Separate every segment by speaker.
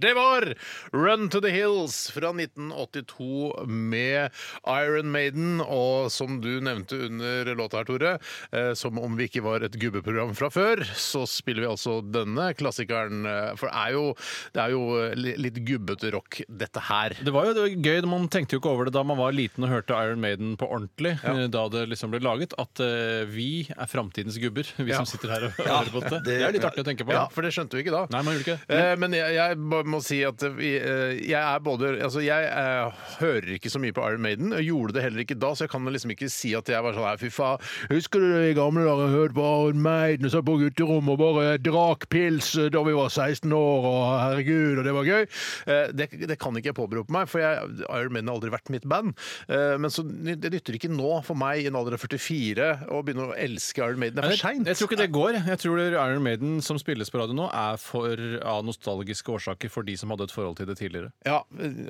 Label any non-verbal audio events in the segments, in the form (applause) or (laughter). Speaker 1: Det var Run to the Hills fra 1982 med Iron Maiden. Og som du nevnte under låta her, Tore, eh, som om vi ikke var et gubbeprogram fra før, så spiller vi altså denne klassikeren. eh, For det er jo, det er jo eh, li- litt gubbete rock, dette her.
Speaker 2: Det var jo det var gøy, man tenkte jo ikke over det da man var liten og hørte Iron Maiden på ordentlig, eh, da det liksom ble laget, at eh, vi er framtidens gubber, (laughs) vi som sitter
Speaker 1: (laughs)
Speaker 2: her og hører på dette. Det er litt artig å tenke på.
Speaker 1: Ja, for det skjønte vi ikke da.
Speaker 2: Nei, man gjorde ikke det.
Speaker 1: Eh, Men jeg, jeg bare må si at eh, vi, eh, jeg er både Altså, jeg eh, hører ikke så mye på Iron Maiden. Jeg gjorde det heller ikke da, så jeg kan liksom ikke si at jeg var sånn her, fy faen, husker du de gamle dager jeg hørte på Iron Maiden og satt på gutterommet og bare drakk pils eh, da vi var 16 år, og herregud, og det var gøy. Eh, Det, det kan ikke jeg påberope meg, for jeg, Iron Maiden har aldri vært mitt band. Eh, Men så ny- det nytter ikke nå, for meg i en alder av 44, å begynne å elske Iron Maiden. Det er for
Speaker 2: Jeg,
Speaker 1: seint.
Speaker 2: jeg tror ikke det går. Jeg tror Iron Maiden som spilles på radio nå, er for, av nostalgiske årsaker for de som hadde et forhold til det tidligere.
Speaker 1: Ja,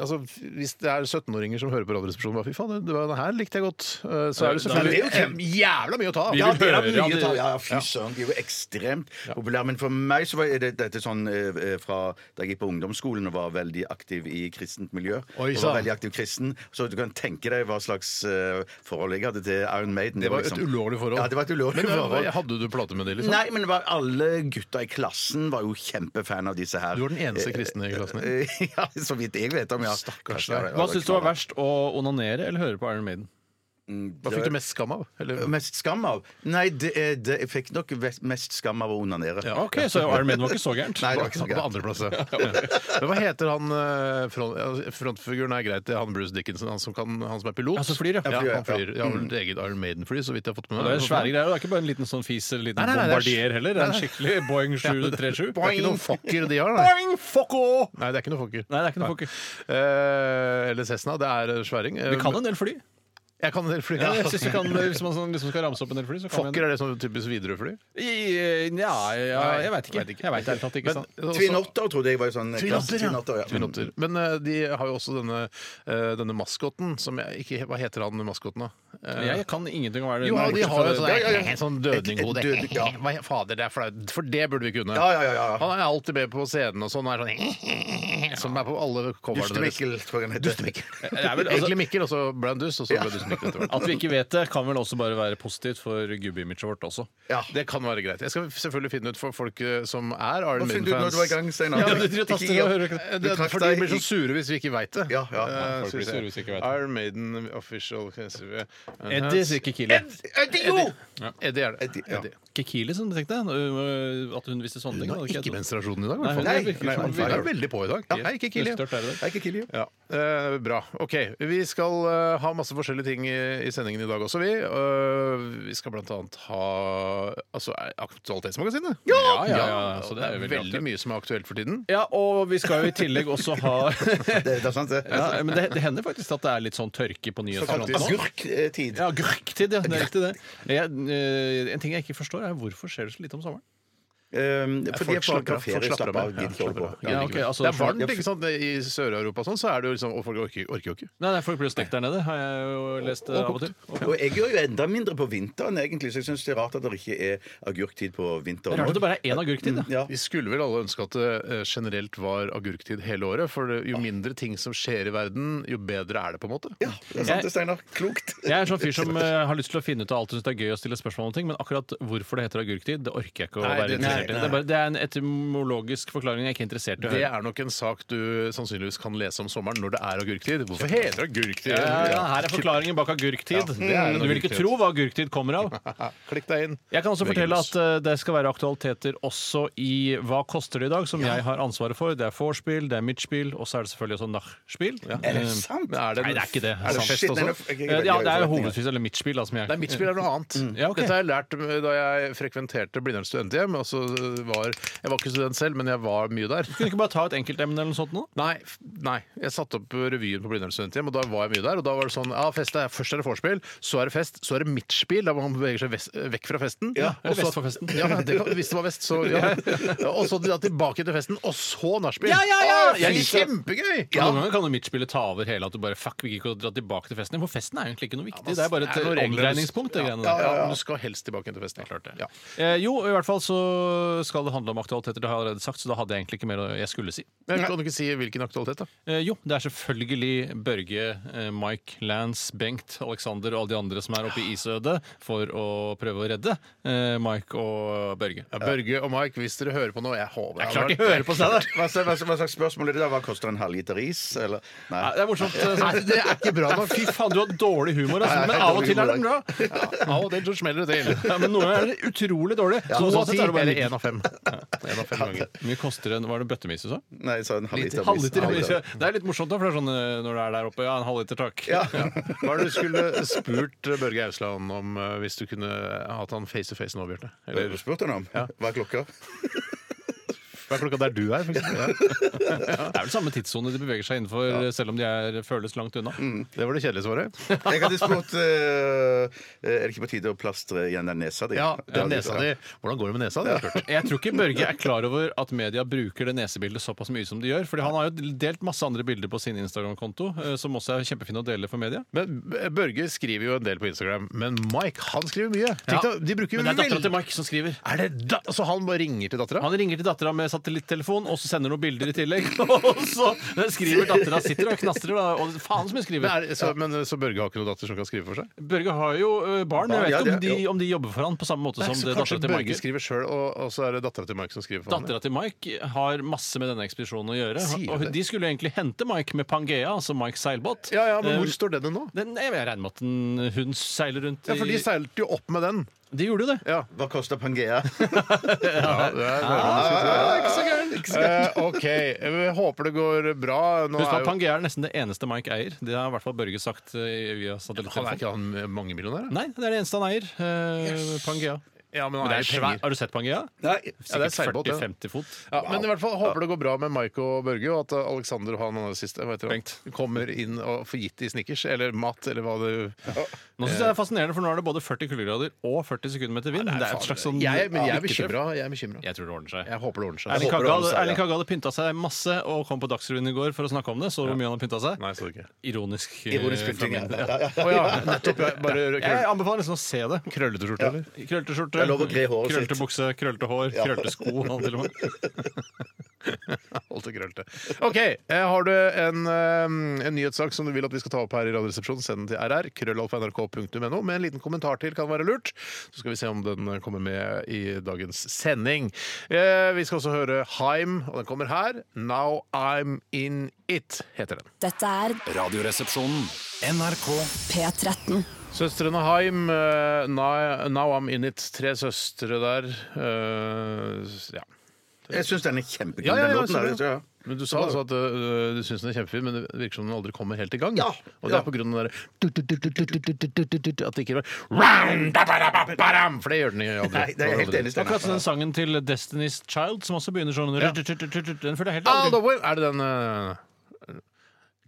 Speaker 1: altså Hvis det er 17-åringer som hører på Radioresepsjonen og bare, fy faen, det- det var- den her likte jeg godt, eh, så er det selvfølgelig
Speaker 3: det er jo
Speaker 1: Eh, jævla mye å ta av.
Speaker 2: Vi
Speaker 3: Ja,
Speaker 2: vil
Speaker 3: det er
Speaker 2: høre
Speaker 3: mye
Speaker 2: at det-
Speaker 3: tall. Ja, ja, fy søren, de er jo ekstremt populære. Men for meg så var det, dette sånn eh, fra da jeg gikk på ungdomsskolen og var veldig aktiv i kristent miljø.
Speaker 1: Oi,
Speaker 3: og
Speaker 1: sann.
Speaker 3: var veldig aktiv kristen Så du kan tenke deg hva slags eh, forhold jeg hadde til Iron Maiden.
Speaker 1: Det var et
Speaker 3: liksom-
Speaker 1: ulovlig forhold.
Speaker 3: Ja, det var et ulovlig
Speaker 1: Men eh,
Speaker 3: forhold.
Speaker 1: Hadde du plate med de, liksom?
Speaker 3: Nei, men det var alle gutta i klassen var jo kjempefan av disse her.
Speaker 1: Du var den eneste kristne i klassen din.
Speaker 3: Eh, (laughs) Ja, så vidt jeg vet om, ja.
Speaker 1: Stakkars
Speaker 3: Kanskje jeg
Speaker 1: deg.
Speaker 3: var-
Speaker 2: Hva syns du var verst, å onanere eller høre på Iron Maiden?
Speaker 1: Hva fikk du mest skam av? Eller?
Speaker 3: Mest skam av? Nei, det, eh, det, jeg fikk nok vest- mest skam av å onanere.
Speaker 2: Ja, ok, Så Iron Maiden var ikke så gærent.
Speaker 3: Nei, det var ikke så
Speaker 1: Han På
Speaker 3: gærent.
Speaker 1: andreplass. ja. Men hva heter han eh, front, ja, frontfiguren? er greit, det er han Bruce Dickinson, han som, kan, han som er pilot.
Speaker 2: Han som flyr, ja.
Speaker 1: ja.
Speaker 3: flyr, ja.
Speaker 1: Han flyr. Ja, vel, et eget Iron Maiden-fly, så vidt jeg har fått med
Speaker 2: Og
Speaker 1: meg.
Speaker 2: Det er svære greier, og det er ikke bare en liten sånn fis eller en liten
Speaker 1: Nei, nei, nei, det er-
Speaker 2: bombardier heller. Det er en skikkelig Boeing 737.
Speaker 1: Det er ikke noen fucker de har, nei. Nei, det er ikke noen fucker.
Speaker 2: Nei, det er ikke noe fokus.
Speaker 1: Eh, eller Cessna, det er eh, sværing. Eh,
Speaker 2: Vi kan en del fly.
Speaker 1: Jeg kan en del fly.
Speaker 2: Ja, jeg synes vi kan, Hvis man sånn liksom skal ramse opp en del fly, så kan
Speaker 1: Fucker er det sånn typisk Widerøe-fly?
Speaker 2: vi en- I- Ja, ja jeg veit ikke.
Speaker 1: Vet
Speaker 2: Jeg vet ærlig talt ikke.
Speaker 1: Men-
Speaker 2: sant?
Speaker 1: også-
Speaker 3: Tvinotter trodde jeg var jo sånn klasse-
Speaker 1: Tvinotter, ja.
Speaker 3: Tvinotter, ja.
Speaker 1: Tvinotter. Men eh, de har jo også denne, eh, denne maskoten som jeg ikke Hva heter han maskoten, da? Eh,
Speaker 2: Jeg kan ingenting om Iron
Speaker 1: jo,
Speaker 2: Maiden.
Speaker 1: de har jo
Speaker 2: bortsett fra
Speaker 1: sånn,
Speaker 2: det-
Speaker 1: en sånn dødninghode.
Speaker 3: Et- et død- ja.
Speaker 1: Hva he- Fader, det er flaut. For det burde vi kunne.
Speaker 3: Ja, ja, ja, ja.
Speaker 1: Han er alltid med på scenen og sånn. Er sånn (laughs) som er på alle coverne deres.
Speaker 3: Dustemikkel, tror jeg han heter. (laughs) Dustemikkel.
Speaker 2: Det er vel, altså,
Speaker 1: Egentlig Mikkel, og så ble han dust, og så ble Dust Mikkel etter hvert.
Speaker 2: At vi ikke vet det, kan vel også bare være positivt for gubbe-imaget vårt også.
Speaker 3: Ja.
Speaker 1: Det kan være greit. Jeg skal selvfølgelig finne ut for folk eh, som er
Speaker 3: Hva
Speaker 1: Iron
Speaker 3: finner du ut når du var i
Speaker 1: Maiden-fans.
Speaker 3: gang, Steinar?
Speaker 2: Ja, du driver og taster
Speaker 3: Ikke-
Speaker 2: og hører ikke
Speaker 1: Eh,
Speaker 3: Du
Speaker 1: Det,
Speaker 3: trakk
Speaker 1: for de
Speaker 3: deg
Speaker 1: blir så
Speaker 3: i-
Speaker 1: sure hvis vi ikke veit det.
Speaker 3: Ja, ja.
Speaker 1: Eh,
Speaker 2: folk
Speaker 1: skal
Speaker 2: blir
Speaker 1: vi se.
Speaker 2: sure hvis vi ikke vet det.
Speaker 1: Iron Maiden official Eddie,
Speaker 2: Eddie, ikke Kili.
Speaker 3: Eddie, jo!
Speaker 1: Eh, Eddie er det.
Speaker 3: Eddie, ja.
Speaker 1: Eddie.
Speaker 2: Ikke Kili, som du tenkte? øh, At hun visste sånne ting?
Speaker 1: Hun
Speaker 2: hadde
Speaker 1: har
Speaker 2: jeg
Speaker 1: ikke
Speaker 2: trodd.
Speaker 1: menstruasjon i dag, i
Speaker 2: Nei,
Speaker 1: hvert
Speaker 2: hun
Speaker 1: fall.
Speaker 3: Nei,
Speaker 2: er virkelig
Speaker 3: nei,
Speaker 2: sånn.
Speaker 3: hun
Speaker 1: Hun er veldig på i dag.
Speaker 3: Ja.
Speaker 1: Hei, ikke Kili.
Speaker 2: Størt er det der.
Speaker 3: Nei, ikke Kilio.
Speaker 1: Ja, eh, Bra. OK. Vi skal eh, ha masse forskjellige ting i, i sendingen i dag også, vi. Eh, vi skal blant annet ha altså, eh, Aktualitetsmagasinet.
Speaker 2: Ja, ja, ja, så det er jo
Speaker 1: veldig,
Speaker 2: veldig aktuelt.
Speaker 1: mye som er aktuelt for tiden.
Speaker 2: Ja, og vi skal jo i tillegg også ha
Speaker 3: Det, det er sant, det.
Speaker 2: (laughs) Ja, men det, det hender faktisk at det er litt sånn tørke på
Speaker 3: Såkalt
Speaker 2: nyhetsfronten nå.
Speaker 3: agurktid.
Speaker 2: Ja, gurktid, ja. Det er riktig, det. Jeg, eh, en ting jeg ikke forstår, er hvorfor skjer det så lite om sommeren?
Speaker 3: Um, fordi
Speaker 1: Folk
Speaker 3: jeg får
Speaker 1: slapper av.
Speaker 3: ferie,
Speaker 1: Folk slapper
Speaker 3: slapper
Speaker 1: av.
Speaker 3: av, gidder ikke
Speaker 1: Ja,
Speaker 3: holde på.
Speaker 1: slapper av.
Speaker 2: Ja, ok, altså,
Speaker 1: det er varmt,
Speaker 2: ja,
Speaker 1: ikke sant? I Sør-Europa og sånn, så er det jo liksom, og folk orker orker jo ikke.
Speaker 2: Nei, nei, folk blir jo stekt der nede, har jeg jo lest eh, av og til.
Speaker 3: Og jeg gjør jo enda mindre på vinteren, egentlig, så jeg syns det er rart at det ikke er agurktid på vinteren.
Speaker 2: Rart at det bare er én agurktid, da.
Speaker 3: Ja.
Speaker 1: Vi skulle vel alle ønske at det eh, generelt var agurktid hele året, for det- jo mindre ting som skjer i verden, jo bedre er det, på en måte.
Speaker 3: ja, det er sant det, Steinar. Klokt.
Speaker 2: Jeg er en sånn fyr som eh, har lyst til å finne ut av alt og syns det er gøy å stille spørsmål om ting, men akkurat hvorfor det heter agurktid, det orker jeg ikke å
Speaker 1: Nei,
Speaker 2: være
Speaker 1: det-
Speaker 2: interessert i.
Speaker 1: nei,
Speaker 2: Det er, bare, det er en etymologisk forklaring jeg er ikke er interessert i å
Speaker 1: Det
Speaker 2: høre.
Speaker 1: er nok en sak du sannsynligvis kan lese om sommeren når det er agurktid. Hvorfor heter det agurktid?
Speaker 2: Ja, ja, her er forklaringen bak
Speaker 1: en
Speaker 2: agurktid. du vil ikke
Speaker 1: agurktid.
Speaker 2: tro hva agurktid kommer av.
Speaker 1: (laughs) Klikk deg inn.
Speaker 2: Jeg kan også
Speaker 1: VG+.
Speaker 2: fortelle at eh, det skal være aktualiteter også i Hva koster det i dag, som jeg har ansvaret for. Det er vorspiel, det er midtspill, og så er det selvfølgelig også nachspiel.
Speaker 3: Er det sant?
Speaker 1: Men er Mm. det,
Speaker 2: Nei, det er ikke det.
Speaker 1: Er det fest
Speaker 3: Shit, nei,
Speaker 1: også?
Speaker 3: nå- ok,
Speaker 2: Eh,
Speaker 3: greit, greit,
Speaker 2: Ja, det er
Speaker 3: greit,
Speaker 2: hovedvis eller midtspill. da, som jeg-
Speaker 1: Nei, midtspill er noe annet.
Speaker 2: Mm. Ja, ok.
Speaker 1: Dette har jeg lært da jeg frekventerte Blindern studenthjem. Altså eh, var Jeg var ikke student selv, men jeg var mye der.
Speaker 2: Kunne du ikke bare ta et enkeltemne eller noe sånt nå?
Speaker 1: Nei, f- nei. Jeg satte opp revyen på Blindern studenthjem, og da var jeg mye der. Og da var det sånn ja, fest er, Først er det vorspiel, så er det fest, så er det midtspill, da man beveger seg vest, vekk fra festen.
Speaker 2: Ja,
Speaker 1: og
Speaker 2: eller
Speaker 1: så-
Speaker 2: vest for festen.
Speaker 1: Ja, det kan, hvis det var vest, så ja. Og så da tilbake til festen, og så nachspiel.
Speaker 2: Ja, ja, ja!
Speaker 1: Å, det er kjempegøy!
Speaker 2: Noen ganger kan jo midtspillet ta over hele at du bare fuck, vi gidder ikke å dra tilbake til festen igjen. For festen er jo egentlig ikke noe viktig. det er bare et
Speaker 1: noen regler.
Speaker 2: omdreiningspunkt. det
Speaker 1: Ja,
Speaker 2: greiene
Speaker 1: ja,
Speaker 2: der.
Speaker 1: ja, men Du skal helst tilbake til festen. Klart det. Ja.
Speaker 2: Eh, jo, i hvert fall så skal det handle om aktualiteter. Det har jeg allerede sagt, så da hadde jeg egentlig ikke mer å- jeg skulle si.
Speaker 1: Men kan du ikke si hvilken aktualitet, da?
Speaker 2: Eh, jo, det er selvfølgelig Børge, eh, Mike, Lance, Bengt, Alexander og alle de andre som er oppe i isødet for å prøve å redde eh, Mike og Børge.
Speaker 1: Ja, Børge og Mike, hvis dere hører på nå Jeg håper
Speaker 2: Det er klart de hører på seg, da!
Speaker 3: Hva, slags- hva, slags- hva slags spørsmål er det da? Hva koster en halvliter is? Eller? Nei.
Speaker 2: Nei, Det er morsomt. eh,
Speaker 1: Nei,
Speaker 2: sånn.
Speaker 1: det er ikke bra nok.
Speaker 2: Fy faen, du har dårlig humor, altså.
Speaker 3: Nei,
Speaker 2: Men
Speaker 3: jeg har
Speaker 2: av og
Speaker 3: dårlig
Speaker 2: til er
Speaker 3: humor,
Speaker 2: den bra.
Speaker 1: Ja, og det smeller det til.
Speaker 2: Ja, men noen ganger er det utrolig dårlig. Så
Speaker 1: To
Speaker 2: sånn
Speaker 1: av ti
Speaker 2: sett er det bare
Speaker 1: eller
Speaker 2: litt-
Speaker 1: én av fem. En av fem ganger.
Speaker 2: Hvor mye koster en Var det bøttemis du sa?
Speaker 3: Nei, jeg sa en halvliter is.
Speaker 2: Halvliter. Det er litt morsomt, da, for det er sånn eh, når du er der oppe. Ja, en halvliter, takk.
Speaker 3: Ja.
Speaker 1: Hva er det du skulle spurt Børge Ausland om eh, hvis du kunne hatt han face to face nå, Bjarte? Eller
Speaker 3: Spurte han om? Hva er klokka?
Speaker 1: hva er klokka der du er, for eksempel?
Speaker 2: Det er vel samme tidssone de beveger seg innenfor, selv om de er, føles langt unna.
Speaker 1: Det var det kjedelige svaret.
Speaker 3: Jeg hadde spurt eh, Er det ikke på tide å plastre igjen den nesa di?
Speaker 1: Ja,
Speaker 3: Det hadde jeg
Speaker 1: nesa
Speaker 3: sagt.
Speaker 1: di. Hvordan går det med nesa? Det har jeg spurt.
Speaker 2: Jeg tror ikke Børge er klar over at media bruker det nesebildet såpass mye som de gjør. Fordi han har jo delt masse andre bilder på sin Instagram-konto, eh, som også er kjempefine å dele for media.
Speaker 1: Men Børge skriver jo en del på Instagram, men Mike han skriver mye. Tenk deg, de bruker jo
Speaker 2: Men det er dattera
Speaker 1: vel-
Speaker 2: til Mike som skriver.
Speaker 1: Er det da? Så han bare ringer til dattera?
Speaker 2: Han ringer til dattera med satellittelefon og så sender noen bilder i tillegg. (laughs) Og så skriver dattera sitter og knastrer, da. Og faen som hun
Speaker 1: Men,
Speaker 2: skriver.
Speaker 1: er, så, men eh, så Børge har ikke noen datter som kan skrive for seg?
Speaker 2: Børge har jo ø, barn. Jeg
Speaker 3: Barn,
Speaker 2: vet
Speaker 3: ja,
Speaker 2: ikke
Speaker 3: det-
Speaker 2: om de,
Speaker 3: jo.
Speaker 2: om de jobber for han på samme måte som
Speaker 1: så kanskje
Speaker 2: dattera til
Speaker 1: Børge
Speaker 2: Mike.
Speaker 1: skriver sjøl, og, og så er det dattera til Mike som skriver for ham?
Speaker 2: Dattera til Mike har masse med denne ekspedisjonen å gjøre.
Speaker 1: Sier du
Speaker 2: Og
Speaker 1: det?
Speaker 2: de skulle egentlig hente Mike med Pangea, altså Mikes seilbåt.
Speaker 1: Ja, ja, men hvor
Speaker 2: Eh,
Speaker 1: står den nå?
Speaker 2: den, jeg regner med at den, hun seiler rundt
Speaker 1: Ja, for de
Speaker 2: i
Speaker 1: seilte jo opp med den.
Speaker 2: De gjorde jo det.
Speaker 1: Ja,
Speaker 3: Hva koster Pangea?
Speaker 1: ja det er
Speaker 3: ikke så gærent.
Speaker 1: Eh, OK. Jeg håper det går bra. Nå
Speaker 2: Husk på
Speaker 1: er
Speaker 2: at
Speaker 1: jo,
Speaker 2: Pangea er nesten det eneste Mike eier. Det har i hvert fall Børge sagt eh, via
Speaker 1: han er
Speaker 2: satellittelefon.
Speaker 1: ikke han mangemillionær? da?
Speaker 2: Nei, det er det eneste han eier. eh, Pangea.
Speaker 1: Ja, men
Speaker 2: Men
Speaker 1: han
Speaker 2: det
Speaker 1: er
Speaker 2: er
Speaker 1: svær.
Speaker 2: svær. Har du sett Pangea?
Speaker 3: Nei.
Speaker 1: Ja, det er
Speaker 2: Sikkert
Speaker 1: seilbåt, det.
Speaker 2: 40-50 fot.
Speaker 1: Ja, men i hvert fall håper det går bra med Mike og Børge, og at Alexander og han andre siste hva heter han, kommer inn og får gitt de snickers eller mat eller hva det
Speaker 2: Nå synes jeg
Speaker 1: Eh.
Speaker 2: det er fascinerende, for nå er det både 40 kuldegrader og 40 sekunder med til vind. det er et slags sånn
Speaker 1: Jeg, men jeg er
Speaker 2: lykketreff.
Speaker 1: bekymra. Jeg, er bekymret.
Speaker 2: Jeg tror det ordner seg.
Speaker 1: jeg håper det ordner seg.
Speaker 2: Erling
Speaker 1: Jeg håper-
Speaker 3: det
Speaker 2: Kagge
Speaker 3: ordner
Speaker 2: hadde-
Speaker 3: seg, ja.
Speaker 2: Erling Kagge hadde pynta seg masse og kom på Dagsrevyen i går for å snakke om det. Så hvor mye han har pynta seg?
Speaker 1: Nei, så det ikke.
Speaker 2: Ironisk. eh,
Speaker 3: Ironisk
Speaker 2: fra
Speaker 3: pynting.
Speaker 2: min-
Speaker 3: ja. Ja, ja.
Speaker 1: Å ja,
Speaker 2: (laughs)
Speaker 1: nettopp. Jeg Bare
Speaker 2: Jeg
Speaker 1: krøll,
Speaker 2: anbefaler nesten å se det.
Speaker 1: krøllete skjorte, eller?
Speaker 2: Krøllete skjorte,
Speaker 3: Det er lov å gre håret
Speaker 2: krøllete
Speaker 3: sitt.
Speaker 2: bukse, krøllete hår, krøllete sko. han Til og
Speaker 3: (laughs)
Speaker 2: med.
Speaker 1: Alt er krøllete. OK. eh, Har du en, eh, en nyhetssak som du vil at vi skal ta opp her i Radioresepsjonen, send den til rr. krøllalfa.nrk.no med en liten kommentar til kan være lurt. Så skal vi se om den eh, kommer med i dagens sending. Eh, Vi skal også høre Heim, og den kommer her. Now I'm in it, heter den.
Speaker 4: Dette er
Speaker 5: Radioresepsjonen.
Speaker 6: NRK
Speaker 4: P13.
Speaker 1: Søstrene Heim, eh, Now Now I'm in it. Tre søstre der. eh, Ja.
Speaker 3: Jeg syns den er kjempekul.
Speaker 1: Ja, ja,
Speaker 3: den
Speaker 1: ja,
Speaker 3: låten
Speaker 1: så
Speaker 3: der,
Speaker 1: det-
Speaker 3: ja.
Speaker 1: Men du sa altså at øh, du syns den er kjempefin, men det virker som den aldri kommer helt i gang.
Speaker 3: Ja,
Speaker 1: Og det
Speaker 3: ja.
Speaker 1: er på grunn av den derre At det ikke er For det
Speaker 3: (laughs)
Speaker 1: gjør den jo aldri.
Speaker 3: Nei, det er jeg helt enig i. Steinar.
Speaker 2: Akkurat som den sangen til Destiny's Child, som også begynner sånn Den føler jeg helt
Speaker 1: All the
Speaker 2: aldri.
Speaker 1: way. Er det den øh,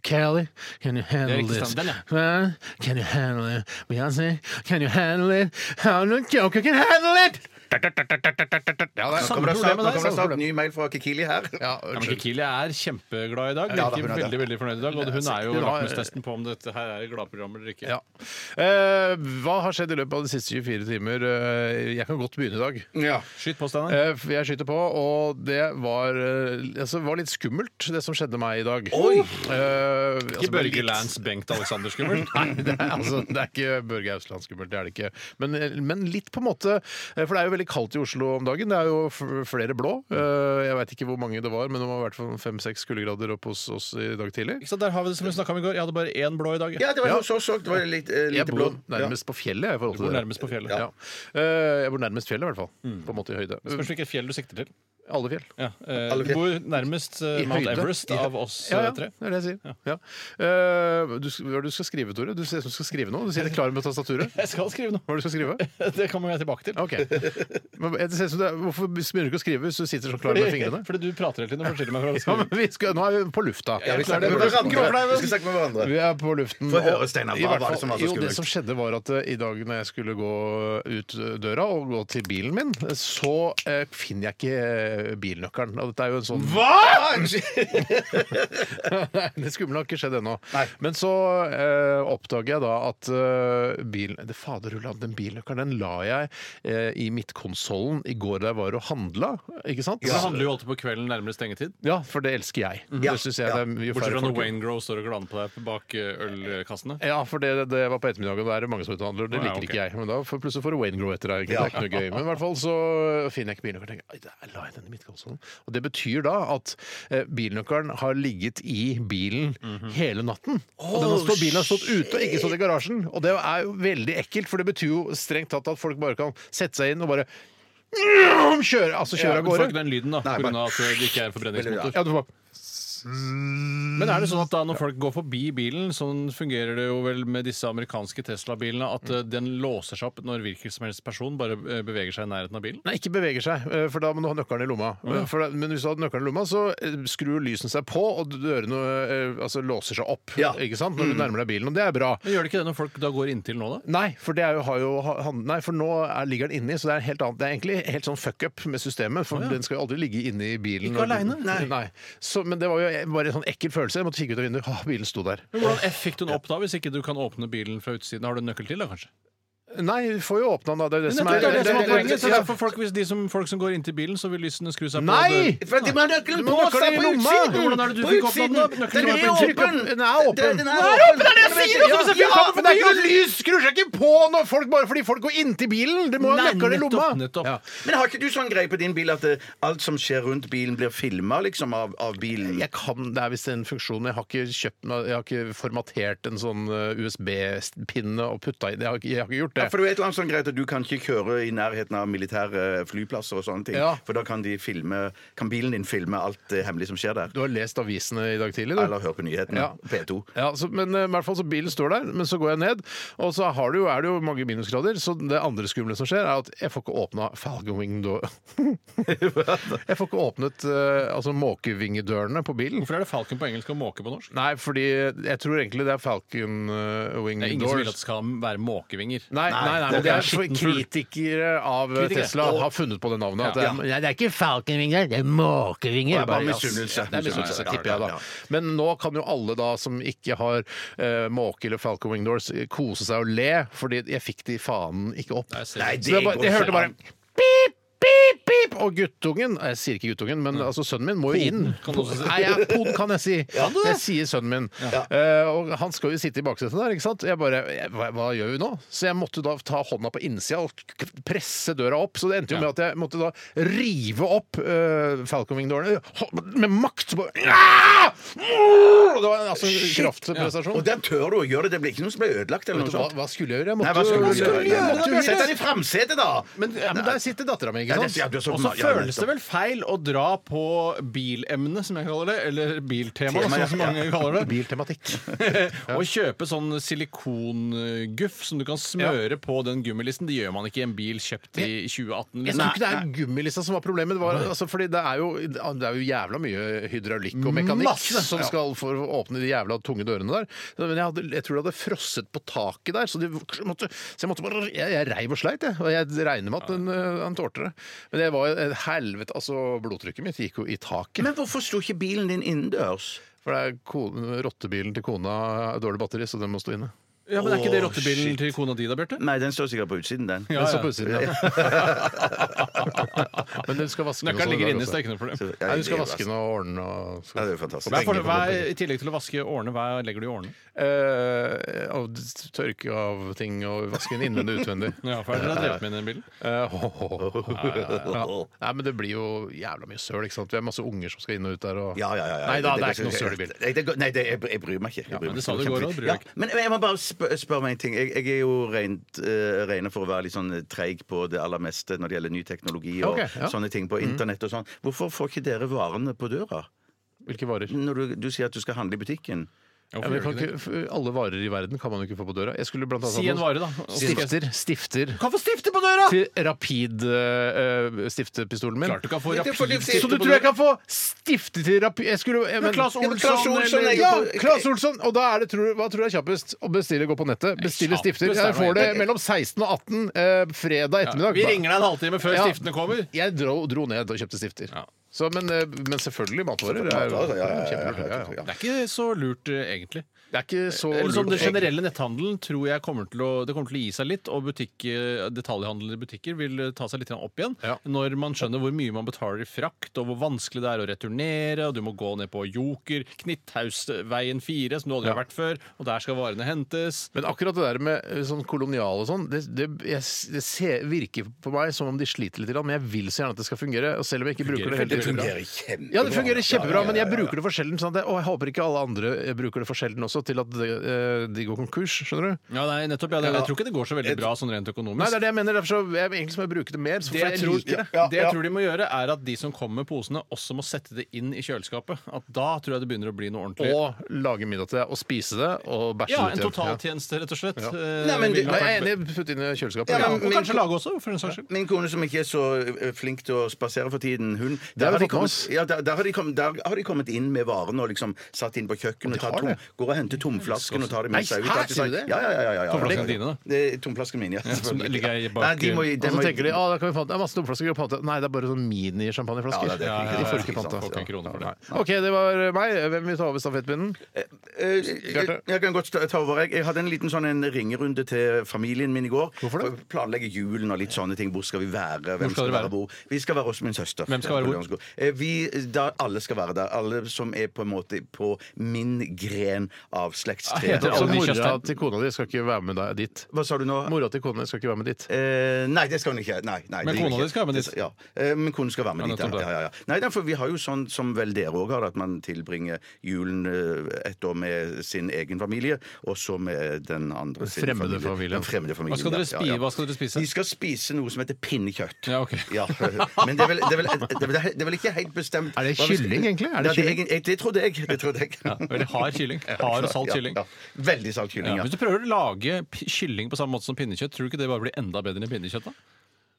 Speaker 1: Kelly, can you handle
Speaker 2: riktig
Speaker 1: this?
Speaker 2: stand, den,
Speaker 1: Huh? Can you handle it? Beyoncé, can you handle it? How no joker can handle it? Ja, det er
Speaker 3: Nå kommer det snart, nå
Speaker 2: Samme problem med
Speaker 3: kommer
Speaker 2: deg,
Speaker 3: det
Speaker 2: samme
Speaker 3: snart ny mail fra Kikili her.
Speaker 1: Ja,
Speaker 2: Ja, men
Speaker 1: unnskyld.
Speaker 2: Kikili er kjempeglad i dag.
Speaker 3: Ja, da, hun er
Speaker 2: Virker
Speaker 3: det.
Speaker 2: veldig veldig fornøyd i dag. Og hun er jo
Speaker 1: Hun har-
Speaker 2: lakmustesten på om dette her er et gladprogram eller ikke.
Speaker 1: Ja. Eh, hva har skjedd i løpet av de siste 24 timer? Eh, jeg kan godt begynne i dag.
Speaker 3: Ja.
Speaker 2: Skyt på, Steinar.
Speaker 1: Eh, for jeg skyter på, og det var, eh, altså, var litt skummelt, det som skjedde meg i dag.
Speaker 3: Oi!
Speaker 1: Eh, altså,
Speaker 2: Ikke Børge
Speaker 1: litt-
Speaker 2: Lance Bengt Alexander
Speaker 3: (laughs)
Speaker 2: skummelt.
Speaker 1: (laughs) Nei, det er, altså, det er ikke Børge Ausland skummelt, det er det ikke. Men, eh, men litt på en måte, eh, for det er jo veldig kaldt i Oslo om dagen. Det er jo f- flere blå. Eh, Jeg veit ikke hvor mange det var, men det var i hvert fall fem-seks kuldegrader oppe hos oss i dag tidlig.
Speaker 2: Ikke sant, Der har vi det som vi snakka om i går. Jeg hadde bare én blå i dag.
Speaker 3: ja, det var jo så sårt. Det var litt, eh,
Speaker 1: Jeg
Speaker 3: lite
Speaker 1: bor
Speaker 3: blå. Ja.
Speaker 1: nærmest på fjellet. Jeg, i forhold til
Speaker 2: Du bor
Speaker 1: dere.
Speaker 2: nærmest på fjellet.
Speaker 3: Mm.
Speaker 1: Ja. Eh, Jeg bor nærmest fjellet, i hvert fall. På en måte i høyde.
Speaker 2: Spørs hvilket fjell du sikter til.
Speaker 1: Alle fjell.
Speaker 2: Ja, eh,
Speaker 3: Alle
Speaker 2: du
Speaker 3: fjell.
Speaker 2: bor nærmest eh,
Speaker 1: I
Speaker 2: Mount
Speaker 1: høyde.
Speaker 2: Everest
Speaker 1: I hø-
Speaker 2: av oss
Speaker 1: Ja,
Speaker 2: eh,
Speaker 1: ja,
Speaker 2: tre.
Speaker 1: det er det jeg sier. Ja. Eh, du, sk- hva er det du skal skrive, Tore? Du ser ut som du skal skrive noe. Du sier du er klar med tastaturet.
Speaker 2: Jeg skal skrive noe. (laughs)
Speaker 1: Hva er det du skal skrive?
Speaker 2: Det kommer jeg tilbake til.
Speaker 1: Ok. Men det ser ut som det er, hvorfor begynner du ikke å skrive hvis du sitter sånn klar med fingrene?
Speaker 2: Fordi, fordi du prater hele tiden og forstyrrer meg fra
Speaker 1: (laughs)
Speaker 2: å
Speaker 1: Ja,
Speaker 2: skrive.
Speaker 1: men vi skal, nå er vi på lufta.
Speaker 3: Ja, vi
Speaker 1: Det er
Speaker 3: snakker
Speaker 1: det-
Speaker 3: med hverandre. Vi skal snakke med hverandre.
Speaker 1: Vi er på luften.
Speaker 3: Få høre,
Speaker 1: og-
Speaker 3: Steinar, hva
Speaker 1: i
Speaker 3: var
Speaker 1: hvert
Speaker 3: det
Speaker 1: fall-
Speaker 3: som var så
Speaker 1: Jo, det
Speaker 3: skummelt?
Speaker 1: som skjedde var at eh, i dag når jeg skulle gå ut eh, døra og gå til bilen min, eh, så eh, finner jeg ikke eh, bilnøkkelen. Og dette er jo en sånn Nei, (laughs) det skumle har ikke skjedd ennå.
Speaker 3: Nei.
Speaker 1: Men så eh, oppdager jeg da at eh, bilen Det faderullan, den bilnøkkelen den la jeg eh, i midtkonsollen i går da jeg var og handla, ikke sant?
Speaker 2: Det handler jo alltid på kvelden nærmere stengetid.
Speaker 1: Ja, for det elsker jeg.
Speaker 3: Ja,
Speaker 1: Det synes jeg
Speaker 3: Mm-hmm. ja.
Speaker 1: det er mye
Speaker 2: Bortsett
Speaker 1: færre
Speaker 2: fra når
Speaker 1: folk i.
Speaker 2: Wayne Grow står og glaner på deg bak eh, ølkassene.
Speaker 1: Ja, for det, det var på ettermiddagen, og da er det mange som er ute og handler. og Det
Speaker 2: Å, ja,
Speaker 1: liker
Speaker 2: ok.
Speaker 1: ikke jeg. Men da får, plutselig får du Wayne Grow etter deg. Ikke? Det er ikke noe gøy. Men i hvert fall så finner jeg ikke bilnøkkelen. og tenker, Oi, der la jeg den i midtkonsollen. Og det betyr da at eh, bilnøkkelen har ligget i bilen
Speaker 2: Mhm.
Speaker 1: hele natten. og den har stått, bilen har stått ute og ikke stått i garasjen. Og det er jo veldig ekkelt, for det betyr jo strengt tatt at folk bare kan sette seg inn og bare kjøre, altså kjøre av
Speaker 2: Ja, men får
Speaker 1: gårde.
Speaker 2: ikke den lyden, da,
Speaker 3: Nei,
Speaker 2: pga.
Speaker 3: bare-
Speaker 2: at det ikke er en forbrenningsmotor.
Speaker 1: Ja, du får
Speaker 2: Men er det sånn at da når folk går forbi bilen, sånn fungerer det jo vel med disse amerikanske Tesla-bilene, at
Speaker 1: Mm.
Speaker 2: eh, den låser seg opp når hvilken som helst person bare eh, beveger seg i nærheten av bilen?
Speaker 1: Nei, ikke beveger seg, eh, for da må du ha nøkkelen i lomma. Eh, For da, men hvis du har nøkkelen i lomma, så eh, skrur lysene seg på, og dørene eh, altså, låser seg opp
Speaker 3: Ja.
Speaker 1: ikke sant?
Speaker 2: Mm.
Speaker 1: når du nærmer deg bilen. Og det er bra.
Speaker 2: Men Gjør det ikke det når folk da går inntil nå, da?
Speaker 1: Nei, for, det er jo, har jo, ha- han- nei, for nå er, ligger den inni, så det er, helt annet. det er egentlig helt sånn fuck up med systemet. For den skal jo aldri ligge inni bilen.
Speaker 2: Ikke
Speaker 1: og-
Speaker 2: alene.
Speaker 1: Nei. Så, men det var jo bare en sånn ekkel følelse. Jeg måtte kikke ut av vinduet. Åh, bilen sto der.
Speaker 2: Men Hvordan F fikk du den opp da, hvis ikke du kan åpne bilen fra utsiden? Har du en nøkkel til, da, kanskje?
Speaker 1: Nei, vi får jo åpna den, da. Det er det som
Speaker 2: Nettopp, det er det som er
Speaker 1: er
Speaker 2: poenget. Så derfor folk, hvis de som, folk som går inntil bilen, så vil lysene skru seg på.
Speaker 1: Nei!
Speaker 3: For de må ha nøkkelen
Speaker 1: Du må
Speaker 3: på
Speaker 1: ha nøkkelen
Speaker 3: seg
Speaker 1: i
Speaker 3: på
Speaker 1: lomma!
Speaker 3: utsiden!
Speaker 2: Hvordan er det du
Speaker 3: På
Speaker 2: fikk åpnet
Speaker 3: utsiden!
Speaker 2: den? Nøkkelen
Speaker 3: Den er
Speaker 2: var på
Speaker 1: en trykk
Speaker 3: åpen!
Speaker 1: opp. Den er åpen.
Speaker 3: Den- Den er
Speaker 1: Den er
Speaker 3: åpen,
Speaker 1: åpen, det er det jeg sier!
Speaker 3: Ja,
Speaker 1: altså, men
Speaker 3: ja,
Speaker 1: selvfølgelig, men det er ikke noe lys! Skrur seg ikke på når folk bare fordi folk går inntil bilen! Det må jo ha
Speaker 2: Nei,
Speaker 1: nøkkelen i lomma.
Speaker 2: nettopp, nettopp.
Speaker 1: Ja.
Speaker 3: Men har ikke du sånn greie på din bil at eh, alt som skjer rundt bilen, blir filma liksom, av, av bilen?
Speaker 1: Jeg kan, Det er visst en funksjon, men jeg har ikke kjøpt den, jeg har ikke formatert en sånn eh, USB-pinne og putta i det. Jeg har, ikke- jeg har ikke gjort det.
Speaker 3: Ja, for det er jo et eller annet sånn greit at Du kan ikke kjøre i nærheten av militære flyplasser, og sånne ting
Speaker 1: Ja.
Speaker 3: for da kan, de filme, kan bilen din filme alt det hemmelige som skjer der.
Speaker 1: Du har lest avisene i dag tidlig, du?
Speaker 3: Eller høre på nyhetene.
Speaker 1: Ja.
Speaker 3: P2.
Speaker 1: Ja, så, men eh, i hvert fall så bilen står der, men så går jeg ned, og så har du, jo- er det jo mange minusgrader, så det andre skumle som skjer er at jeg får ikke åpna falconwing-døra. (laughs) jeg får ikke åpnet eh, altså måkevingedørene på bilen.
Speaker 2: Hvorfor er det falken på engelsk og måke på norsk?
Speaker 1: Nei, fordi jeg tror egentlig det er falconwing
Speaker 2: Det er ingen som vil at det
Speaker 1: doors.
Speaker 2: skal være måkevinger.
Speaker 1: Nei, nei, nei, men
Speaker 2: det
Speaker 1: det
Speaker 2: er
Speaker 1: er for
Speaker 2: skittenfull.
Speaker 1: kritikere av eh,
Speaker 2: Kritikere.
Speaker 1: Tesla har funnet på det navnet. At det,
Speaker 2: Ja.
Speaker 1: er, nei, det er ikke falconvinger, det er måkevinger.
Speaker 3: Det er bare
Speaker 1: Bare, ass,
Speaker 3: misunnelse.
Speaker 1: Det er sånn misunnelse,
Speaker 3: Ja, ja,
Speaker 1: tipper jeg da.
Speaker 3: ja, ja.
Speaker 1: Men nå kan jo alle da som ikke har eh, måke eller falconwing doors, eh, kose seg og le, fordi jeg fikk de faen ikke opp.
Speaker 2: Nei, jeg ser
Speaker 3: Nei,
Speaker 2: ikke.
Speaker 1: Så jeg, bare,
Speaker 3: går
Speaker 1: jeg
Speaker 3: ikke
Speaker 1: hørte bare
Speaker 3: an.
Speaker 1: pip, pip, pip! Og guttungen Jeg sier ikke guttungen, men altså, sønnen min må jo inn.
Speaker 2: kan du også si.
Speaker 1: Nei, (laughs) ja, poden kan jeg si. Jeg sier sønnen min. Eh, og han skal jo sitte i baksetet der, ikke sant. Jeg bare jeg, hva, hva gjør vi nå? Så jeg måtte da ta hånda på innsida og k- presse døra opp. Så det endte jo med at jeg måtte da rive opp uh, Falconwing-dørene med makt. Bare, ja! Det var altså en kraftprestasjon.
Speaker 3: Og der tør du å gjøre det. Det blir ikke noe som blir ødelagt. eller
Speaker 1: Vet
Speaker 3: noe
Speaker 1: du hva,
Speaker 3: sånt.
Speaker 1: hva skulle jeg gjøre? Jeg
Speaker 3: Nei,
Speaker 1: måtte,
Speaker 3: hva skulle
Speaker 1: Hva
Speaker 3: du
Speaker 1: skulle
Speaker 3: gjøre?
Speaker 1: jeg
Speaker 3: Nei,
Speaker 1: måtte
Speaker 3: måtte
Speaker 1: jo
Speaker 3: du Sett den i framsetet, da!
Speaker 1: Men, ja, men der sitter dattera mi, ikke
Speaker 3: Ja,
Speaker 1: sant?
Speaker 3: det- ja, du er så-
Speaker 2: Og så
Speaker 3: ja,
Speaker 2: føles det vel feil å dra på bilemnet, som jeg kaller det, eller
Speaker 3: Tema,
Speaker 2: biltema,
Speaker 3: ja,
Speaker 2: sånn som mange
Speaker 3: ja.
Speaker 2: kaller
Speaker 1: (laughs)
Speaker 2: det.
Speaker 1: Biltematikk.
Speaker 2: (laughs) Og kjøpe sånn silikonguff som du kan smøre på den gummilisten. Det gjør man ikke i en bil kjøpt i
Speaker 1: Jeg
Speaker 2: 2018. Liksom.
Speaker 1: tror ikke det er gummilista som var problemet. Det, var, altså, fordi det, er jo, det er jo jævla mye hydraulikk og mekanikk
Speaker 2: Masse!
Speaker 1: som
Speaker 2: Ja.
Speaker 1: skal for å åpne de jævla tunge dørene der. Så, Men jeg, hadde, jeg tror det hadde frosset på taket der, så, de, måtte, så jeg måtte bare Jeg, jeg reiv og sleit, jeg. Og jeg regner med at den, øh, han tålte det. Men det var jo et helvete Altså, blodtrykket mitt gikk jo i taket.
Speaker 3: Men hvorfor sto ikke bilen din innendørs?
Speaker 1: For det er kone, rottebilen til kona har dårlig batteri, så den må stå inne.
Speaker 2: Ja, men er ikke det
Speaker 3: Åh,
Speaker 2: rottebilen
Speaker 3: shit.
Speaker 2: til kona di da, Bjarte?
Speaker 3: Nei, den står sikkert på utsiden, den.
Speaker 1: Den
Speaker 2: Ja,
Speaker 1: står
Speaker 2: ja.
Speaker 1: på utsiden, ja.
Speaker 2: (laughs)
Speaker 1: (laughs) Men den skal vaske
Speaker 2: Nøkkelen ligger inne, så det er
Speaker 1: Nei,
Speaker 2: ikke noe
Speaker 3: Så,
Speaker 2: problem.
Speaker 3: ja,
Speaker 1: du
Speaker 3: det er
Speaker 1: skal
Speaker 3: jo
Speaker 1: vaske den og ordne og
Speaker 3: Ja, det er jo fantastisk.
Speaker 2: Hva er, for,
Speaker 1: Penger på
Speaker 2: hva er,
Speaker 1: det.
Speaker 2: I tillegg til å vaske årene, hva legger du i årene?
Speaker 1: Eh, av d- tørke av ting og vaske den innvendig og utvendig.
Speaker 2: Ja, for er det drevet med den bilen?
Speaker 1: Eh, ho, ho, ho. Ja. Nei, men det blir jo jævla mye søl, ikke sant. Vi har masse unger som skal inn og ut der og
Speaker 3: Ja, ja, ja, ja.
Speaker 1: Nei da, det
Speaker 3: går
Speaker 1: er ikke noe
Speaker 3: så-
Speaker 1: søl i bilen.
Speaker 3: Nei, det går- Nei, det, jeg, jeg bryr meg ikke. Jeg bryr
Speaker 2: men
Speaker 3: meg
Speaker 2: det sa
Speaker 3: ikke.
Speaker 2: du i går også, bryr deg
Speaker 3: Ja,
Speaker 2: ikke.
Speaker 3: men jeg må bare spør, spør meg en ting. Jeg, jeg er jo rent, eh, regnet for å være litt sånn treig på det aller meste når det gjelder ny teknologi og
Speaker 1: Ok, ja.
Speaker 3: sånne ting på internett og sånn. Hvorfor får ikke dere varene på døra?
Speaker 1: Hvilke varer?
Speaker 3: Når du, du sier at du skal handle i butikken.
Speaker 1: Ja, men kan ikke, f- alle varer i verden kan man jo ikke få på døra. Jeg skulle blant annet
Speaker 2: Si en vare, da.
Speaker 1: Stifter. stifter.
Speaker 3: Hvorfor stifte på døra?!
Speaker 1: Til rapid-stiftepistolen min.
Speaker 2: Klart du kan få
Speaker 3: Det er fordi-
Speaker 2: rapid
Speaker 1: Så du tror jeg kan få stifte til rapid jeg skulle, jeg, men,
Speaker 2: Claes Olsson
Speaker 1: Claes
Speaker 3: eller-
Speaker 1: ja, Claes Olsson! Og da er det, tror, du- hva tror du er kjappest? Å bestille, gå på nettet, bestille
Speaker 2: kjappest
Speaker 1: stifter.
Speaker 2: er
Speaker 1: Jeg
Speaker 2: det
Speaker 1: får det
Speaker 2: egentlig.
Speaker 1: mellom 16 og 18 eh, fredag ettermiddag.
Speaker 2: Vi ringer deg en halvtime før
Speaker 1: Ja.
Speaker 2: stiftene kommer.
Speaker 1: Jeg dro, dro ned og kjøpte stifter.
Speaker 2: Ja.
Speaker 1: Så, men, eh, men selvfølgelig matvarer. Det er, jo-
Speaker 3: Matvarer, ja, ja, ja, ja,
Speaker 1: kjempelurt, ja, ja.
Speaker 2: Det er ikke så lurt, eh, egentlig.
Speaker 1: Det er ikke så
Speaker 2: Eller som
Speaker 1: lurt.
Speaker 2: Den generelle netthandelen tror jeg kommer til å, det kommer til å gi seg litt, og butikk, eh, detaljhandelen i butikker vil eh, ta seg litt grann opp igjen
Speaker 1: Ja.
Speaker 2: når man skjønner hvor mye man betaler i frakt, og hvor vanskelig det er å returnere, og du må gå ned på Joker, Knitthausveien 4, som du aldri
Speaker 1: Ja.
Speaker 2: har vært før, og der skal varene hentes.
Speaker 1: Men akkurat det der med eh, sånn kolonial og sånn, det, det, jeg, det ser, virker på meg som om de sliter litt, men jeg vil så gjerne at det skal fungere. Og selv om jeg ikke bruker det hele
Speaker 2: veldig
Speaker 1: tiden.
Speaker 3: fungerer kjempebra.
Speaker 1: Ja, det fungerer kjempebra, men jeg bruker det for sjelden. Sånn at jeg, og jeg håper ikke alle andre eh, bruker det for sjelden også, til at de, eh, de går konkurs. Skjønner du?
Speaker 2: Ja, nei, nettopp. Ja, det, jeg tror ikke det går så veldig bra sånn rent økonomisk.
Speaker 1: Nei, det er det jeg mener. Derfor så jeg, egentlig må jeg bruke det mer. Så
Speaker 2: Det
Speaker 1: for
Speaker 2: jeg,
Speaker 1: jeg
Speaker 2: tror,
Speaker 1: liker det.
Speaker 3: Ja,
Speaker 2: det jeg
Speaker 3: ja.
Speaker 2: tror de må gjøre, er at de som kommer med posene, også må sette det inn i kjøleskapet. At da tror jeg det begynner å bli noe ordentlig.
Speaker 1: Og lage middag til deg, og spise det, og bæsje
Speaker 2: ja,
Speaker 1: det ut
Speaker 2: en
Speaker 1: igjen.
Speaker 2: totaltjeneste, rett og slett. eh,
Speaker 3: Nei, men det-
Speaker 1: Nei,
Speaker 2: vil
Speaker 1: jeg
Speaker 2: nok være-
Speaker 1: er enig. Putt inn i kjøleskapet.
Speaker 3: Ja,
Speaker 1: Ja,
Speaker 2: Ja, og
Speaker 3: men-
Speaker 2: kanskje lage også, for den saks skyld.
Speaker 3: Min kone som ikke er så eh, flink til å spasere for tiden, hun
Speaker 1: har
Speaker 3: Der har
Speaker 1: vi
Speaker 3: de
Speaker 1: fått med
Speaker 3: kommet,
Speaker 1: oss.
Speaker 3: ja, der, der har de kommet, der har de kommet inn med varene og liksom satt inn på kjøkkenet og,
Speaker 1: har
Speaker 3: tatt tom,
Speaker 1: det?
Speaker 3: går og henter tomflasken og tar dem
Speaker 1: Nei,
Speaker 3: med seg ut.
Speaker 1: hæ,
Speaker 3: alt i
Speaker 1: sier du
Speaker 3: sak-
Speaker 1: det?
Speaker 3: Ja, ja, ja, ja, ja.
Speaker 2: Tomflaskene dine, da?
Speaker 3: Det er Tomflasken min, ja.
Speaker 2: som
Speaker 3: selvfølgelig.
Speaker 2: ligger i bak-
Speaker 3: Nei, de må,
Speaker 1: Og
Speaker 3: de
Speaker 1: så
Speaker 3: må,
Speaker 1: tenker de ah, da kan vi pante. Det er masse tomflasker å pante. Nei, det er bare sånn mini-champagneflasker.
Speaker 3: Ja, det er ikke-
Speaker 1: de får
Speaker 3: det er
Speaker 1: ikke
Speaker 3: ikke
Speaker 1: panta.
Speaker 3: sant,
Speaker 2: Får ikke en krone for det.
Speaker 1: OK, det var meg. Hvem vil ta over stafettpinnen?
Speaker 3: Eh,
Speaker 1: Bjarte?
Speaker 3: jeg, jeg kan godt ta ta over. Jeg, jeg hadde en liten sånn en ringerunde til familien min i går.
Speaker 1: Hvorfor det?
Speaker 3: For å Planlegge julen og litt sånne ting. Hvor skal vi være? Hvem
Speaker 2: Hvor skal dere være?
Speaker 3: hvor? Vi skal være hos min søster.
Speaker 2: Hvem skal være hvor?
Speaker 3: Lørenskog. Eh, Vi, da, alle skal være der. Alle som er på en måte på min gren
Speaker 2: (laughs)
Speaker 3: av
Speaker 2: Ah,
Speaker 3: slektstreet.
Speaker 1: Så
Speaker 2: heter alle de
Speaker 1: mora
Speaker 2: Kjøstheim?
Speaker 1: til kona di skal ikke være med deg dit.
Speaker 3: Hva sa du nå?
Speaker 1: Mora til kona di skal ikke være med dit.
Speaker 3: Eh, nei, det skal hun ikke. Nei, nei,
Speaker 2: Men
Speaker 3: det gjør
Speaker 2: kona
Speaker 3: hun
Speaker 2: di skal være med
Speaker 3: ikke.
Speaker 2: dit.
Speaker 3: Ja, eh, men konen skal være med
Speaker 2: Ja,
Speaker 3: dit. Ja,
Speaker 2: nettopp det.
Speaker 3: ja, ja. Nei, da, for vi har jo sånn som vel dere òg har, at man tilbringer julen eh, et år med sin egen familie, og så med den andre sin
Speaker 1: Fremmede familien.
Speaker 3: Den fremmede familien.
Speaker 2: Hva skal dere spi- hva skal dere spise?
Speaker 3: Vi skal spise noe som heter pinnekjøtt.
Speaker 2: Ja, ok.
Speaker 3: Ja, men det er, vel, det, er vel, det, er vel, det er vel ikke helt bestemt
Speaker 1: Er det
Speaker 3: hva vi skal-
Speaker 1: kylling, egentlig? Er det
Speaker 3: Ja, det, er, egent- det trodde jeg. Det trodde jeg.
Speaker 2: Ja, veldig hard kylling. Hard og salt
Speaker 3: (laughs) Ja,
Speaker 2: kylling.
Speaker 3: Ja, Veldig salt kylling,
Speaker 2: Ja,
Speaker 3: ja.
Speaker 2: hvis du prøver å lage p- kylling på samme måte som pinnekjøtt, tror du ikke det bare blir enda bedre enn pinnekjøtt? da?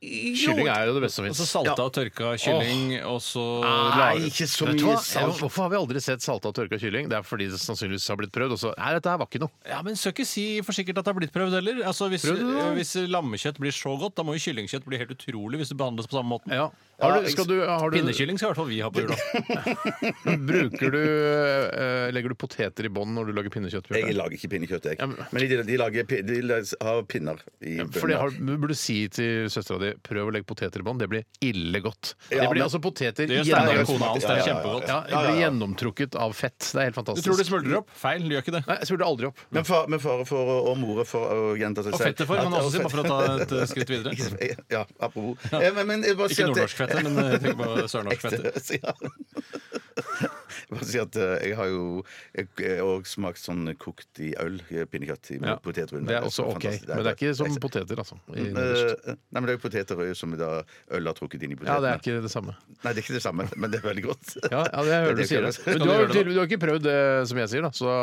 Speaker 1: Kylling er jo det beste som
Speaker 2: Og så
Speaker 1: fins.
Speaker 2: salta og tørka kylling, og så
Speaker 3: altså, Nei, ikke så mye salt.
Speaker 1: Hvorfor har vi aldri sett salta og tørka kylling? Det er fordi det sannsynligvis har blitt prøvd. Og så Nei, dette her var ikke noe.
Speaker 2: Ja, men Skal ikke si for sikkert at det har blitt prøvd heller. Altså, hvis,
Speaker 1: Prøvd det da?
Speaker 2: eh, hvis lammekjøtt blir så godt, da må jo kyllingkjøtt bli helt utrolig hvis det behandles på samme måten.
Speaker 1: Ja. Har du, skal du, har du,
Speaker 2: Pinnekylling skal i hvert fall vi ha på jula.
Speaker 1: (laughs) bruker du eh, Legger du poteter i bånn når du lager pinnekjøtt? Bjarte?
Speaker 3: Jeg lager ikke pinnekjøtt, jeg.
Speaker 1: Ja, men-
Speaker 3: Men de, de, lager, pi- de lager- har pinner i
Speaker 1: For det
Speaker 3: bunnen.
Speaker 1: har, du burde si til søstera di prøv å legge poteter i bånn. Det blir ille godt. det
Speaker 3: Ja,
Speaker 1: blir
Speaker 3: men-
Speaker 1: altså poteter
Speaker 2: Det gjør
Speaker 1: gjennom-
Speaker 2: Steinar og kona hans. Det
Speaker 3: Ja,
Speaker 2: er
Speaker 3: ja, ja, ja.
Speaker 2: kjempegodt.
Speaker 1: Ja, det blir gjennomtrukket av fett. Det er helt
Speaker 2: Du
Speaker 1: fantastisk.
Speaker 2: tror det smuldrer opp? Feil, det gjør ikke det.
Speaker 1: Nei, jeg smurte aldri opp.
Speaker 3: Men fare men fare for å- om ordet for å gjenta seg
Speaker 2: Og fettet for, men også si, bare for å ta et eh, skritt videre. Ikke
Speaker 3: (laughs) Ja, apropos. Eh, Men, men jeg bare sier at-
Speaker 2: nordnorsk fette, men eh, tenk på sørnorsk fette.
Speaker 3: Ekte, (laughs) sier han. Jeg Bare si at eh, jeg har jo òg smakt sånn kokt i øl, eh, pinnekjøtt i
Speaker 1: Ja,
Speaker 3: potetrunde.
Speaker 1: Det er også OK.
Speaker 3: fantastisk.
Speaker 1: Men det er ikke som
Speaker 3: det er-
Speaker 1: poteter, altså. I nederst.
Speaker 3: Eh, Nei, men det er jo poteter og øl som da øl har trukket inn i
Speaker 1: ja, det
Speaker 3: potetene.
Speaker 1: er ikke det samme.
Speaker 3: Nei, det er ikke det samme, men det er veldig godt.
Speaker 1: Ja,
Speaker 3: (laughs)
Speaker 1: ja det hører du
Speaker 3: Det er ikke
Speaker 1: sier det.
Speaker 3: det.
Speaker 1: Men
Speaker 2: Skal
Speaker 1: du
Speaker 2: du
Speaker 1: har,
Speaker 2: gjøre
Speaker 1: jo
Speaker 2: det, da?
Speaker 1: tydelig- du har ikke prøvd det som jeg sier, da. Så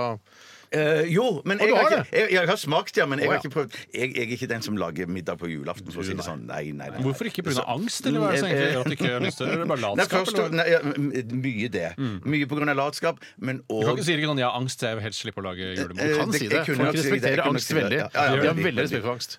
Speaker 3: Eh, jo, men jeg
Speaker 1: Og du
Speaker 3: har,
Speaker 1: har
Speaker 3: ikke, jeg, jeg har smakt, ja, men jeg
Speaker 1: Å,
Speaker 3: har
Speaker 1: ja.
Speaker 3: ikke prøvd. Jeg, jeg er ikke den som lager middag på julaften, for å si det sånn. Nei, nei, nei.
Speaker 2: Hvorfor ikke pga. angst, eller hva er det som egentlig gjør at du ikke har lyst til det? Er det bare
Speaker 3: Nei,
Speaker 2: latskap?
Speaker 3: først,
Speaker 2: Eller? hva?
Speaker 3: nei, ja, m- mye det. Mye på grunn av latskap, men
Speaker 2: Du kan
Speaker 3: òg
Speaker 2: ikke
Speaker 3: (laughs)
Speaker 2: si det ikke sånn 'jeg har angst, så jeg vil helst slippe å lage
Speaker 1: du
Speaker 2: julemat'.
Speaker 3: Eh,
Speaker 1: kan
Speaker 3: det-
Speaker 1: si
Speaker 3: jeg
Speaker 1: det.
Speaker 3: kunne
Speaker 1: Folk
Speaker 3: nok si det, jeg
Speaker 1: respekterer
Speaker 3: kunne nok
Speaker 1: angst
Speaker 3: si det.
Speaker 1: veldig.
Speaker 3: Ja, ja,
Speaker 1: De har
Speaker 3: veldig,
Speaker 1: veldig
Speaker 3: veldig.
Speaker 1: respekt for angst.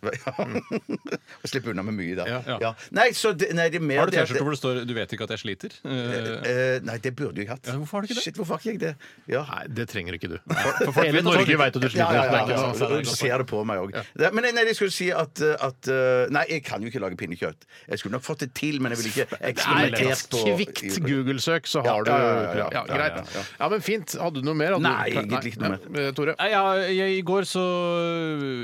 Speaker 3: Og slippe unna med mye, da.
Speaker 1: Ja,
Speaker 2: ja.
Speaker 3: Ja. Nei, så det, nei, det er mer
Speaker 2: Har du
Speaker 3: det at-
Speaker 2: T-skjorte hvor det står 'du vet ikke at jeg sliter'? Eh,
Speaker 3: Eh, nei, det burde jeg hatt.
Speaker 2: Ja, hvorfor har du ikke det?
Speaker 3: Shit, hvorfor har ikke jeg det? Ja.
Speaker 1: Nei, det trenger ikke du.
Speaker 2: folk
Speaker 1: (laughs) Hele
Speaker 2: vet at folk
Speaker 1: Norge
Speaker 2: ikke-
Speaker 1: veit at du sliter.
Speaker 3: Ja, ja, ja,
Speaker 1: Det er ikke
Speaker 3: ja,
Speaker 1: noe-
Speaker 2: sant, det er
Speaker 3: Du ser det på meg òg. Men nei, nei, jeg skulle si at, at eh, Nei, jeg kan jo ikke lage pinnekjøtt. Jeg skulle nok fått det til, men jeg ville ikke eksperimentert på
Speaker 1: Kvikt Google-søk, så
Speaker 3: Ja,
Speaker 1: har du
Speaker 3: ja, ja, ja, ja.
Speaker 1: Ja,
Speaker 3: Ja, ja,
Speaker 1: greit. Ja, men fint. Hadde du noe mer? Hadde du-
Speaker 3: Nei, egentlig ikke noe
Speaker 1: Nei. Eh, Tore?
Speaker 2: Nei, ja, jeg, I går så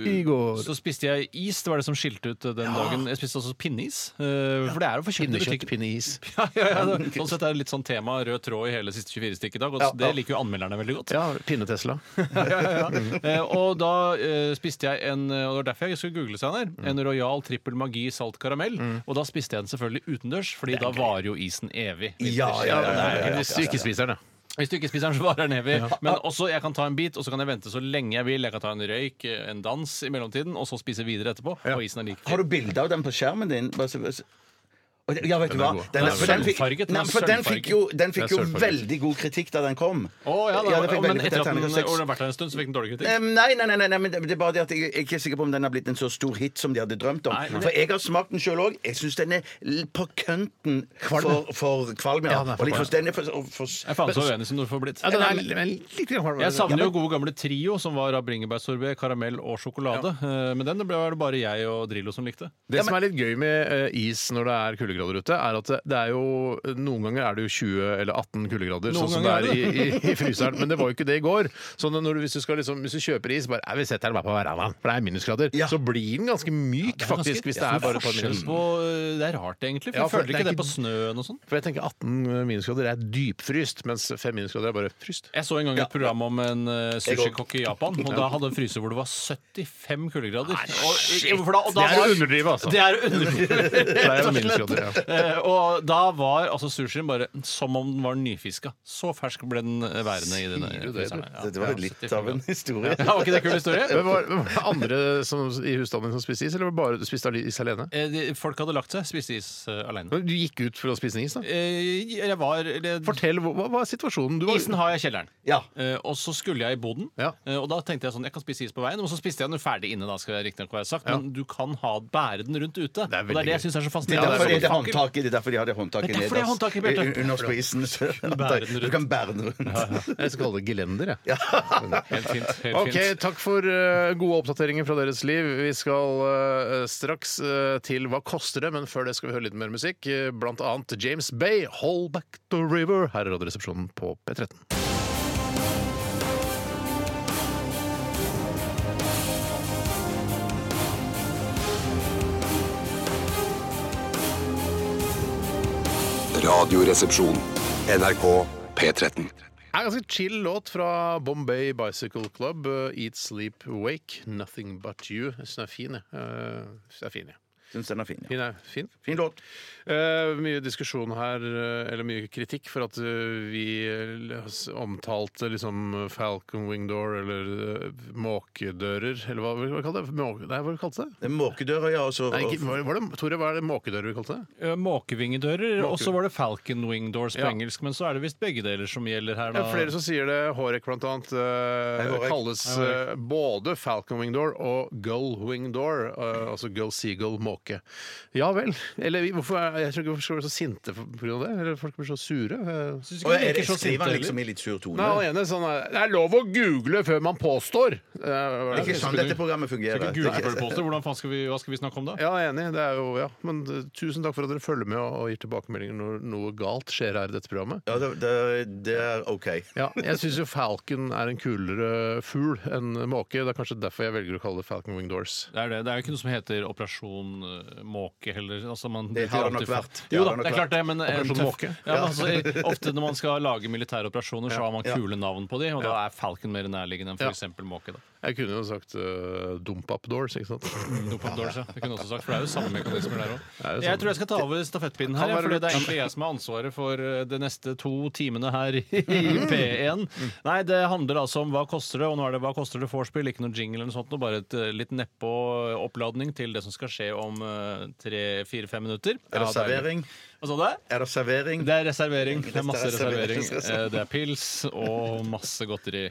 Speaker 1: I går.
Speaker 2: Så spiste jeg is. Det var det som skilte ut eh, den dagen. Jeg spiste også pinneis. eh, For det er jo forskjellige
Speaker 1: Pinnekjøtt,
Speaker 2: butikker. (laughs)
Speaker 1: pinneis.
Speaker 2: Ja, ja, ja, det- Sånn sett er det litt sånn tema rød tråd i hele siste 24 stikk i dag. Og
Speaker 3: Ja,
Speaker 2: det
Speaker 3: ja.
Speaker 2: liker jo anmelderne veldig godt.
Speaker 1: Ja, Pinne-Tesla.
Speaker 2: (laughs) ja, ja, ja. Eh, og da eh, spiste jeg en Og det var derfor jeg skulle google seg der. En Royal trippel magi salt karamell. Og da spiste jeg den selvfølgelig utendørs, Fordi da varer jo isen evig.
Speaker 3: Ja, ja, ja, ja, ja.
Speaker 1: Hvis du ikke spiser den, da.
Speaker 2: Hvis du ikke spiser den, så varer den evig. Men også, jeg kan ta en bit, og så kan jeg vente så lenge jeg vil. Jeg kan ta en røyk, en dans i mellomtiden, og så spise videre etterpå. Og isen er like
Speaker 3: Har du bilde av den på skjermen din? Bare så- bare så- Å, Ja, vet du hva?
Speaker 1: god.
Speaker 3: Den,
Speaker 2: Den
Speaker 3: er,
Speaker 2: er
Speaker 3: for den, fikk,
Speaker 2: sølvfarget, den er
Speaker 3: nei, for den
Speaker 2: sølvfarget.
Speaker 3: fikk jo, den fikk
Speaker 1: Den er
Speaker 3: jo
Speaker 1: sølvfarget.
Speaker 3: veldig god kritikk da den kom.
Speaker 2: Å, ja,
Speaker 3: den
Speaker 2: da,
Speaker 3: fikk veldig-
Speaker 2: men etter at den
Speaker 3: terningkast
Speaker 2: og
Speaker 3: seks.
Speaker 2: den har vært der en stund, så fikk den dårlig kritikk.
Speaker 1: Eh,
Speaker 3: Em, Nei, nei, nei, nei, nei, men det det er bare det at jeg, jeg er ikke sikker på om den har blitt en så stor hit som de hadde drømt om.
Speaker 2: Nei, nei.
Speaker 3: For jeg har smakt den sjøl òg. Jeg syns den er l- på kønten for, for kvalm. Ja,
Speaker 1: den er
Speaker 3: Og
Speaker 1: for
Speaker 3: litt for-
Speaker 1: kvalm.
Speaker 3: den er for, og for
Speaker 2: Jeg er faen så uenig som du får blitt.
Speaker 1: Ja, den er men litt grann varm.
Speaker 2: Jeg savner jo gode gamle Trio, som var av bringebærsorbé, karamell og sjokolade. Eh, Men den ble var det bare jeg og Drillo som likte.
Speaker 1: Det som er litt gøy med eh, is når det er kuldegrader ute, er at det- det er jo eh, Noen ganger er det jo 20 eller 18 kuldegrader,
Speaker 2: Noen
Speaker 1: sånn som det
Speaker 2: ganger
Speaker 1: er i,
Speaker 2: er
Speaker 1: i, (laughs) i fryseren. Men det var jo ikke det i går. Så når du, hvis, du skal liksom, hvis du kjøper is, bare «Nei, vi setter den bare på verandaen, for det er minusgrader,
Speaker 3: Ja.
Speaker 1: så blir den ganske myk, faktisk, hvis det er bare et par minus.
Speaker 2: på, eh, det er rart, egentlig. For
Speaker 1: Ja,
Speaker 2: jeg
Speaker 1: for
Speaker 2: føler
Speaker 1: det
Speaker 2: ikke
Speaker 1: er
Speaker 2: det
Speaker 1: ikke-
Speaker 2: på snøen og sånn.
Speaker 1: For jeg tenker 18 minusgrader er dypfryst, mens 5 minusgrader er bare fryst.
Speaker 2: Jeg så en gang et program om en eh, sushikokk i Japan, og da hadde en fryser hvor det var 75 kuldegrader. Og, for da, og da
Speaker 1: Det er å
Speaker 2: var-
Speaker 1: underdrive, altså.
Speaker 2: Det er å underdrive.
Speaker 1: Det er jo minusgrader, ja.
Speaker 2: Eh, (laughs) og da var altså sushien bare som om den var nyfiska. Så fersk ble den eh, værende i denne
Speaker 1: Sier du det,
Speaker 2: fryseren.
Speaker 1: du?
Speaker 2: Ja.
Speaker 3: Dette var litt av en historie.
Speaker 2: Ja, var ikke det kul historie?
Speaker 1: (laughs) Men var, var det andre som, i husstanden som spiste is, eller var det bare du spiste is alene?
Speaker 2: Eh, de- Folk hadde lagt seg, spiste is eh, alene.
Speaker 1: Men Du gikk ut for å spise is, da?
Speaker 2: Eh, Jeg var eller-
Speaker 1: Fortell, hva, hva er situasjonen? Du var,
Speaker 2: Isen har jeg i kjelleren.
Speaker 3: Ja.
Speaker 2: Eh, og så skulle jeg i boden,
Speaker 1: Ja.
Speaker 2: eh, og da tenkte jeg sånn Jeg kan spise is på veien, og så spiste jeg den ferdig inne, da, skal jeg riktignok ha sagt, men du kan ha, bære den rundt
Speaker 1: er
Speaker 2: ute. og det
Speaker 1: veldig
Speaker 2: er det jeg
Speaker 1: gøy.
Speaker 2: syns er så
Speaker 3: Det
Speaker 2: fascinerende.
Speaker 3: er
Speaker 1: Ja,
Speaker 3: derfor de
Speaker 1: det er
Speaker 3: hadde
Speaker 2: sånn fakkel.
Speaker 3: håndtaket det er derfor de hadde håndtaket
Speaker 2: Det er derfor de har
Speaker 3: nederst.
Speaker 2: håndtaket, Bjarte.
Speaker 3: Un- Underst på isen. så- (laughs)
Speaker 2: bære den rundt.
Speaker 3: Du kan bære den
Speaker 1: (laughs)
Speaker 3: rundt.
Speaker 1: jeg skal kalle det gelender, jeg.
Speaker 2: Helt fint. Helt
Speaker 1: Ok,
Speaker 2: fint.
Speaker 1: Takk for eh, gode oppdateringer fra deres liv. Vi skal eh, straks eh, til Hva koster det? Men før det skal vi høre litt mer musikk. eh, blant annet James Bay, 'Hold Back The River'. Her er Radioresepsjonen på P13.
Speaker 5: Radioresepsjon. NRK P13.
Speaker 1: Det er en ganske chill låt fra Bombay Bicycle Club. eh, 'Eat, Sleep, Wake'. 'Nothing But You'. Jeg synes den er fin, jeg. Eh, den er fin, jeg.
Speaker 3: Syns den er fin. Ja.
Speaker 1: Fin, er fin.
Speaker 3: Fin låt.
Speaker 1: Eh, mye diskusjon her, eh, eller mye kritikk, for at eh, vi eh, s- omtalte liksom Falcon Wing Door eller eh, måkedører, eller hva, hva kalte det? Måke, nei, hva kalte det?
Speaker 3: Det er Måkedøra, ja. Og så
Speaker 1: Nei, ikke, var, var det, Tore, hva er det måkedører vi kalte det?
Speaker 2: Eh, Måkevingedører, og så var det Falcon Wing Doors på
Speaker 1: Ja.
Speaker 2: engelsk, men så er det visst begge deler som gjelder her,
Speaker 1: Det
Speaker 2: da.
Speaker 1: er flere som sier det. Hårek blant annet eh,
Speaker 3: Hei, Hårek.
Speaker 1: kalles eh, både Falcon Wing Door og Gull Wing Door, eh, altså Gull Seagull Måke. Ja vel. Eller vi- hvorfor er, jeg tror ikke hvorfor skal vi være så sinte pga. det? Eller folk blir så sure. eh.
Speaker 2: Synes
Speaker 3: Og
Speaker 2: ikke det
Speaker 3: er det,
Speaker 2: virker så
Speaker 3: skriver
Speaker 2: sint,
Speaker 3: han
Speaker 2: heller.
Speaker 3: liksom i litt sur tone?
Speaker 1: Nei, han ene sånn er, Det er lov å google før man påstår! Eh, var
Speaker 3: det er
Speaker 1: det-
Speaker 3: ikke sånn dette programmet
Speaker 2: Skal
Speaker 3: fungerer.
Speaker 2: ikke Google for det påstå. Hvordan faen skal vi, hva skal vi snakke om da?
Speaker 1: Ja, jeg er enig. Det er jo, ja. Men eh, tusen takk for at dere følger med og, og gir tilbakemeldinger når noe galt skjer her i dette programmet.
Speaker 3: (laughs) Ja, det, det, det er OK.
Speaker 1: Ja, jeg syns jo falcon er en kulere fugl enn måke. Det er kanskje derfor jeg velger å kalle det falcon wing doors.
Speaker 2: Det er, det. det er jo ikke noe som heter Operasjon eh, Måke heller. Altså, man
Speaker 3: Det har det nok
Speaker 2: alltid for-
Speaker 3: vært.
Speaker 2: Jo
Speaker 3: Det
Speaker 2: da,
Speaker 3: har det
Speaker 2: det
Speaker 3: nok
Speaker 2: er klart det, men en
Speaker 1: Operasjon
Speaker 2: tøff-
Speaker 1: Måke.
Speaker 2: Ja, men altså, i- ofte når man skal lage militære operasjoner, så har man kule navn på de, og da er Falcon mer nærliggende enn
Speaker 1: Ja.
Speaker 2: f.eks. Måke. da.
Speaker 1: Jeg kunne jo sagt uh, dump up doors, ikke sant?
Speaker 2: Dope Doors, ja. Det kunne jeg også sagt, for det er jo samme mekanismer der òg.
Speaker 1: jo
Speaker 2: Jeg tror jeg skal ta over stafettpinnen
Speaker 1: Kan
Speaker 2: her,
Speaker 1: være
Speaker 2: for
Speaker 1: lurt.
Speaker 2: det er egentlig jeg som har ansvaret for eh, de neste to timene her i (laughs) P1. Nei, det handler altså om hva koster det, og nå er det hva koster det vorspiel, ikke noe jingle eller noe sånt, noe, bare et eh, litt nedpå oppladning til det som skal skje om eh, tre-fire-fem
Speaker 3: Er
Speaker 2: minutter.
Speaker 3: det
Speaker 2: Ja, deilig.
Speaker 3: servering?
Speaker 2: Hva sa du?
Speaker 3: Er det servering?
Speaker 2: Det er reservering. Det er masse
Speaker 3: reservering.
Speaker 2: reservering.
Speaker 1: (laughs)
Speaker 2: Eh, Det er pils og masse godteri.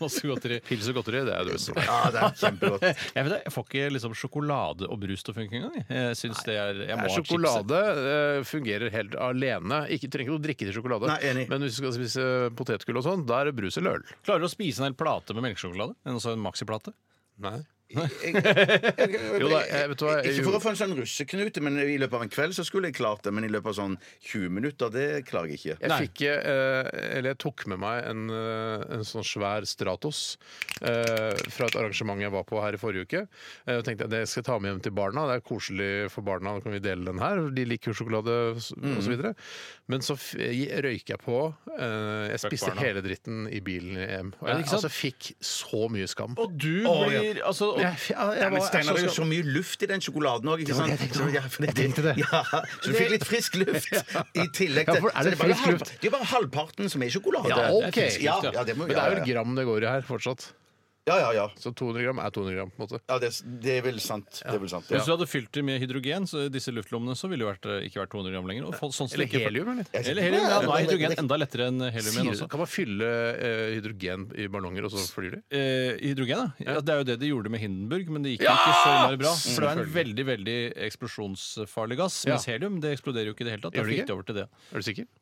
Speaker 2: Masse godteri.
Speaker 1: Pils og godteri, det er sånn. det beste.
Speaker 3: Ja, det er
Speaker 2: (laughs)
Speaker 3: kjempegodt.
Speaker 2: Jeg, vet, det, jeg får ikke liksom, sjokolade og brus til å funke engang. jeg. Jeg syns det er jeg må ha chipset.
Speaker 1: Sjokolade eh, fungerer helt alene. Ikke, trenger ikke å drikke til sjokolade.
Speaker 3: Nei, enig.
Speaker 1: Men hvis du skal spise potetgull og sånn, da er det brus eller øl.
Speaker 2: Klarer du å spise en hel plate med melkesjokolade? En, altså en maxiplate?
Speaker 1: Nei. Jo da, jeg- vet du hva,
Speaker 3: Ikke
Speaker 1: jo.
Speaker 3: for å få en sånn russeknute, men i løpet av en kveld så skulle jeg klart det. Men i løpet av sånn 20 minutter, det klarer jeg ikke.
Speaker 1: Jeg fikk eh, Eller jeg tok med meg en, eh, en sånn svær Stratos eh, fra et arrangement jeg var på her i forrige uke. Eh, Og tenkte jeg det skal jeg ta med hjem til barna. Det er koselig for barna, da kan vi dele den her. De liker jo sjokolade
Speaker 3: Mm.
Speaker 1: osv. Men så f- røyker jeg på. eh, Jeg spiste
Speaker 2: barna.
Speaker 1: hele dritten i bilen hjem. Og
Speaker 2: Ja,
Speaker 1: jeg
Speaker 2: ikke sant?
Speaker 1: altså, fikk så mye skam.
Speaker 2: Og du
Speaker 3: Å, ja.
Speaker 2: blir altså, og,
Speaker 1: Jeg, jeg, jeg,
Speaker 3: Nei, men
Speaker 1: var-
Speaker 3: Steinar, det er jo
Speaker 1: så
Speaker 3: så mye luft i den sjokoladen òg.
Speaker 1: var altså, det jeg tenkte på. Jeg tenkte det.
Speaker 3: (laughs) Ja, så du fikk
Speaker 1: (laughs)
Speaker 3: litt frisk luft i tillegg
Speaker 1: Ja,
Speaker 3: til
Speaker 1: for er
Speaker 3: så
Speaker 1: det
Speaker 3: bare
Speaker 1: frisk
Speaker 3: halv-
Speaker 1: luft?
Speaker 3: Det er bare halvparten som er sjokolade.
Speaker 1: Ja, ok.
Speaker 3: Det er frisk luft, Ja, ja, det må,
Speaker 1: Men det
Speaker 3: ja,
Speaker 1: er
Speaker 3: ja,
Speaker 1: vel gram det går i her fortsatt.
Speaker 3: ja, ja, ja.
Speaker 1: Så 200 gram er 200 gram. på en måte
Speaker 3: ja det, det er vel sant. Det er vel sant ja.
Speaker 2: Hvis du hadde fylt dem med hydrogen, så disse luftlommene, så ville det vært, eh, ikke vært 200 gram lenger. Og fått- sånn som det
Speaker 1: Eller
Speaker 2: ikke-
Speaker 1: helium, eller?
Speaker 2: Eller helium, ja, nå er hydrogen enda lettere enn helium igjen altså.
Speaker 1: Sier,
Speaker 2: også.
Speaker 1: kan man fylle eh, hydrogen i ballonger, og så flyr de?
Speaker 2: Eh, hydrogen, ja. ja. Det er jo det de gjorde med Hindenburg, men det gikk jo
Speaker 1: Ja!
Speaker 2: ikke så innmari bra. For det er en
Speaker 1: Selvfølgelig.
Speaker 2: veldig veldig eksplosjonsfarlig gass. Mens helium det eksploderer jo ikke i det hele tatt.
Speaker 1: Gjør
Speaker 2: Da
Speaker 1: det
Speaker 2: gikk
Speaker 1: ikke?
Speaker 2: de over til det.
Speaker 1: Er du sikker?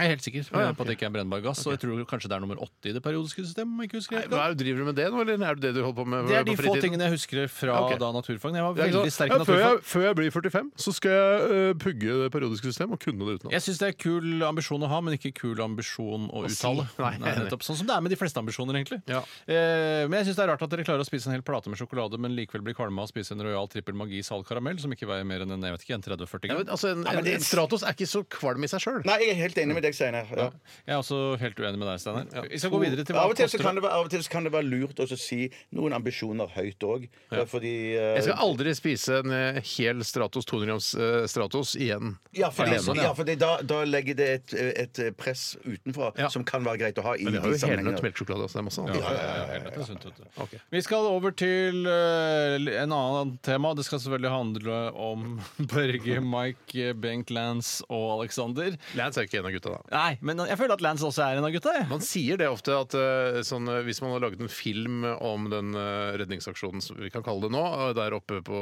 Speaker 2: Jeg er helt sikker
Speaker 1: Ah, ja,
Speaker 2: eh, på at det ikke er brennbar gass. Og jeg tror kanskje det er nummer åtte i det periodiske systemet. om jeg ikke husker helt
Speaker 1: Hva
Speaker 2: godt.
Speaker 1: er, driver du med det nå, eller er det det du holder på med
Speaker 2: Det er de
Speaker 1: på
Speaker 2: få
Speaker 1: fritiden?
Speaker 2: tingene jeg husker fra
Speaker 1: Ok.
Speaker 2: da naturfag. Jeg var
Speaker 1: Det er ikke
Speaker 2: veldig
Speaker 1: sånn,
Speaker 2: sterk
Speaker 1: ja,
Speaker 2: i
Speaker 1: før,
Speaker 2: naturfag.
Speaker 1: jeg, før jeg blir 45, så skal jeg eh, pugge det periodiske systemet og kunne det utenat.
Speaker 2: Jeg syns det er kul ambisjon å ha, men ikke kul ambisjon å,
Speaker 1: si.
Speaker 2: uttale.
Speaker 1: (laughs) Nei, enig.
Speaker 2: nettopp, sånn som det er med de fleste ambisjoner, egentlig.
Speaker 1: Ja.
Speaker 2: Eh, men jeg syns det er rart at dere klarer å spise en hel plate med sjokolade, men likevel blir kvalme av å spise en Royal Trippel Magi Sal Karamell, som ikke veier mer enn en, jeg vet ikke, en 30-40
Speaker 1: Ja,
Speaker 2: gram.
Speaker 1: men, altså, en,
Speaker 3: Ja, men det-
Speaker 1: en Stratos er ikke så kvalm i seg sjøl.
Speaker 3: Nei, jeg er helt enig med deg, Steinar. Ja.
Speaker 2: Jeg er også helt uenig med deg, Steinar. Vi skal gå videre til hva
Speaker 3: Av og til så
Speaker 2: koster
Speaker 3: kan det være, av og til så kan det være lurt også å si noen ambisjoner høyt òg. Fordi eh,
Speaker 1: Jeg skal aldri spise en eh, hel Stratos 200 grams eh, Stratos igjen.
Speaker 3: Ja, fordi,
Speaker 1: Alene.
Speaker 3: sånn, ja, fordi da, da legger det et, eh, et press utenfra
Speaker 1: Ja.
Speaker 3: som kan være greit å ha i
Speaker 1: Men
Speaker 3: de
Speaker 1: det har jo
Speaker 3: sammenhengene.
Speaker 1: helnøtt melkesjokolade også. Det er masse annet.
Speaker 2: Ja, ja, ja, helt rett, det er sunt, vet du. Vi skal over til eh, en annen tema. Det skal selvfølgelig handle om (laughs) Børge, Mike, Bengt Lance og Alexander.
Speaker 1: Lance er jo ikke en av gutta, da.
Speaker 2: Nei, men jeg føler at Lance også er en av gutta. jeg.
Speaker 1: Man sier det ofte at eh, sånn, eh, hvis man har laget en film om den eh, redningsaksjonen som vi kan kalle det nå, eh, der oppe på,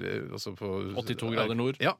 Speaker 1: eh, altså på
Speaker 2: 82 grader nord.
Speaker 1: Ja,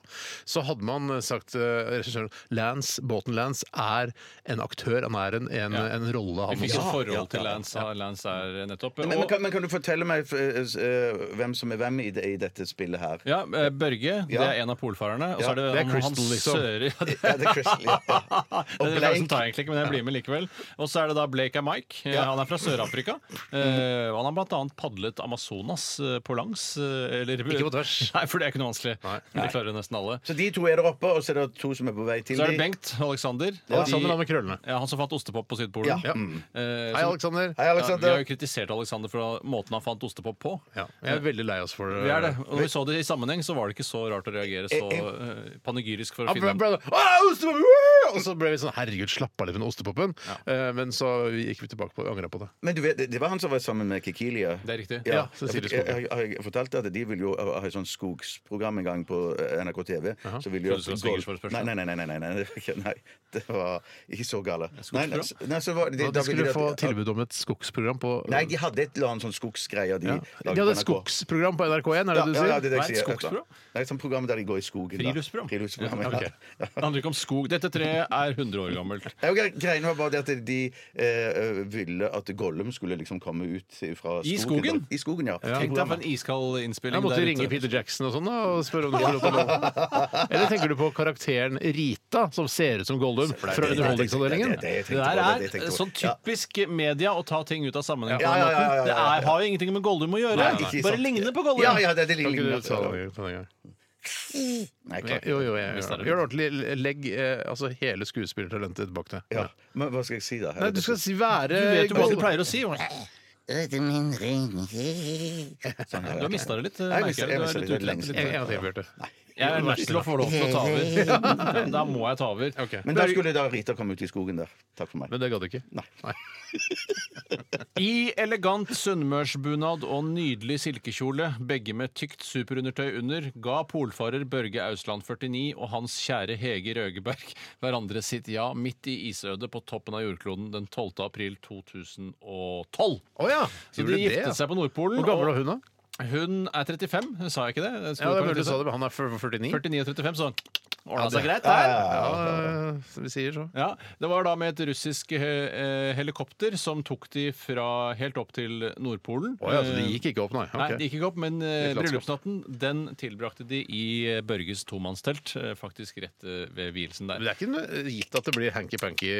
Speaker 1: så hadde man eh, sagt eh, regissøren Lance, båten Lance er en aktør, han er en, en,
Speaker 2: Ja.
Speaker 1: en rolle,
Speaker 2: Vi
Speaker 1: han
Speaker 2: fikk et
Speaker 1: også.
Speaker 2: forhold til Lance. Ja. Lance er nettopp.
Speaker 3: Men, men,
Speaker 2: Og,
Speaker 3: kan, men kan du fortelle meg f- eh, hvem som er hvem i, det, i dette spillet her?
Speaker 2: ja, eh, Børge det
Speaker 3: Ja.
Speaker 2: er en av polfarerne. Og
Speaker 3: Ja,
Speaker 2: så er det,
Speaker 1: det er
Speaker 2: han- han
Speaker 1: Crystal, så.
Speaker 2: sører. Ja, det-
Speaker 3: Ja, det er Crystal,
Speaker 2: (laughs)
Speaker 3: ja.
Speaker 2: Den
Speaker 3: Og Blake.
Speaker 2: referansen tar jeg egentlig ikke, men jeg blir med likevel. Og så er det da Blake er Mike. Eh, Han er fra Sør-Afrika. Eh, og han har blant annet padlet Amazonas eh, på langs. eh, Eller,
Speaker 1: Ikke på tvers.
Speaker 2: (laughs) Nei, for det er ikke noe vanskelig.
Speaker 1: Nei.
Speaker 2: Det klarer nesten alle.
Speaker 3: Så de to er der oppe, og så er det to som er på vei til
Speaker 2: Så er det
Speaker 3: de.
Speaker 2: Bengt og Alexander.
Speaker 1: Alexander han
Speaker 2: de,
Speaker 1: med krøllene.
Speaker 2: ja, han som fant ostepop på Sydpolen.
Speaker 3: Ja.
Speaker 1: Ja.
Speaker 2: Eh,
Speaker 1: Hei,
Speaker 2: som-
Speaker 1: Alexander.
Speaker 3: Hei,
Speaker 2: ja, vi har
Speaker 3: Alexander.
Speaker 2: jo kritisert Alexander for måten han fant ostepop på.
Speaker 1: Ja, jeg er veldig lei oss for eh, det.
Speaker 2: Vi er det. Og
Speaker 3: Eh,
Speaker 2: når vi så det i sammenheng, så var det ikke så rart å reagere så eh, panegyrisk for
Speaker 1: Ja,
Speaker 2: å
Speaker 1: bra-
Speaker 2: finne
Speaker 1: bra- Åh, ostepop! Woo! Og så ble vi sånn Herregud, slapp av litt med den ostepopen. Eh, Men så gikk vi tilbake på det, angra på det.
Speaker 3: Men du vet, det- det var han som var sammen med Kikilia.
Speaker 2: Det er riktig.
Speaker 3: Ja,
Speaker 1: Ja, så sier
Speaker 3: jeg,
Speaker 1: det
Speaker 3: jeg,
Speaker 1: skogen.
Speaker 3: jeg, jeg fortalte at de vil jo ha et sånt skogsprogram en gang på eh, NRK TV. Så vil
Speaker 2: Så du skal ha swingersforespørsel?
Speaker 3: nei, nei, nei, nei, nei, nei, nei, det var ikke- nei. Det var ikke så gale. Nei, nei,
Speaker 2: skogsprogram?
Speaker 3: nei, så var, de,
Speaker 1: Og
Speaker 3: da
Speaker 1: De
Speaker 3: ville
Speaker 1: skulle få
Speaker 3: de-
Speaker 1: tilbud om et skogsprogram på
Speaker 3: Nei, de hadde et eller annet sånn skogsgreier. De,
Speaker 1: ja.
Speaker 3: lagde
Speaker 1: De hadde et
Speaker 3: på NRK.
Speaker 1: skogsprogram på NRK1, er det
Speaker 3: Ja,
Speaker 1: det du
Speaker 3: ja,
Speaker 1: sier?
Speaker 3: ja, det er det jeg
Speaker 2: Nei,
Speaker 3: sier.
Speaker 2: skogsprogram?
Speaker 3: Nei, et sånt program der de går i skogen. da.
Speaker 2: Friluftsprogram?
Speaker 3: Friluftsprogram, ja.
Speaker 1: ok.
Speaker 2: Det handler ikke om skog. Dette treet er 100 år gammelt.
Speaker 3: Ja, og gre- Greiene var bare det at de eh, ville at Gollum skulle liksom komme ut fra skogen.
Speaker 2: I skogen?
Speaker 3: Da. I skogen, ja.
Speaker 2: Tenk deg for en iskald innspilling
Speaker 1: Jeg måtte
Speaker 2: der
Speaker 1: ringe
Speaker 2: ute.
Speaker 1: Peter Jackson og sånn da og spørre om de får lov til å låne. Eller tenker du på karakteren Rita, som ser ut som Goldum fra
Speaker 3: det-
Speaker 1: Underholdningsavdelingen?
Speaker 3: det- det- jeg
Speaker 2: Det
Speaker 3: tenkte
Speaker 2: der
Speaker 3: på,
Speaker 2: er
Speaker 3: det- det tenkte jeg på.
Speaker 2: sånn typisk media å ta ting ut av sammenheng. på
Speaker 3: Ja,
Speaker 2: den
Speaker 3: ja, ja, ja,
Speaker 2: måten.
Speaker 3: ja,
Speaker 2: Det
Speaker 3: ja, ja.
Speaker 2: er, har jo ingenting med Goldum å gjøre.
Speaker 3: Nei, ikke sant.
Speaker 2: Bare ligner på Goldum.
Speaker 3: Ja, ja, det er det
Speaker 1: Kan ikke
Speaker 3: lignende.
Speaker 1: du ta det på den gang?
Speaker 3: Nei, klart.
Speaker 1: Jo, jo, jeg gjør det. Gjør det ordentlig. Legg eh, altså, hele skuespillertalentet bak deg.
Speaker 3: Ja. Men hva skal jeg si, da?
Speaker 1: Nei, du skal si være
Speaker 2: Du vet jo hva du
Speaker 1: Gollum.
Speaker 2: pleier å si. Du har mista Sånn det litt. eh,
Speaker 3: Jeg
Speaker 2: merker
Speaker 3: mister- jeg
Speaker 2: jeg. Du
Speaker 3: mister
Speaker 2: er litt
Speaker 3: det
Speaker 2: utlært
Speaker 3: lenge
Speaker 1: En
Speaker 3: siden.
Speaker 2: litt.
Speaker 1: en gang til, Bjarte.
Speaker 2: Jeg er nødt til å få lov til å ta over.
Speaker 3: (laughs)
Speaker 2: Ja, Da må jeg ta over.
Speaker 1: Ok.
Speaker 3: Men da skulle da Rita komme ut i skogen der. Takk for meg.
Speaker 1: Men det gadd du ikke?
Speaker 3: Nei.
Speaker 2: I elegant sunnmørsbunad og nydelig silkekjole, begge med tykt superundertøy under, ga polfarer Børge Ausland 49 og hans kjære Hege Røgeberg hverandre sitt ja midt i isødet på toppen av jordkloden den 12. april 2012.
Speaker 1: Å ja!
Speaker 2: Så de giftet seg på Nordpolen.
Speaker 1: Hvor gammel var hun, da?
Speaker 2: og hun er 35, sa jeg ikke det? Det sto
Speaker 1: Ja, det er
Speaker 2: på
Speaker 1: mulig du sa
Speaker 2: 35.
Speaker 1: det, men han er 49.
Speaker 2: 49 og 35, så Ordna seg greit
Speaker 1: Ja,
Speaker 2: der.
Speaker 1: ja, som vi sier så.
Speaker 2: Ja, Det var da med et russisk eh, helikopter som tok de fra helt opp til Nordpolen.
Speaker 1: Å ja, så det gikk ikke opp, nei.
Speaker 2: Eh, Nei,
Speaker 1: Ok.
Speaker 2: det gikk ikke opp, men eh,
Speaker 1: Litt latskap.
Speaker 2: bryllupsnatten den tilbrakte de i eh, Børges tomannstelt, eh, faktisk rett eh, ved vielsen
Speaker 1: Men
Speaker 2: der.
Speaker 1: det er ikke noe- gitt at det blir hanky-panky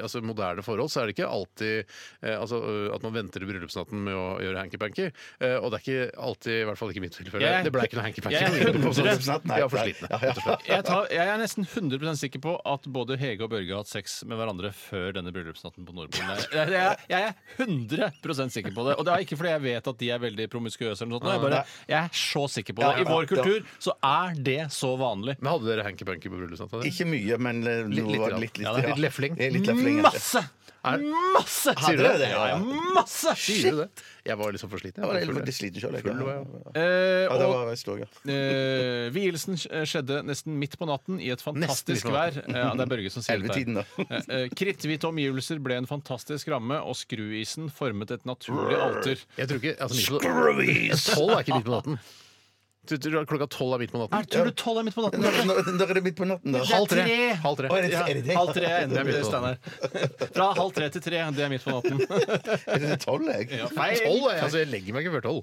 Speaker 1: altså moderne forhold. Så er det ikke alltid eh, altså, ø, at man venter til bryllupsnatten med å gjøre hanky-panky. Eh, og det er ikke alltid, i hvert fall ikke i mitt tilfelle,
Speaker 2: Jeg-
Speaker 1: det ble ikke noe hanky-panky.
Speaker 2: Jeg er hundre-
Speaker 1: Ja, for slitne, rett og slett.
Speaker 2: Jeg, tar, jeg er nesten 100 sikker på at både Hege og Børge har hatt sex med hverandre før denne bryllupsnatten på Nordpolen. Jeg, jeg, jeg er 100 sikker på det. Og det er ikke fordi jeg vet at de er veldig promiskuøse, eller noe sånt. Jeg, bare, jeg er så sikker på det. I vår kultur så er det så vanlig.
Speaker 1: Men hadde dere hanky-panky på bryllupsnatten?
Speaker 3: Ikke mye, men eh,
Speaker 1: Litt-
Speaker 3: noe
Speaker 1: litt
Speaker 3: var
Speaker 1: grann.
Speaker 3: litt, litt,
Speaker 1: Ja, det er litt lefling.
Speaker 3: Det er Litt lefling ja.
Speaker 2: Masse! Masse!
Speaker 3: Hadde
Speaker 2: du
Speaker 3: dere det? Ja, ja.
Speaker 2: Masse!
Speaker 1: Sier du det? Jeg var liksom for sliten.
Speaker 3: Jeg var
Speaker 1: var
Speaker 3: helt
Speaker 1: full, jeg.
Speaker 3: sliten sjøl.
Speaker 1: Full var jeg.
Speaker 2: Eh,
Speaker 3: Ja, det
Speaker 2: og
Speaker 3: var jeg også, ja.
Speaker 2: Eh, vielsen sk- skjedde nesten midt på natten i et fantastisk
Speaker 1: Nesten midt
Speaker 2: vær. Eh, Ja, det er Børge som sier det.
Speaker 3: Elvetiden, da.
Speaker 2: Eh, eh, Kritthvite omgivelser ble en fantastisk ramme, og skruisen formet et naturlig alter.
Speaker 1: Jeg tror ikke altså, midt på, Tolv er ikke midt på natten. Du tror at klokka tolv er midt på natten?
Speaker 2: tror du tolv er midt på natten?
Speaker 3: Når, når, når er det midt på natten, da?
Speaker 1: Halv tre.
Speaker 2: tre.
Speaker 1: Halv tre.
Speaker 3: Å, er det- er det det?
Speaker 2: Halv tre er
Speaker 1: Det er midt
Speaker 2: enda
Speaker 1: på
Speaker 2: Steinar. Fra halv tre til tre, det er midt på natten.
Speaker 3: Er det tolv, jeg?
Speaker 1: Tolv? jeg- Altså, jeg legger meg ikke før tolv.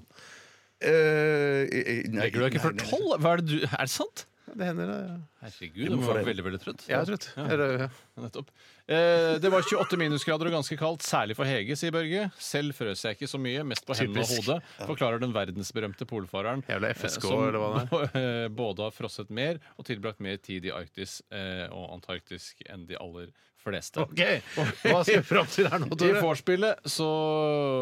Speaker 3: Eh, eh, nei,
Speaker 2: Legger du deg ikke
Speaker 3: nei,
Speaker 2: før
Speaker 3: nei, nei.
Speaker 2: tolv? Hva Er, det du- er det sant?
Speaker 1: Det hender, det.
Speaker 2: Herregud, du må være veldig, veldig trøtt.
Speaker 1: Jeg er trøtt. Eller,
Speaker 2: Nettopp. Eh, det var 28 minusgrader og ganske kaldt, særlig for Hege, sier Børge. Selv frøs jeg ikke så mye, mest på hendene og
Speaker 1: Typisk.
Speaker 2: hodet, forklarer den verdensberømte polfareren. eh,
Speaker 1: Jævla FSK,
Speaker 2: som
Speaker 1: eller hva
Speaker 2: (laughs) eh, både har frosset mer og tilbrakt mer tid i Arktis eh, og Antarktis enn de aller
Speaker 1: (laughs)
Speaker 2: fleste.
Speaker 1: OK! Hva skal vi fram til her nå,
Speaker 2: I
Speaker 1: Tore?
Speaker 2: vorspielet så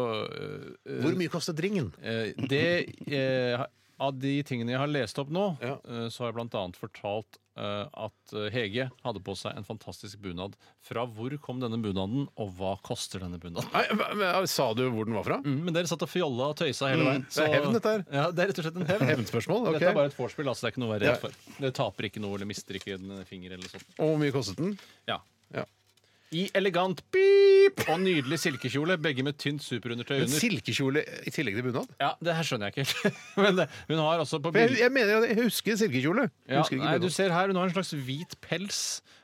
Speaker 2: eh,
Speaker 1: Hvor mye koster dringen?
Speaker 2: Eh, det, eh, av de tingene jeg har lest opp nå,
Speaker 1: Ja.
Speaker 2: eh, så har jeg bl.a. fortalt eh, at eh, Hege hadde på seg en fantastisk bunad. Fra hvor kom denne bunaden, og hva koster denne bunaden? (laughs)
Speaker 1: Nei, hva- men, Sa du hvor den var fra?
Speaker 2: Mm, men dere satt og fjolla og tøysa hele veien.
Speaker 1: Mm. det er hevn, dette her.
Speaker 2: Ja, det er rett og slett en hevn.
Speaker 1: (laughs) Hevnspørsmål? ok.
Speaker 2: Dette er bare et vorspiel, altså. Det er ikke noe å være redd for. Dere taper ikke noe eller mister ikke en finger eller sånt.
Speaker 1: Og hvor mye kostet den?
Speaker 2: Ja.
Speaker 1: Ja.
Speaker 2: I elegant pip og nydelig silkekjole, begge med tynt superundertøy
Speaker 1: En
Speaker 2: under.
Speaker 1: silkekjole i tillegg til bunad?
Speaker 2: Ja, det her skjønner jeg ikke helt. (laughs) Men det, hun har altså på
Speaker 1: For Jeg, jeg mener at jeg husker silkekjole. Jeg
Speaker 2: Ja,
Speaker 1: husker ikke
Speaker 2: nei, du
Speaker 1: bunad.
Speaker 2: ser her, Hun har en slags hvit pels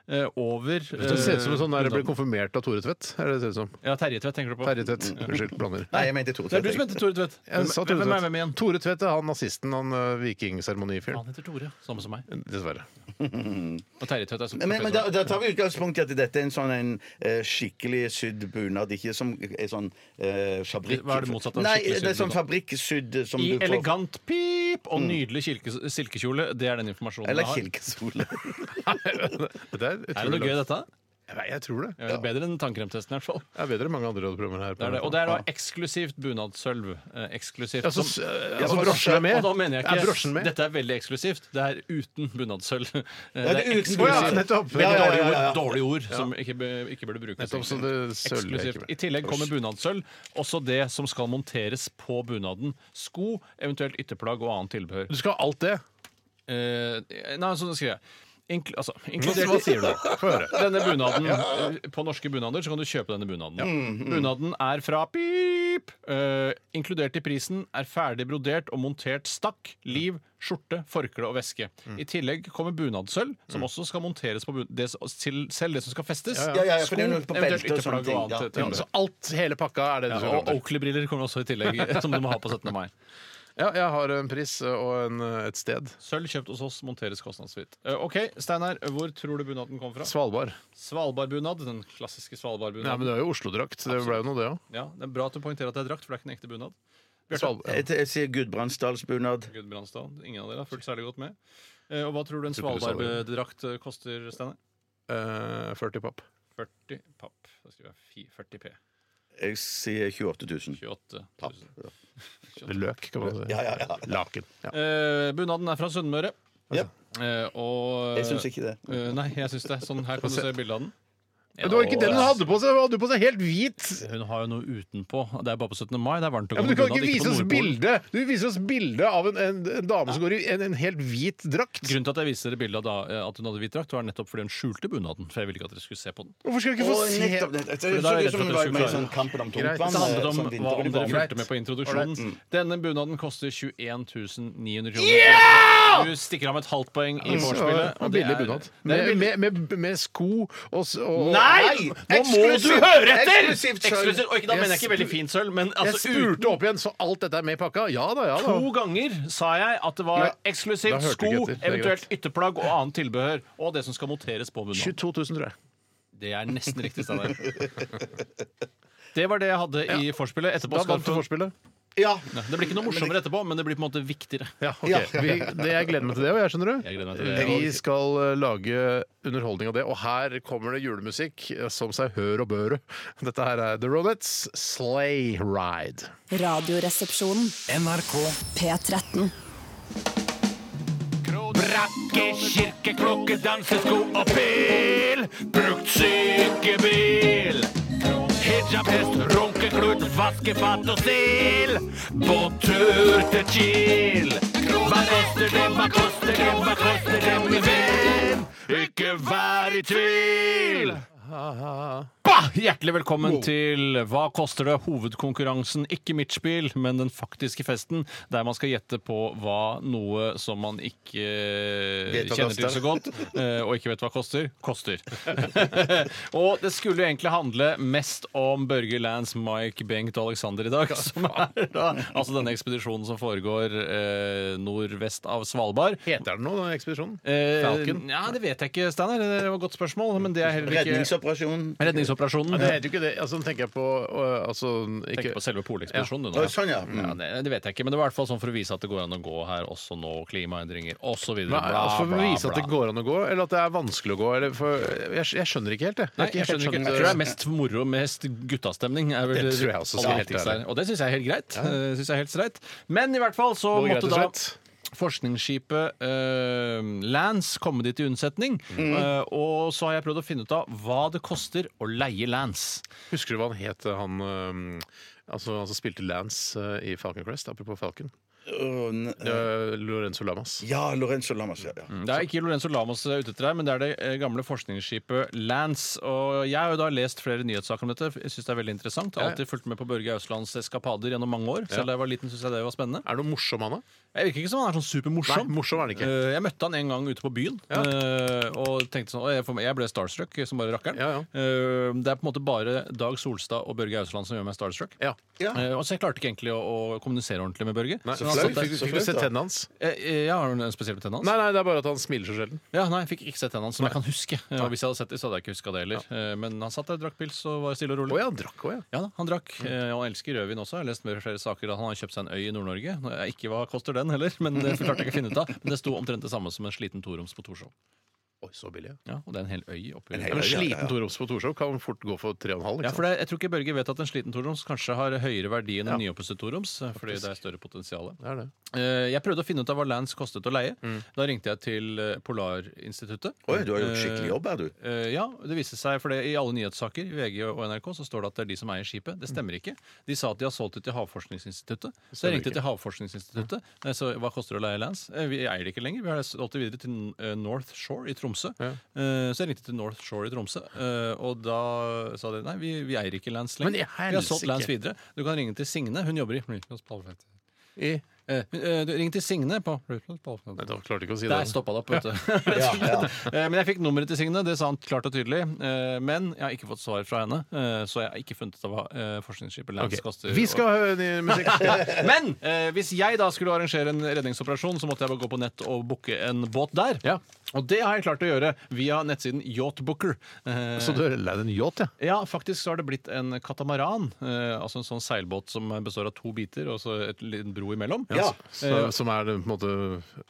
Speaker 2: eh, over
Speaker 1: Det ser ut som en sånn der
Speaker 2: eh,
Speaker 1: ble konfirmert av Tore Tvedt. Er det det ser ut som?
Speaker 2: Ja, Mm. Terje Tvedt tenker du på.
Speaker 1: Terje Tvedt. Unnskyld, blander.
Speaker 3: Nei, jeg mente to.
Speaker 2: Det er du som heter Tore Tvedt.
Speaker 1: Jeg sa Tore
Speaker 2: Hvem er hvem igjen?
Speaker 1: Tvedt. Tore Tvedt er han nazisten, han ø, vikingseremonifyren.
Speaker 2: Han heter Tore, samme som meg.
Speaker 1: Dessverre.
Speaker 2: Og Terje Tvedt er som
Speaker 3: Men, men da, da tar vi utgangspunkt i at dette er en sånn en, eh, skikkelig sydd bunad. Ikke som en sånn eh, fabrikk...
Speaker 2: Hva er det motsatte av
Speaker 3: Nei,
Speaker 2: skikkelig sydd
Speaker 3: det er sånn
Speaker 2: bunad?
Speaker 3: fabrikksydd som
Speaker 2: I
Speaker 3: du får
Speaker 2: elegant pip
Speaker 1: Mm.
Speaker 2: og nydelig kilke- silkekjole. Det er den informasjonen
Speaker 3: Eller
Speaker 2: jeg har.
Speaker 3: kilkesole.
Speaker 1: Dette er
Speaker 2: Er det
Speaker 1: utrolig
Speaker 2: noe gøy,
Speaker 1: langt.
Speaker 2: dette?
Speaker 1: Jeg vet- Jeg tror det.
Speaker 2: Ja, det er bedre enn tannkremtesten, i hvert fall.
Speaker 1: Det er bedre enn mange andre radioprogrammer her. på
Speaker 2: Det er det.
Speaker 1: NRK.
Speaker 2: Og det er da eksklusivt bunadsølv. Eh, Eksklusivt.
Speaker 1: Ja, så,
Speaker 2: som-
Speaker 1: s- altså,
Speaker 3: så-
Speaker 1: brosjen er med?
Speaker 2: Og da mener jeg ikke
Speaker 1: Er brosjen med?
Speaker 2: Dette er veldig eksklusivt. Det er uten bunadsølv. Eh,
Speaker 3: det er uten-
Speaker 1: Å ja, nettopp.
Speaker 2: Veldig
Speaker 1: Ja, ja,
Speaker 2: dårlige
Speaker 1: ja,
Speaker 2: ord,
Speaker 1: ja, ja.
Speaker 2: dårlige ord som ikke, bø- ikke burde brukes.
Speaker 1: Nettopp, så det sølver jeg ikke
Speaker 2: Eksklusivt.
Speaker 1: med.
Speaker 2: I tillegg kommer bunadsølv. Også det som skal monteres på bunaden. Sko, eventuelt ytterplagg og annet tilbehør.
Speaker 1: Du skal ha alt det?
Speaker 2: Eh, nei, sånn skriver jeg. Inkl altså,
Speaker 1: Hva sier du? Få høre.
Speaker 2: (laughs) denne bunaden eh, På norske bunader så kan du kjøpe denne bunaden. Bunaden er fra pip, eh, inkludert i prisen, er ferdig brodert og montert stakk, liv, skjorte, forkle og veske. I tillegg kommer bunadsølv, som også skal monteres på bun det, s- til selv det som skal festes.
Speaker 3: Ja, ja, ja, for
Speaker 2: Sko,
Speaker 3: det er jo noe på
Speaker 2: eventuelt
Speaker 3: belte og sånne
Speaker 2: ytterplagg og
Speaker 3: ting, ja.
Speaker 2: annet.
Speaker 1: Ja, (laughs)
Speaker 2: tilbehør.
Speaker 1: så alt, hele pakka, er det du
Speaker 2: Ja,
Speaker 1: skal ha?
Speaker 2: og Oakley-briller kommer også i tillegg, eh, som du må ha på 17. mai.
Speaker 1: Ja, jeg har en pris og en, eh, et sted.
Speaker 2: Sølv kjøpt hos oss, monteres kostnadsfritt. Eh, OK, Steinar, hvor tror du bunaden kom fra?
Speaker 1: Svalbard.
Speaker 2: Svalbardbunad, den klassiske
Speaker 1: Nei, men
Speaker 2: Svalbardbunaden.
Speaker 1: det er jo Oslo-drakt. Det ble jo noe, det òg.
Speaker 2: Ja, det er bra at du poengterer at det er drakt, for det er ikke en ekte bunad.
Speaker 1: Svalbard.
Speaker 3: Jeg, jeg sier Gudbrandsdalsbunad.
Speaker 2: Gudbrandsdalen. Ingen av dere har fulgt særlig godt med. Eh, Og hva tror du en
Speaker 1: Tror ikke du sa det.
Speaker 2: Svalbard-drakt eh, koster, Steinar?
Speaker 1: Eh, 40 papp.
Speaker 2: 40 papp. Da skriver jeg fi- 40 P.
Speaker 3: Jeg sier 28 000.
Speaker 2: 28
Speaker 3: Papp.
Speaker 2: 000.
Speaker 1: Eller løk, kan man si.
Speaker 3: Ja, ja, ja.
Speaker 1: Laken. Ja.
Speaker 2: Eh, bunaden er fra Sunnmøre.
Speaker 3: Ja.
Speaker 2: Eh, og
Speaker 3: Jeg syns ikke det.
Speaker 2: Eh, nei, jeg syns det. Sånn her kan du se bilde av den.
Speaker 1: Men Det var ikke den hun hadde på seg! Hun hadde på seg helt hvit!
Speaker 2: Hun har jo noe utenpå. Det er bare på 17. mai. Det er varmt og
Speaker 1: Ja, men Du
Speaker 2: godt.
Speaker 1: kan
Speaker 2: Hun
Speaker 1: ikke
Speaker 2: hadde
Speaker 1: vise
Speaker 2: på
Speaker 1: oss
Speaker 2: Nordpolen.
Speaker 1: bilde Du viser oss bilde av en, en, en dame som går i en, en helt hvit drakt.
Speaker 2: Grunnen til at jeg viste dere bildet av da, eh, at hun hadde hvit drakt, var nettopp fordi hun skjulte bunaden. For jeg ville ikke at dere skulle se på den.
Speaker 1: Hvorfor skal vi ikke få
Speaker 3: Å,
Speaker 1: se
Speaker 3: nettopp, nettopp. Det
Speaker 2: Men da
Speaker 3: er
Speaker 2: er jeg
Speaker 3: som om det
Speaker 2: redd for at du
Speaker 3: var
Speaker 2: skulle
Speaker 3: med
Speaker 2: klare
Speaker 3: sånn Kampen om
Speaker 1: Greit.
Speaker 3: tungtvann.
Speaker 2: Det handlet om
Speaker 3: eh, sånn
Speaker 2: hva om dere
Speaker 3: vinteruniform.
Speaker 2: fulgte med på introduksjonen.
Speaker 1: Mm.
Speaker 2: Denne bunaden koster 21 900 kroner. Du stikker av med et halvt poeng i
Speaker 1: Altså,
Speaker 2: vorspielet.
Speaker 1: Ja, billig bunad. Med, med, med, med sko og, s- og
Speaker 2: Nei! Nå må du
Speaker 3: Eksklusivt!
Speaker 2: høre etter!
Speaker 3: Eksklusivt sølv!
Speaker 2: Eksklusivt. Og ikke, da
Speaker 1: Jeg
Speaker 2: mener jeg ikke veldig
Speaker 1: spur-
Speaker 2: fint sølv, men
Speaker 1: Jeg
Speaker 2: altså
Speaker 1: spurte
Speaker 2: uten
Speaker 1: opp igjen, så alt dette er med i pakka? Ja da, ja da.
Speaker 2: To ganger sa jeg at det var
Speaker 1: Ja, da
Speaker 2: eksklusivt
Speaker 1: hørte
Speaker 2: sko,
Speaker 1: jeg ikke etter. Det er
Speaker 2: eventuelt ytterplagg og annet tilbehør. Og det som skal monteres på bunaden.
Speaker 1: 22 000, tror jeg.
Speaker 2: Det er nesten riktig. Steinar.
Speaker 1: (laughs)
Speaker 2: Det var det jeg hadde i forspillet. Etterpå
Speaker 1: Da
Speaker 2: skal
Speaker 1: vant du
Speaker 2: du få-
Speaker 1: forspillet.
Speaker 3: Ja.
Speaker 2: Det blir ikke noe morsommere etterpå, men det blir på en måte viktigere.
Speaker 1: Ja, ok.
Speaker 3: Ja.
Speaker 1: Vi, det, jeg gleder meg til det, og jeg skjønner du.
Speaker 2: Jeg gleder meg til det, jeg
Speaker 1: Vi skal eh, lage underholdning av det, og her kommer det julemusikk eh, som seg hør og bør. (laughs) Dette her er The Ronettes Sleigh Ride.
Speaker 4: Radioresepsjonen.
Speaker 6: NRK
Speaker 4: P13.
Speaker 6: Brakke, kirke, klokke, dansesko og pil Brukt sykebil Hijab, hest, runkeklut, vaskefat og stil På tur til Kiel Hva koster det, hva koster det, hva koster det, min venn? Ikke vær i tvil!
Speaker 2: Bah! Hjertelig velkommen til Hva koster det? Hovedkonkurransen. Ikke mitt spill, men den faktiske festen, der man skal gjette på hva noe som man ikke
Speaker 3: Vet hva
Speaker 2: kjenner til
Speaker 3: koster.
Speaker 2: så godt, eh, og ikke vet hva koster, koster. og det skulle jo egentlig handle mest om Børge Lands, Mike, Bengt og Alexander i dag, som er da, altså denne ekspedisjonen som foregår eh, nordvest av Svalbard.
Speaker 1: Heter den noe, den ekspedisjonen?
Speaker 2: Eh,
Speaker 1: Falcon?
Speaker 2: Ja, det vet jeg ikke, Steinar. Det var et godt spørsmål, men det er heller ikke
Speaker 3: Redningsoperasjon.
Speaker 1: Ja,
Speaker 2: Redningsoperasjonen.
Speaker 1: det heter jo ikke det. Altså, nå tenker jeg på eh, altså,
Speaker 2: Tenker
Speaker 1: ikke,
Speaker 2: på selve polekspedisjonen, du
Speaker 3: Å,
Speaker 2: nå.
Speaker 3: Sånn, ja. Mm.
Speaker 2: Ja, det, det vet jeg ikke, men det var i hvert fall sånn for å vise at det går an å gå her også nå, klimaendringer osv.
Speaker 1: Hva er- altså, for å vise at det går an å gå, eller at det er vanskelig å gå. Eller for, jeg, jeg skjønner ikke helt, eh, jeg.
Speaker 2: Nei, jeg skjønner ikke. Jeg tror det er mest moro, mest guttastemning. Er vel
Speaker 1: Det tror jeg også,
Speaker 2: aller
Speaker 1: skal jeg helt
Speaker 2: viktigste
Speaker 1: ærlig.
Speaker 2: her. Og det syns jeg er helt greit. Eh, Synes jeg er helt streit. Men i hvert fall så
Speaker 1: Hvor greit
Speaker 2: måtte
Speaker 1: og
Speaker 2: da
Speaker 1: streit?
Speaker 2: forskningsskipet eh, Lance komme de til unnsetning. Eh, og så har jeg prøvd å finne ut av hva det koster å leie Lance.
Speaker 1: Husker du hva han het, han øhm, Altså Han som spilte Lance øh, i Falcon Crest, apropos Falcon.
Speaker 3: Å, ne-
Speaker 1: Øh, Lorenzo Lamas.
Speaker 3: Ja, Lorenzo Lamas. Ja, ja.
Speaker 2: Det er ikke Lorenzo Lamos jeg er ute etter her, men det er det eh, gamle forskningsskipet Lance. Og jeg har jo da lest flere nyhetssaker om dette. Jeg synes det er veldig interessant. Jeg har alltid fulgt med på Børge Auslands eskapader gjennom mange år. Selv da jeg var liten, synes jeg det var spennende.
Speaker 1: Er det noe morsom han er?
Speaker 2: Jeg virker ikke som han er sånn supermorsom.
Speaker 1: Nei, morsom er han ikke.
Speaker 2: Eh, Jeg møtte han en gang ute på byen eh, og tenkte sånn «Å, jeg får- Jeg ble starstruck som bare rakkeren.
Speaker 1: Ja, ja.
Speaker 2: Eh, Det er på en måte bare Dag Solstad og Børge Ausland som gjør meg starstruck.
Speaker 1: Ja.
Speaker 2: Eh, Og så jeg klarte ikke egentlig å, å kommunisere ordentlig med Børge.
Speaker 1: Nei,
Speaker 2: Men han
Speaker 1: flaut.
Speaker 2: satt der-
Speaker 1: Fikk- Fikk du se tennene hans?
Speaker 2: Eh, eh, Jeg har en spesiell betennelse.
Speaker 1: Nei, nei, det er bare at han smiler så sjelden.
Speaker 2: Ja, nei, jeg fikk ikke sett tennene hans, som jeg kan huske. Og hvis jeg hadde sett dem, så hadde jeg ikke huska det heller. Eh, Men han satt der, drakk pils og var stille og
Speaker 1: Å
Speaker 2: rolig.
Speaker 1: ja, Mm. han drakk òg, ja.
Speaker 2: Ja da, Han drakk, eh, og han elsker rødvin også. Jeg har lest mer flere saker at han har kjøpt seg en øy i Nord-Norge. Nå, jeg- Ikke hva koster den heller, men det klarte jeg ikke å finne ut av. Men det sto omtrent det samme som en sliten toroms på Torshov.
Speaker 1: Oi, så billig. Ja.
Speaker 2: Ja, og det er en hel øy oppi
Speaker 1: Ja, men Sliten toroms på Torshov kan fort gå for 3,5.
Speaker 2: ja,
Speaker 1: ikke
Speaker 2: for
Speaker 1: sant?
Speaker 2: det, Jeg tror ikke Børge vet at en sliten toroms kanskje har høyere verdi enn en nyoppusset toroms. eh, Fordi det er større potensial.
Speaker 1: Det er det.
Speaker 2: Eh, Jeg prøvde å finne ut av hva Lance kostet å leie. Da ringte jeg til eh, Polarinstituttet.
Speaker 3: Oi, du har gjort skikkelig jobb her, du.
Speaker 2: Eh, ja, det viste seg, for det, I alle nyhetssaker i VG og NRK så står det at det er de som eier skipet. Det
Speaker 1: Mm.
Speaker 2: stemmer ikke. De sa at de har solgt det til Havforskningsinstituttet. Så jeg ringte til Havforskningsinstituttet. Eh, Så hva koster det å leie Lance? Eh, Vi eier det ikke lenger. Vi har solgt det videre til eh, North Shore i Tromsø. Eh, Så jeg ringte til North Shore i Tromsø, eh, og da sa de nei, vi, vi eier ikke Lance
Speaker 1: Men
Speaker 2: lenger.
Speaker 1: i
Speaker 2: Vi har solgt
Speaker 1: helsike.
Speaker 2: Lance videre. Du kan ringe til Signe. Hun jobber i
Speaker 1: I,
Speaker 2: Eh, eh, du, Ring til Signe på Nei,
Speaker 1: nei, da klarte jeg ikke å si det.
Speaker 2: der stoppa det opp,
Speaker 1: (laughs)
Speaker 2: vet du. Eh, Men jeg fikk nummeret til Signe, det sa han klart og tydelig. Eh, Men jeg har ikke fått svar fra henne, eh, så jeg har ikke funnet ut av hva eh, forskningsskipet Lance
Speaker 1: Ok.
Speaker 2: koster.
Speaker 1: Vi skal høre ny
Speaker 2: (laughs)
Speaker 1: musikk.
Speaker 2: Men eh, hvis jeg da skulle arrangere en redningsoperasjon, så måtte jeg bare gå på nett og booke en båt der.
Speaker 1: Ja.
Speaker 2: Og det har jeg klart å gjøre via nettsiden Yachtbooker. Eh,
Speaker 1: Så du har leid en yacht, ja?
Speaker 2: ja, faktisk så har det blitt en katamaran. Eh, altså en sånn seilbåt som består av to biter og så et liten bro imellom. (laughs)
Speaker 3: Ja.
Speaker 1: Så, som er det på en måte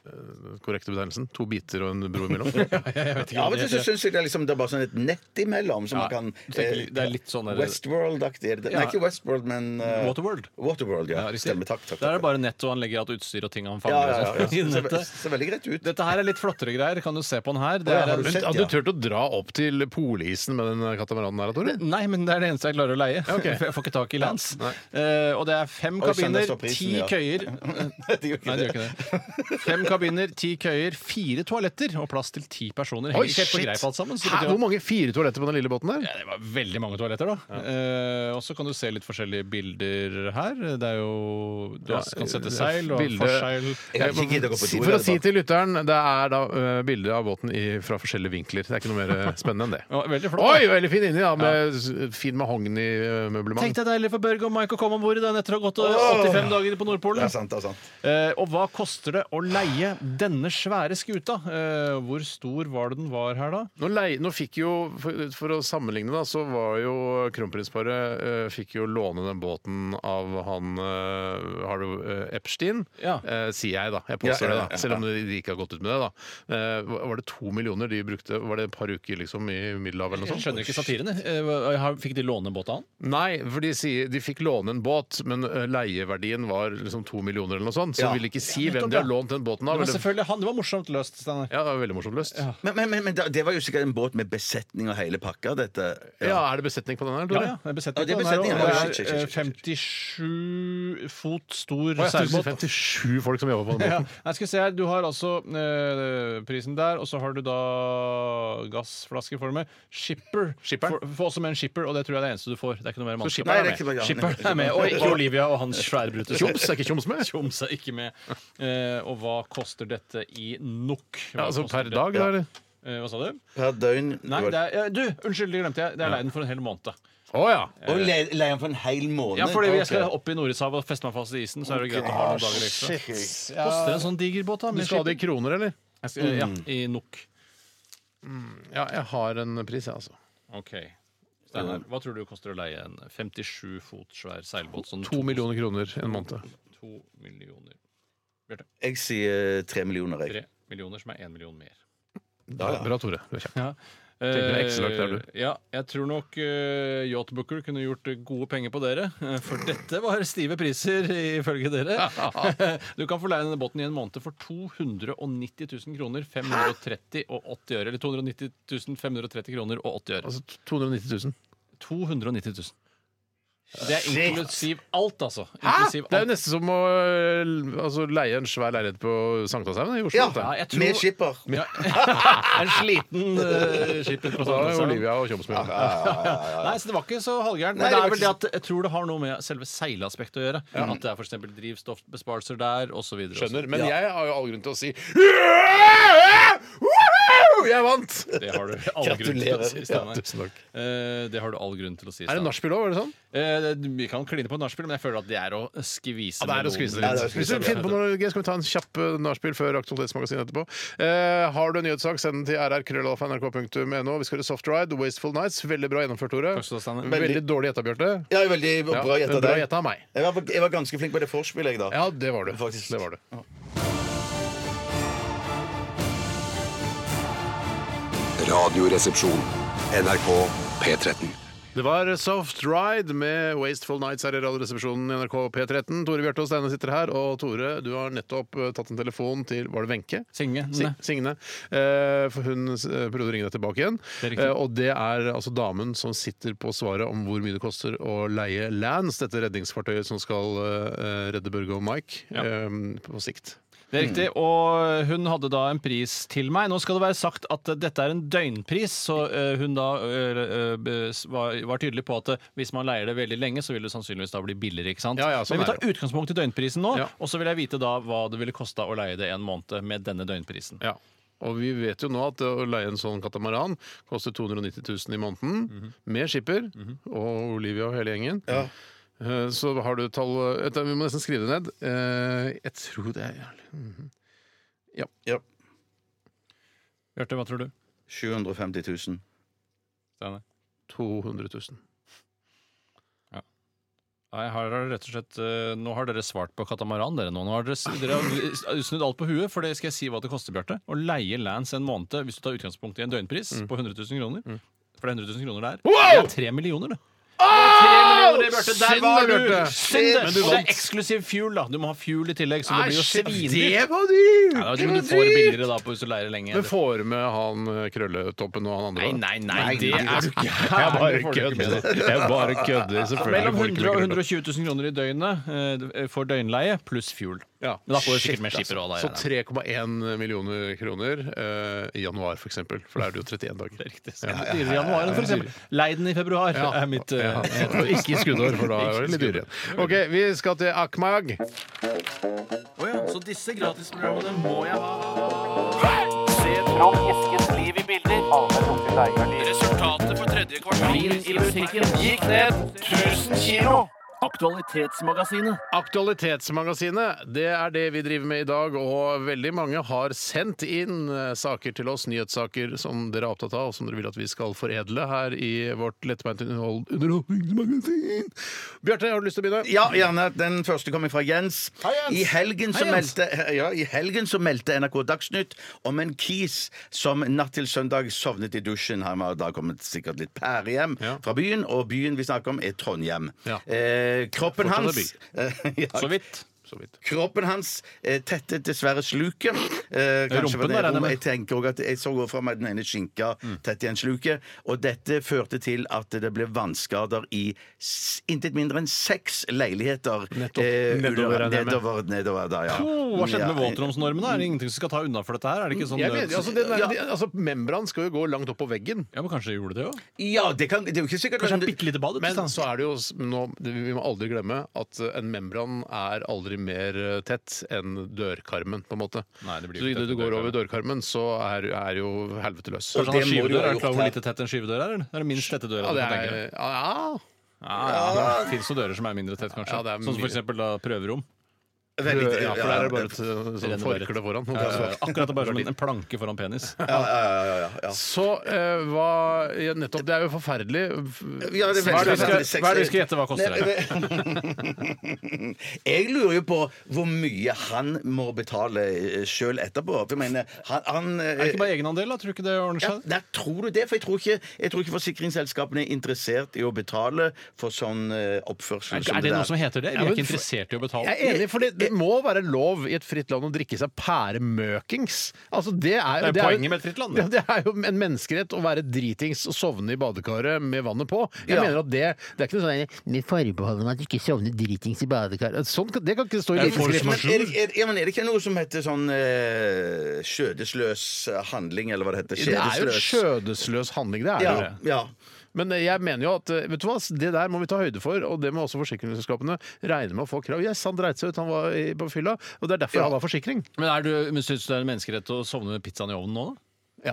Speaker 1: eh, korrekte betegnelsen. To biter og en bro (laughs) imellom.
Speaker 3: Av og til så syns jeg det er, liksom, det er bare sånn et nett imellom. Som
Speaker 2: Ja,
Speaker 3: man kan,
Speaker 2: du tenker
Speaker 3: eh,
Speaker 2: det er litt sånn der-
Speaker 3: Westworld-aktig. er det det? Nei,
Speaker 2: Ja.
Speaker 3: ikke Westworld, men eh,
Speaker 2: Waterworld.
Speaker 3: Waterworld, ja.
Speaker 2: Ja, riktig.
Speaker 3: Stemmer. Takk. takk,
Speaker 2: Der er
Speaker 3: takk.
Speaker 2: det bare nett, og han legger alt utstyr og ting han fanger.
Speaker 3: ja, ja, ja, ja.
Speaker 2: og sånt (laughs) i
Speaker 3: Ser, ve-
Speaker 2: nettet.
Speaker 3: ser veldig greit ut.
Speaker 2: Dette her er litt flottere greier. Kan du se på den her? Det
Speaker 3: Å, ja,
Speaker 2: er
Speaker 3: har
Speaker 2: en...
Speaker 1: Men
Speaker 3: Sett,
Speaker 1: Hadde
Speaker 3: ja.
Speaker 1: du turt å dra opp til polisen med den katamaranen der, Tore?
Speaker 2: Nei, men det er det eneste jeg klarer å leie.
Speaker 1: ok.
Speaker 2: (laughs) For jeg får ikke tak i lands.
Speaker 1: Nei.
Speaker 2: Eh, og det er fem
Speaker 3: Oi, sann, der
Speaker 2: kabiner,
Speaker 3: står prisen,
Speaker 2: ti
Speaker 3: ja. (laughs)
Speaker 2: køyer
Speaker 3: det gjør ikke
Speaker 2: Nei, det gjør
Speaker 3: det.
Speaker 2: ikke det. Fem kabiner, ti køyer, fire toaletter og plass til ti personer. Henger ikke helt på greip alt sammen. så det
Speaker 1: Hæ,
Speaker 2: betyr
Speaker 1: hvor
Speaker 2: at-
Speaker 1: mange fire toaletter på den lille båten der?
Speaker 2: Ja, det var veldig mange toaletter, da. Eh, og så kan du se litt forskjellige bilder her. Det er jo Du kan sette
Speaker 3: eh,
Speaker 2: seil og
Speaker 1: bilde-
Speaker 2: forseil.
Speaker 3: Jeg har ikke giddet å gå på
Speaker 1: Si-
Speaker 3: do,
Speaker 1: For
Speaker 3: i
Speaker 1: å
Speaker 3: det
Speaker 1: si
Speaker 3: hele tatt.
Speaker 1: til lytteren, det er da eh, bilder av båten i, fra forskjellige vinkler. Det er ikke noe mer eh, spennende enn det.
Speaker 2: Ja, veldig flott, da.
Speaker 1: Oi, veldig fin inni, da. Med s- fin eh, mahogni-møblement.
Speaker 2: Tenk deg deilig for Børge og Mike å komme om bord i den etter å ha gått eh, 85 dager på
Speaker 3: Det
Speaker 2: Nordpolen.
Speaker 3: er sant, det er sant.
Speaker 2: Eh, og hva koster det å leie denne svære skuta? Eh, hvor stor var det den var her, da?
Speaker 1: Nå, lei, nå fikk jo, for, for å sammenligne, da, så var jo kronprinsparet eh, Fikk jo låne den båten av han eh, Harvey eh, Epstein,
Speaker 2: Ja.
Speaker 1: eh, sier jeg, da. Jeg
Speaker 3: Ja, ja, ja,
Speaker 1: påstår det,
Speaker 3: ja.
Speaker 1: da. Selv om de ikke har gått ut med det, da. Eh, var var det to millioner de brukte? Var det et par uker liksom i Middelhavet eller noe
Speaker 2: Jeg
Speaker 1: sånt?
Speaker 2: skjønner ikke sånn. satiren. jeg. Eh, har- fikk de låne båta han?
Speaker 1: Nei, for de sier de fikk låne en båt, men eh, leieverdien var liksom to millioner eller noe sånt. Så
Speaker 3: Ja.
Speaker 1: de vil ikke si
Speaker 2: nettopp,
Speaker 1: hvem de har
Speaker 2: ja.
Speaker 1: lånt den båten av.
Speaker 2: Men
Speaker 1: eller-
Speaker 2: selvfølgelig, han, Det var morsomt løst. Steinar.
Speaker 1: Ja, det var veldig morsomt løst. Ja.
Speaker 3: Men, men, men, men da- det var jo sikkert en båt med besetning og hele pakka, dette.
Speaker 1: Er det besetning på den her,
Speaker 2: Ja,
Speaker 1: Tore?
Speaker 2: ja, det er
Speaker 3: Ja,
Speaker 2: besetning.
Speaker 3: det er
Speaker 2: på den her,
Speaker 3: besetning,
Speaker 2: og
Speaker 3: ja.
Speaker 2: det er,
Speaker 3: Shit, shit, shit, shit,
Speaker 2: eh, 57 fot stor
Speaker 1: Å, ja,
Speaker 2: seilbåt.
Speaker 1: 57 folk som jobber på den
Speaker 2: Ja.
Speaker 1: båten.
Speaker 2: (laughs) Nei, skal vi se her. Du har altså eh, prisen der, og så har du da gassflaske for meg. Shipper.
Speaker 1: Skipperen.
Speaker 2: Få- Få også med en shipper, og det tror jeg er det eneste du får. Det er ikke noe mer mannskap.
Speaker 3: Nei, det er ikke noe- ja.
Speaker 2: Skipperen er med, og ikke Olivia og hans svære brutus.
Speaker 1: Tjoms er ikke tjoms med?
Speaker 2: Tjoms er ikke med. Eh, og hva koster dette i nok? Hva
Speaker 1: Ja, altså
Speaker 2: koster
Speaker 1: per
Speaker 2: det-
Speaker 1: dag, da? eller?
Speaker 2: Eh, hva sa du?
Speaker 3: Per døgn
Speaker 2: Nei, det er, ja, du, unnskyld, det glemte jeg. Det er leien for en hel måned.
Speaker 1: Å ja.
Speaker 3: Og le- leie den for en hel måned.
Speaker 2: Ja, fordi jeg skal
Speaker 3: Ok.
Speaker 2: opp i Nordishavet og feste meg fast i isen, så er det liksom. greit å ha noen dager ekstra.
Speaker 3: Shit.
Speaker 2: Koster en sånn diger båt, da.
Speaker 1: Du
Speaker 2: med
Speaker 1: skal ha det i
Speaker 2: skip-
Speaker 1: kroner, eller?
Speaker 2: Jeg skal- eh, Ja, i nok.
Speaker 1: Ja, jeg har en pris, jeg, altså.
Speaker 2: Ok. Steinar,
Speaker 1: Um,
Speaker 2: hva tror du koster å leie en 57 fot svær seilbåt? Sånn
Speaker 1: To millioner kroner en måned.
Speaker 2: to millioner.
Speaker 3: Jeg sier eh, tre millioner, jeg.
Speaker 2: Tre millioner, som er én million mer.
Speaker 1: Bra, Tore. Du er kjapp.
Speaker 2: Ja.
Speaker 1: du en Excel-ark der, du?
Speaker 2: ja, jeg tror nok eh, Yachtbooker kunne gjort gode penger på dere. eh,
Speaker 1: (laughs)
Speaker 2: For dette var stive priser, ifølge dere.
Speaker 1: (laughs)
Speaker 2: Du kan få leie denne båten i en måned for 290 000 kroner 530 og 80 øre. Eller 290 000 530 kroner og 80 øre.
Speaker 1: Altså 290 000.
Speaker 2: 290 000. Det er inklusiv alt, altså.
Speaker 1: Det
Speaker 2: Inklusiv
Speaker 1: er jo
Speaker 2: alt.
Speaker 1: nesten som å øh, altså, leie en svær leilighet på Sankthanshaugen i Oslo.
Speaker 3: Ja,
Speaker 1: dette.
Speaker 2: Ja, jeg tror-
Speaker 3: Med skipper.
Speaker 2: (laughs) En sliten uh, skipper. på
Speaker 1: Da er
Speaker 2: Sandnes, ja.
Speaker 1: Olivia og Tjoms med.
Speaker 2: Nei, så det var ikke så halvgærent.
Speaker 3: Nei,
Speaker 2: Men det
Speaker 3: det
Speaker 2: er
Speaker 3: var
Speaker 2: vel det
Speaker 3: ikke
Speaker 2: at jeg tror det har noe med selve seilaspektet å gjøre. At det er f.eks. drivstoffbesparelser der, osv.
Speaker 1: Skjønner. Men jeg har jo all grunn til å si (laughs) Woohoo! Jeg vant!
Speaker 2: Det har
Speaker 1: (laughs)
Speaker 2: du all grunn til å si.
Speaker 1: Ja,
Speaker 2: Steinar.
Speaker 1: tusen takk.
Speaker 2: Eh, det har du all grunn til å si.
Speaker 1: Er det
Speaker 2: Steinar.
Speaker 1: nachspiel òg, var det sånn?
Speaker 2: Eh, det- vi kan kline på nachspiel, men jeg føler at det er å skvise
Speaker 1: Ja, det er å
Speaker 2: melonen.
Speaker 3: Ja,
Speaker 1: skvise det
Speaker 3: det er å
Speaker 1: litt. Hvis
Speaker 3: skvise
Speaker 1: du
Speaker 3: det.
Speaker 1: finner på noe gøy, skal vi ta en kjapp eh, nachspiel før Aktualitetsmagasinet etterpå. Eh, har du en nyhetssak, send den til rrkrøllalfa.nrk.no. Vi skal høre Soft Ride, Wasteful Nights. Veldig bra gjennomført, Tore.
Speaker 2: Takk skal du ha, Steinar.
Speaker 1: Veldig dårlig gjetta, Bjarte.
Speaker 3: Ja, veldig bra gjetta
Speaker 1: men bra
Speaker 3: der.
Speaker 1: gjetta av meg.
Speaker 3: Jeg var, jeg var ganske flink på det vorspielet, jeg, da.
Speaker 1: Ja, det var du.
Speaker 3: Faktisk.
Speaker 1: Det var du.
Speaker 5: Radioresepsjon. NRK P13.
Speaker 1: Det var Soft Ride med Wasteful Nights her i Radioresepsjonen i NRK P13. Tore Bjarte og Steine sitter her, og Tore, du har nettopp eh, tatt en telefon til Var det Wenche?
Speaker 2: Signe.
Speaker 1: Si- Signe. Eh, For hun eh, prøvde å ringe deg tilbake igjen.
Speaker 2: Det er riktig.
Speaker 1: Eh, Og det er altså damen som sitter på svaret om hvor mye det koster å leie Lance, dette redningsfartøyet som skal eh, redde Børge og Mike
Speaker 2: Ja.
Speaker 1: eh, på sikt.
Speaker 2: Det er riktig, og hun hadde da en pris til meg. Nå skal det være sagt at dette er en døgnpris, så eh, hun da eh, eh, bes- var, var tydelig på at eh, hvis man leier det veldig lenge, så vil det sannsynligvis da bli billigere, ikke sant?
Speaker 1: Ja, ja, sånn
Speaker 2: Men vi
Speaker 1: er
Speaker 2: tar utgangspunkt i døgnprisen nå,
Speaker 1: Ja.
Speaker 2: og så vil jeg vite da hva det ville kosta å leie det en måned med denne døgnprisen.
Speaker 1: Ja. Og vi vet jo nå at å leie en sånn katamaran koster 290 000 i måneden,
Speaker 2: Mhm.
Speaker 1: med skipper og Olivia og hele gjengen. Eh, Så har du tall Vet du, Vi må nesten skrive det ned. Eh, Jeg tror det er Mhm.
Speaker 3: Ja.
Speaker 2: Bjarte, hva tror du?
Speaker 3: 750 000.
Speaker 2: Steinar?
Speaker 1: 200 000.
Speaker 2: Nei, her har dere rett og slett eh, Nå har dere svart på katamaran, dere nå. nå har dere, s- dere har snudd alt på huet, for det skal jeg si hva det koster, Bjarte. Å leie Lance en måned, hvis du tar utgangspunkt i en døgnpris på 100 000 kroner. For det er 100 000 kroner der. Det er tre millioner, det. det. Bjarte. Der
Speaker 1: Synd
Speaker 2: var
Speaker 1: det,
Speaker 2: du!
Speaker 1: Bjarte.
Speaker 2: Synd det.
Speaker 1: Men
Speaker 2: Og
Speaker 1: du
Speaker 2: det
Speaker 1: vant.
Speaker 2: er eksklusiv fuel, da. Du må ha fuel i tillegg, så det blir jo svindyrt.
Speaker 1: det var dyrt!
Speaker 2: Ja,
Speaker 1: Det
Speaker 2: det er jo ikke
Speaker 1: var
Speaker 2: du får
Speaker 1: dyrt!
Speaker 2: billigere da på hvis du leier lenge.
Speaker 1: Men får du med han eh, krølletoppen og han andre?
Speaker 2: Nei,
Speaker 1: da?
Speaker 2: nei, nei, det
Speaker 1: nei,
Speaker 2: er du ikke.
Speaker 1: Jeg bare
Speaker 2: Får du ikke med
Speaker 1: kødder.
Speaker 2: det.
Speaker 1: Jeg bare kødder, selvfølgelig.
Speaker 2: Mellom
Speaker 1: får du ikke
Speaker 2: 100 og
Speaker 1: med krølletoppen.
Speaker 2: 120 000 kroner i døgnet eh, for døgnleie pluss fuel.
Speaker 1: Ja.
Speaker 2: Men da får du sikkert
Speaker 1: Shit,
Speaker 2: mer skipper også, da,
Speaker 1: altså.
Speaker 2: regner
Speaker 1: Så 3,1 millioner kroner eh, i januar, for eksempel. For da er det jo 31 dager.
Speaker 2: Riktig. Så det er dyrere i januar enn for eksempel. Lei den i februar er mitt eh,
Speaker 1: Ja, og ikke i skuddår, for da
Speaker 2: Ikke i
Speaker 1: er det litt
Speaker 2: skuddår.
Speaker 1: dyrere. OK, vi skal til Akmag.
Speaker 2: Så disse gratisprogrammene må jeg ha. Resultatet for tredje
Speaker 7: gikk ned 1000 kilo. Aktualitetsmagasinet.
Speaker 1: Aktualitetsmagasinet, det er det vi driver med i dag. Og veldig mange har sendt inn eh, saker til oss, nyhetssaker som dere er opptatt av, og som dere vil at vi skal foredle her i vårt lettbeinte underhold- underholdningsmagasin. Bjarte, har du lyst til å begynne?
Speaker 3: Ja, gjerne. Den første kommer fra Jens. I helgen så
Speaker 1: Hei, Jens.
Speaker 3: meldte, ja, I helgen så meldte NRK Dagsnytt om en kis som natt til søndag sovnet i dusjen. Han var da kommet sikkert litt pære hjem
Speaker 1: Ja.
Speaker 3: fra byen, og byen vi snakker om, er Trondheim.
Speaker 1: Ja.
Speaker 3: Eh, kroppen
Speaker 1: Fortsatt
Speaker 3: hans (laughs) ja,
Speaker 2: Så vidt.
Speaker 1: Så vidt.
Speaker 3: Kroppen hans eh, tettet dessverre sluket. Eh, kanskje var
Speaker 2: Rumpen, da,
Speaker 3: det
Speaker 2: regner jeg med.
Speaker 3: rommet. Jeg tenker også at jeg så også fra meg den ene skinka
Speaker 1: Mm.
Speaker 3: tett i en sluke. Og dette førte til at det ble vannskader i s- intet mindre enn seks leiligheter.
Speaker 1: Nettopp. Nedover,
Speaker 3: nedover,
Speaker 1: regner jeg med.
Speaker 3: nedover, nedover da, ja.
Speaker 2: Oh, hva skjedde med
Speaker 3: Ja.
Speaker 2: våtromsnormen? da? Er det ingenting som skal ta unna for dette her? Er det ikke sånn
Speaker 1: Jeg mener, altså, den,
Speaker 3: Ja.
Speaker 1: er- de- altså, membran skal jo gå langt opp på veggen.
Speaker 2: Ja, men kanskje gjorde det jo?
Speaker 3: Ja, det, kan, det er jo ikke sikkert
Speaker 2: Kanskje en bitte lite bad?
Speaker 1: Men så er det jo s- nå, det- Vi må aldri glemme at eh, en membran er aldri mer eh, tett enn dørkarmen, på en måte.
Speaker 2: Nei, det blir jo
Speaker 1: så
Speaker 2: ikke
Speaker 1: idet du
Speaker 2: tett enn
Speaker 1: går over dørkarmen, så er, er jo helvete løs.
Speaker 3: Og
Speaker 2: Kanskje han har
Speaker 3: det må du
Speaker 2: skyvedør?
Speaker 3: ha
Speaker 2: Er det
Speaker 3: gjort
Speaker 2: klar hvor
Speaker 3: her.
Speaker 2: lite tett en skyvedør er? eller? Det er det minst tette døra.
Speaker 1: Ja,
Speaker 2: du
Speaker 1: det
Speaker 2: kan tenke deg.
Speaker 1: er, ja,
Speaker 2: Ja, ja. Det fins jo dører som er mindre tett, kanskje.
Speaker 1: Ja, det er
Speaker 2: sånn som
Speaker 1: mye.
Speaker 2: for eksempel da, prøverom.
Speaker 3: Veldig-
Speaker 1: ja, for der er det bare et eh,
Speaker 2: Renner
Speaker 1: sånn
Speaker 2: bare
Speaker 1: forkle foran.
Speaker 2: Ja, ja, ja. Eh, Akkurat bare som en- en planke foran penis.
Speaker 3: Ja, ja, ja, ja, ja, ja.
Speaker 1: Så eh, hva ja, Nettopp, det er jo forferdelig.
Speaker 3: Ja, det er
Speaker 1: Hva er
Speaker 3: veldig-
Speaker 1: det vi skal-
Speaker 3: seks-
Speaker 2: hva er det vi skal gjette hva koster
Speaker 3: Nei, men- (laughs) Jeg lurer jo på hvor mye han må betale sjøl etterpå. For jeg mener, han, han eh,
Speaker 2: Er det ikke bare egenandel, da? Tror du ikke det ordner
Speaker 3: ja,
Speaker 2: seg?
Speaker 3: nei, tror du det? For jeg tror, ikke, jeg tror ikke forsikringsselskapene er interessert i å betale for sånn eh, oppførsel
Speaker 2: Er det noe som heter det?
Speaker 1: Ja,
Speaker 2: Vi er
Speaker 1: men
Speaker 2: ikke
Speaker 1: for-
Speaker 2: interessert i å betale.
Speaker 1: Jeg er enig, for det, det må være lov i et fritt land å drikke seg pæremøkings. Altså, det er,
Speaker 2: Det er
Speaker 1: jo-
Speaker 2: poenget med et fritt land, det.
Speaker 1: Ja, (laughs) det er jo en menneskerett å være dritings og sovne i badekaret med vannet på. Jeg
Speaker 3: Ja.
Speaker 1: mener at det, det er ikke noe sånn Med forbehold om at du ikke sovner dritings i badekaret. Sånn, kan- det kan ikke stå i
Speaker 2: Det er force
Speaker 1: livskriften.
Speaker 2: majeure.
Speaker 3: er det, er, ja, men er det ikke noe som heter sånn eh, skjødesløs handling, eller hva det heter?
Speaker 1: Det er jo en
Speaker 3: Skjedesløs.
Speaker 1: skjødesløs handling, det er
Speaker 3: ja,
Speaker 1: jo det.
Speaker 3: ja.
Speaker 1: Men jeg mener jo at eh, vet du hva, det der må vi ta høyde for, og det må også forsikringsselskapene regne med å få krav. Yes, han dreit seg ut, han var i- på fylla, og det er derfor
Speaker 3: Ja.
Speaker 1: han har forsikring.
Speaker 2: Men, er du- men Syns du det er en menneskerett å sovne med pizzaen i ovnen nå, da?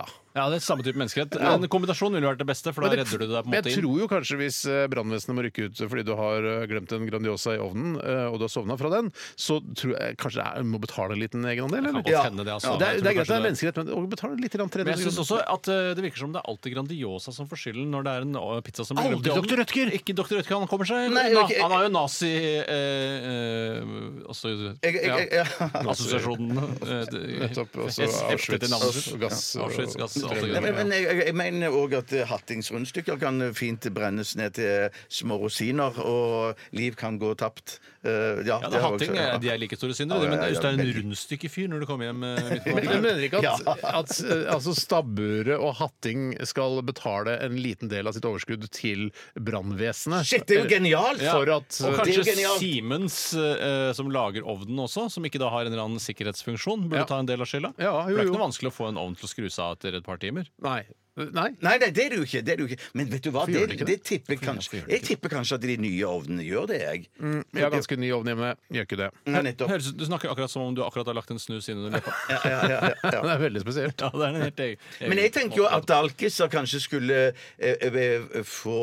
Speaker 1: Ja.
Speaker 2: Ja, det er samme type menneskerett. En kombinasjon ville vært det beste, for da redder du deg på en
Speaker 1: Men
Speaker 2: måte
Speaker 1: jeg
Speaker 2: inn.
Speaker 1: tror jo kanskje hvis eh, brannvesenet må rykke ut fordi du har eh, glemt en Grandiosa i ovnen, eh, og du har sovna fra den, så tror jeg kanskje det er, må betale en liten egenandel,
Speaker 2: Kan
Speaker 1: eller?
Speaker 2: godt hende det, altså.
Speaker 1: Det er, det er greit
Speaker 2: Jeg tror
Speaker 1: det er
Speaker 2: kanskje
Speaker 1: menneskerett, men å betale litt grann
Speaker 2: Men
Speaker 1: 300
Speaker 2: jeg syns
Speaker 1: kroner.
Speaker 2: også at eh, det virker som det er alltid Grandiosa som får skylden når det er en eh, pizza som
Speaker 1: Aldri
Speaker 2: glemt i ovnen.
Speaker 1: Dr. Rødtger!
Speaker 2: Ikke Dr. Rødtger, han kommer seg
Speaker 3: Nei,
Speaker 2: unna.
Speaker 3: ok.
Speaker 2: Han er jo nazi eh, eh, også,
Speaker 3: Jeg, jeg,
Speaker 2: ja. (laughs)
Speaker 3: jeg, ja.
Speaker 2: Assosiasjonen eh, det-
Speaker 1: Nettopp. Og så
Speaker 2: es- heftet i
Speaker 1: Auschwitz
Speaker 2: navnet
Speaker 1: og
Speaker 2: sitt.
Speaker 1: gass. og-
Speaker 2: Auschwitz, gass, alt det
Speaker 3: Nei,
Speaker 2: greiene.
Speaker 3: men, men jeg, jeg- jeg mener òg at eh, Hattings rundstykker kan eh, fint brennes ned til eh, små rosiner, og liv kan gå tapt. Eh, ja,
Speaker 2: Ja,
Speaker 3: det
Speaker 2: det er
Speaker 3: har
Speaker 2: hatting,
Speaker 3: jeg også-
Speaker 2: eh, de er like store syndere,
Speaker 3: Ja,
Speaker 2: de, men
Speaker 3: ja, ja,
Speaker 2: hvis du er en
Speaker 3: veldig.
Speaker 2: rundstykkefyr når du kommer hjem eh, midt
Speaker 1: Men
Speaker 2: på
Speaker 1: jeg
Speaker 2: natta
Speaker 1: mener ikke at, (laughs) at eh, altså stabburet og hatting skal betale en liten del av sitt overskudd til brannvesenet.
Speaker 3: Ah, Shit, det er jo genialt!
Speaker 2: Ja.
Speaker 1: For at
Speaker 2: Og
Speaker 3: Det er jo
Speaker 2: kanskje
Speaker 3: genialt.
Speaker 2: Siemens, eh, som lager ovnen også, som ikke da har en eller annen sikkerhetsfunksjon, burde
Speaker 1: Ja.
Speaker 2: ta en del av skylda.
Speaker 1: Ja,
Speaker 2: For det er
Speaker 1: jo,
Speaker 2: ikke
Speaker 1: jo.
Speaker 2: noe vanskelig å få en ovn til å skru seg av etter et par timer.
Speaker 1: Nei. Nei.
Speaker 3: Nei, nei, det er det jo ikke. Det er det jo ikke. Men vet du hva,
Speaker 1: gjør
Speaker 3: det,
Speaker 1: det
Speaker 3: det,
Speaker 1: ikke det?
Speaker 3: tipper kanskje Jeg tipper kanskje at de nye ovnene gjør det, jeg.
Speaker 2: Mm.
Speaker 1: Jeg har ganske ny ovn hjemme. Gjør ikke det.
Speaker 3: Ja, nettopp.
Speaker 2: Høres, ut- du snakker akkurat som om du akkurat har lagt en snus inn under (laughs) leppa.
Speaker 3: Ja, ja, ja, ja, ja.
Speaker 1: (laughs) Det er veldig spesielt.
Speaker 2: Ja, det er en helt e- egen-
Speaker 3: Men jeg tenker jo at alkiser kanskje skulle eh, eh, få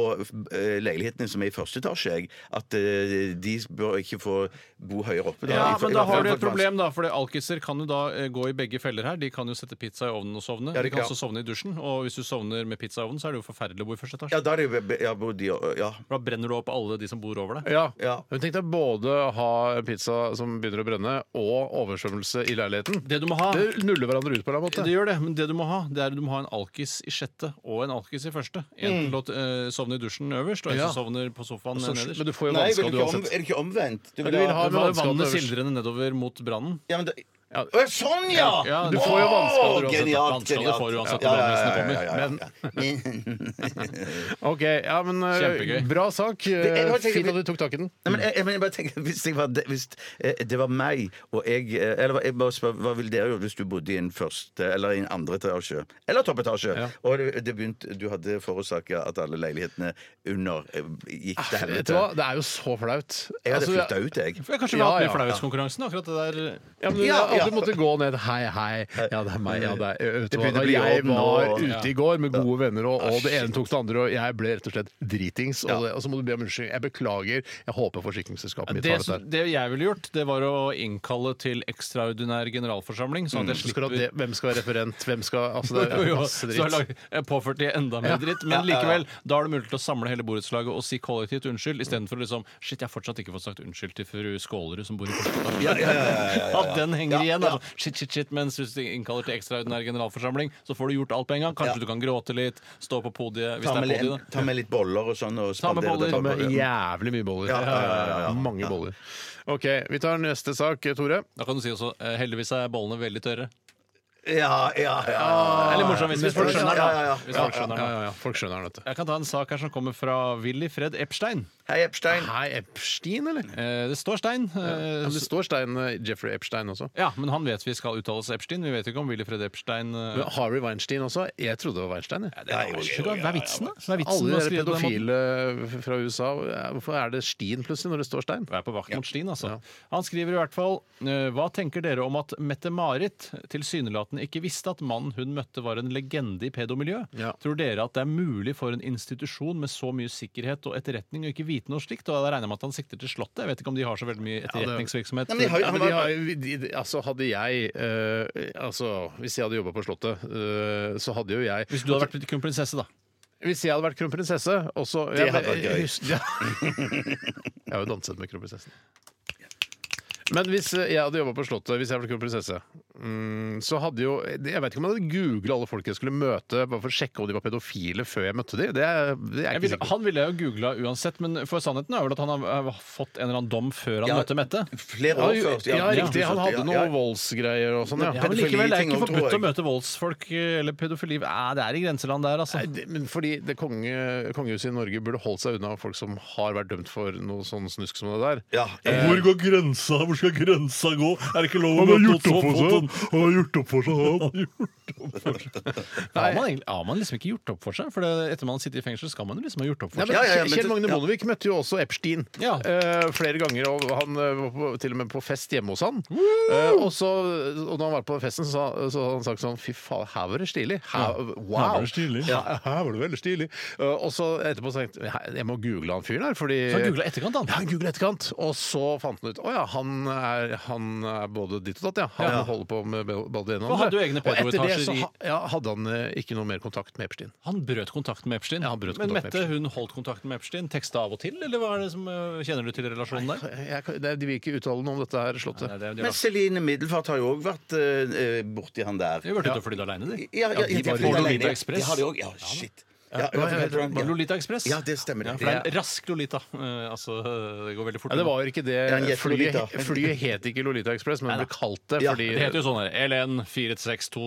Speaker 3: eh, leilighetene som er i første etasje, jeg. At eh, de bør ikke få bo høyere oppe.
Speaker 2: ja,
Speaker 3: I-
Speaker 2: men
Speaker 3: i-
Speaker 2: da har du et problem, da. For alkiser kan jo da eh, gå i begge feller her. De kan jo sette pizza i ovnen og sovne.
Speaker 3: Ja,
Speaker 2: De
Speaker 3: det-
Speaker 2: kan
Speaker 3: ja.
Speaker 2: også sovne i dusjen. Og hvis du du sovner med pizza i ovnen, så er det jo forferdelig å bo i første etasje.
Speaker 3: Ja, da er det jo jeg bodde i Ja.
Speaker 2: For Da brenner du opp alle de som bor over deg.
Speaker 1: Ja.
Speaker 3: Ja.
Speaker 1: Hun tenkte både ha pizza som begynner å brenne, og oversvømmelse i leiligheten.
Speaker 2: Det du må ha
Speaker 1: Det nuller hverandre ut på en eller annen måte.
Speaker 2: Det gjør det, men det du må ha, det er du må ha en alkis i sjette og en alkis i første. En til å eh, sovne i dusjen øverst, og
Speaker 1: Mm.
Speaker 2: en
Speaker 1: Ja.
Speaker 2: som sovner på sofaen
Speaker 1: Så-
Speaker 2: nederst.
Speaker 1: men du får jo
Speaker 3: Nei, vil
Speaker 1: vannskade
Speaker 3: du ikke om,
Speaker 1: uansett.
Speaker 3: er det ikke omvendt?
Speaker 1: Ja, du vil ha-
Speaker 2: Det var jo
Speaker 1: Vannskaden
Speaker 2: vannet
Speaker 1: øverst.
Speaker 2: sildrende nedover mot brannen.
Speaker 3: ja, men da, Å, Sånn, ja!
Speaker 2: Ja,
Speaker 1: du får jo
Speaker 3: Å,
Speaker 1: vannskader uansett.
Speaker 3: Genialt.
Speaker 2: Vannskader
Speaker 3: genialt.
Speaker 2: får du uansett
Speaker 3: Ja,
Speaker 2: når
Speaker 3: ja, ja,
Speaker 2: brannvesenet kommer.
Speaker 3: ja, ja, ja, ja.
Speaker 1: Ok, ja, men eh,
Speaker 2: Kjempegøy.
Speaker 1: Bra sak.
Speaker 3: jeg
Speaker 1: Eh,
Speaker 3: bare tenker-
Speaker 1: Fint at du tok tak i den.
Speaker 3: Nei, men jeg, jeg, men jeg bare tenker, hvis, jeg var, de- hvis eh, det var meg og jeg eh, Eller jeg bare spør, Hva ville dere gjort hvis du bodde i en første eller i en andre etasje? Eller toppetasje? Og det, det begynte, du hadde forårsaka at alle leilighetene under eh, gikk til
Speaker 1: Ah, Vet du
Speaker 3: helvete.
Speaker 1: hva, Det er jo så flaut.
Speaker 3: Jeg hadde
Speaker 1: Altså,
Speaker 3: flytta ut, jeg.
Speaker 2: For jeg kanskje vi
Speaker 1: Ja,
Speaker 2: har hatt med
Speaker 1: ja,
Speaker 2: flauhetskonkurransen. Akkurat det der
Speaker 1: Ja, men
Speaker 3: Ja,
Speaker 1: at
Speaker 3: ja.
Speaker 1: Du måtte gå ned. Hei, hei. Ja, det er meg. Ja, det er, vet du
Speaker 3: Det
Speaker 1: hva,
Speaker 3: begynner
Speaker 1: da
Speaker 3: å bli
Speaker 1: jeg
Speaker 3: jobb nå,
Speaker 1: var
Speaker 3: og-
Speaker 1: ute i går med gode venner, og, og det ene tok det andre, og jeg ble rett og slett dritings. Og, det, og så må du be om unnskyldning. Jeg beklager. Jeg håper forsikringsselskapet mitt
Speaker 2: det,
Speaker 1: tar dette.
Speaker 2: som- det jeg ville gjort, det var å innkalle til ekstraordinær generalforsamling. Sånn at jeg
Speaker 1: her. Skal Mm. du ha
Speaker 2: slipper
Speaker 1: det, hvem skal være referent? Hvem skal altså, Det
Speaker 2: (laughs) Jo,
Speaker 1: er
Speaker 2: jo,
Speaker 1: masse
Speaker 2: så har
Speaker 1: dritt.
Speaker 2: lag- jeg påført de enda mer dritt. Men likevel, da er det mulig til å samle hele borettslaget og si kollektivt unnskyld, istedenfor liksom Shit, jeg har fortsatt ikke fått sagt unnskyld til fru Skålerud som bor i Porsgrunn. At den henger igjen. altså. Shit, shit, shit. Mens hvis du innkaller til ekstraordinær generalforsamling, så får du gjort alt på en gang. Kanskje du kan gråte litt, stå på podiet hvis
Speaker 3: Ta
Speaker 2: det
Speaker 3: med,
Speaker 2: er
Speaker 3: en,
Speaker 2: podiet. da.
Speaker 3: ta med litt boller og sånn. Og
Speaker 2: Ta med
Speaker 3: spandere
Speaker 2: boller.
Speaker 3: det
Speaker 1: Ta med
Speaker 3: på-
Speaker 1: jævlig mye boller.
Speaker 3: Ja, ja, ja, ja, ja.
Speaker 1: Mange boller. OK, vi tar neste sak, Tore.
Speaker 2: Da kan du si også eh, heldigvis er bollene veldig tørre.
Speaker 3: Ja, ja, ja.
Speaker 2: Det er litt morsomt hvis, hvis folk skjønner
Speaker 3: Ja, ja, ja.
Speaker 2: det. Hvis folk skjønner det.
Speaker 1: ja, folk skjønner dette.
Speaker 2: Jeg kan ta en sak her som kommer fra Willy Fred Epstein.
Speaker 3: Hei, Epstein.
Speaker 1: Hei, Epstein, eller?
Speaker 2: Eh, Det står Stein. eh,
Speaker 1: Det står Stein, eh, Jeffrey Epstein også.
Speaker 2: Ja, men han vet vi skal uttales Epstein. Vi vet jo ikke om Willy Fred Epstein eh,
Speaker 1: Men Harvey Weinstein også. Jeg trodde det var Weinstein. Jeg.
Speaker 2: det er, Hva er vitsen, da? Hva er vitsen
Speaker 1: Alle
Speaker 2: med å
Speaker 1: de
Speaker 2: skrive
Speaker 1: der
Speaker 2: det på den måten?
Speaker 1: pedofile eh, fra USA, hvorfor er det Stien plutselig når det står Stein?
Speaker 2: Vi er på vakt mot stien, altså. Han skriver i hvert fall eh, Hva tenker dere om at Mette-Marit tilsynelatende ikke visste at mannen hun møtte, var en legende i pedomiljøet?
Speaker 1: Ja.
Speaker 2: Tror dere at det er mulig for en institusjon med så mye sikkerhet og etterretning å ikke vite noe slikt? Og da regner jeg med at han sikter til Slottet. Jeg vet ikke om de har så veldig mye etterretningsvirksomhet.
Speaker 3: Nei, men de har jo-
Speaker 1: Ja, men de har, de, de- altså hadde jeg eh, altså, Hvis jeg hadde jobba på Slottet, eh, så hadde jo jeg
Speaker 2: Hvis du hadde vært kronprinsesse, da.
Speaker 1: Hvis jeg hadde vært kronprinsesse og så,
Speaker 3: Det hadde vært gøy.
Speaker 1: ja. (laughs) Jeg har jo danset med kronprinsessen. Men hvis eh, jeg hadde jobba på Slottet, hvis jeg var kronprinsesse, mm, så hadde jo Jeg vet ikke om jeg hadde googla alle folk jeg skulle møte, bare for å sjekke om de var pedofile før jeg møtte dem. Det er, det er jeg
Speaker 2: Jeg
Speaker 1: ikke
Speaker 2: ville-
Speaker 1: sikker på.
Speaker 2: han ville jeg jo googla uansett, men for sannheten er vel at han har har fått en eller annen dom før han
Speaker 3: Ja.
Speaker 2: møtte Mette.
Speaker 3: Flere
Speaker 1: Ja,
Speaker 3: år
Speaker 1: jo,
Speaker 3: først.
Speaker 1: ja, riktig. Han
Speaker 3: Ja, ja.
Speaker 1: hadde noe voldsgreier og sånn.
Speaker 2: Ja,
Speaker 1: Ja.
Speaker 2: men likevel, Det er ikke
Speaker 3: Pedofili-ting også, tror
Speaker 2: forbudt å
Speaker 3: jeg.
Speaker 2: møte voldsfolk eh, eller pedofili. Nei, det er i grenseland der, altså.
Speaker 1: Nei, det- Men fordi det konge, kongehuset i Norge burde holdt seg unna folk som har vært dømt for noe sånn snusk som det der.
Speaker 3: Ja, Eh,
Speaker 8: Hvor går grensa? Hvor skal grensa gå? Er det ikke lov å møte oss og få den? Han har gjort opp for
Speaker 2: (laughs)
Speaker 8: seg, han.
Speaker 2: Har man, egentlig- har man liksom ikke gjort opp for seg? For det, etter man sitter i fengsel, skal man jo liksom ha gjort opp for
Speaker 1: Nei,
Speaker 2: seg.
Speaker 1: men
Speaker 3: Ja, ja, ja, men
Speaker 1: Kjell
Speaker 3: det-
Speaker 1: Magne
Speaker 3: ja.
Speaker 1: Bondevik møtte jo også Epstein
Speaker 2: Ja.
Speaker 1: eh, flere ganger. Og han eh, var på, til og med på fest hjemme hos han. Eh, og, så, og da han var på festen, så, sa- så hadde han sagt sånn Fy faen, her var det stilig. Her, wow.
Speaker 8: var det stilig.
Speaker 1: Ja, her var det veldig stilig. Eh, og så etterpå sa han jeg må google han fyren her, fordi
Speaker 2: Så han googlet etterkant, han.
Speaker 1: Ja, han googlet etterkant. Og så fant han ut Å ja, han er, han er både ditt og datt, ja. Han holder på med be- både det ene og
Speaker 2: For han hadde jo egne
Speaker 1: Og etter det
Speaker 2: pedoetasjer
Speaker 1: så
Speaker 2: i-
Speaker 1: ha, ja, hadde han eh, ikke noe mer kontakt med Epstein.
Speaker 2: Han brøt kontakten med Epstein.
Speaker 1: Ja, han brøt
Speaker 2: men
Speaker 1: kontakten med
Speaker 2: Mette hun holdt kontakten med Epstein. Teksta av og til, eller hva er det som øh, kjenner du til relasjonen der?
Speaker 1: Jeg, kan- det- de vil ikke uttale noe om dette her, Slottet.
Speaker 2: Nei, det er- de
Speaker 3: Men
Speaker 2: har-
Speaker 3: Celine Middelfart har jo òg vært eh, eh, borti han der.
Speaker 2: De har vært ute og flydd alene, de.
Speaker 3: Ja, ja,
Speaker 2: de
Speaker 3: ja,
Speaker 2: var
Speaker 3: flyr
Speaker 2: på
Speaker 3: alene.
Speaker 2: Lolita Express.
Speaker 3: Det har de òg. Ja, shit. Ja,
Speaker 2: Var det Lolita Express?
Speaker 3: Ja, det stemmer det.
Speaker 2: Ja, for det er en rask Lolita. Eh, altså, det går veldig fort.
Speaker 1: Ja, det var jo ikke
Speaker 3: Ja, en
Speaker 1: det.
Speaker 3: jet Lolita.
Speaker 1: Flyet, flyet het ikke Lolita Express, men det ble kalt det
Speaker 3: Ja,
Speaker 1: fordi
Speaker 2: Det heter jo sånn her LN 436-235.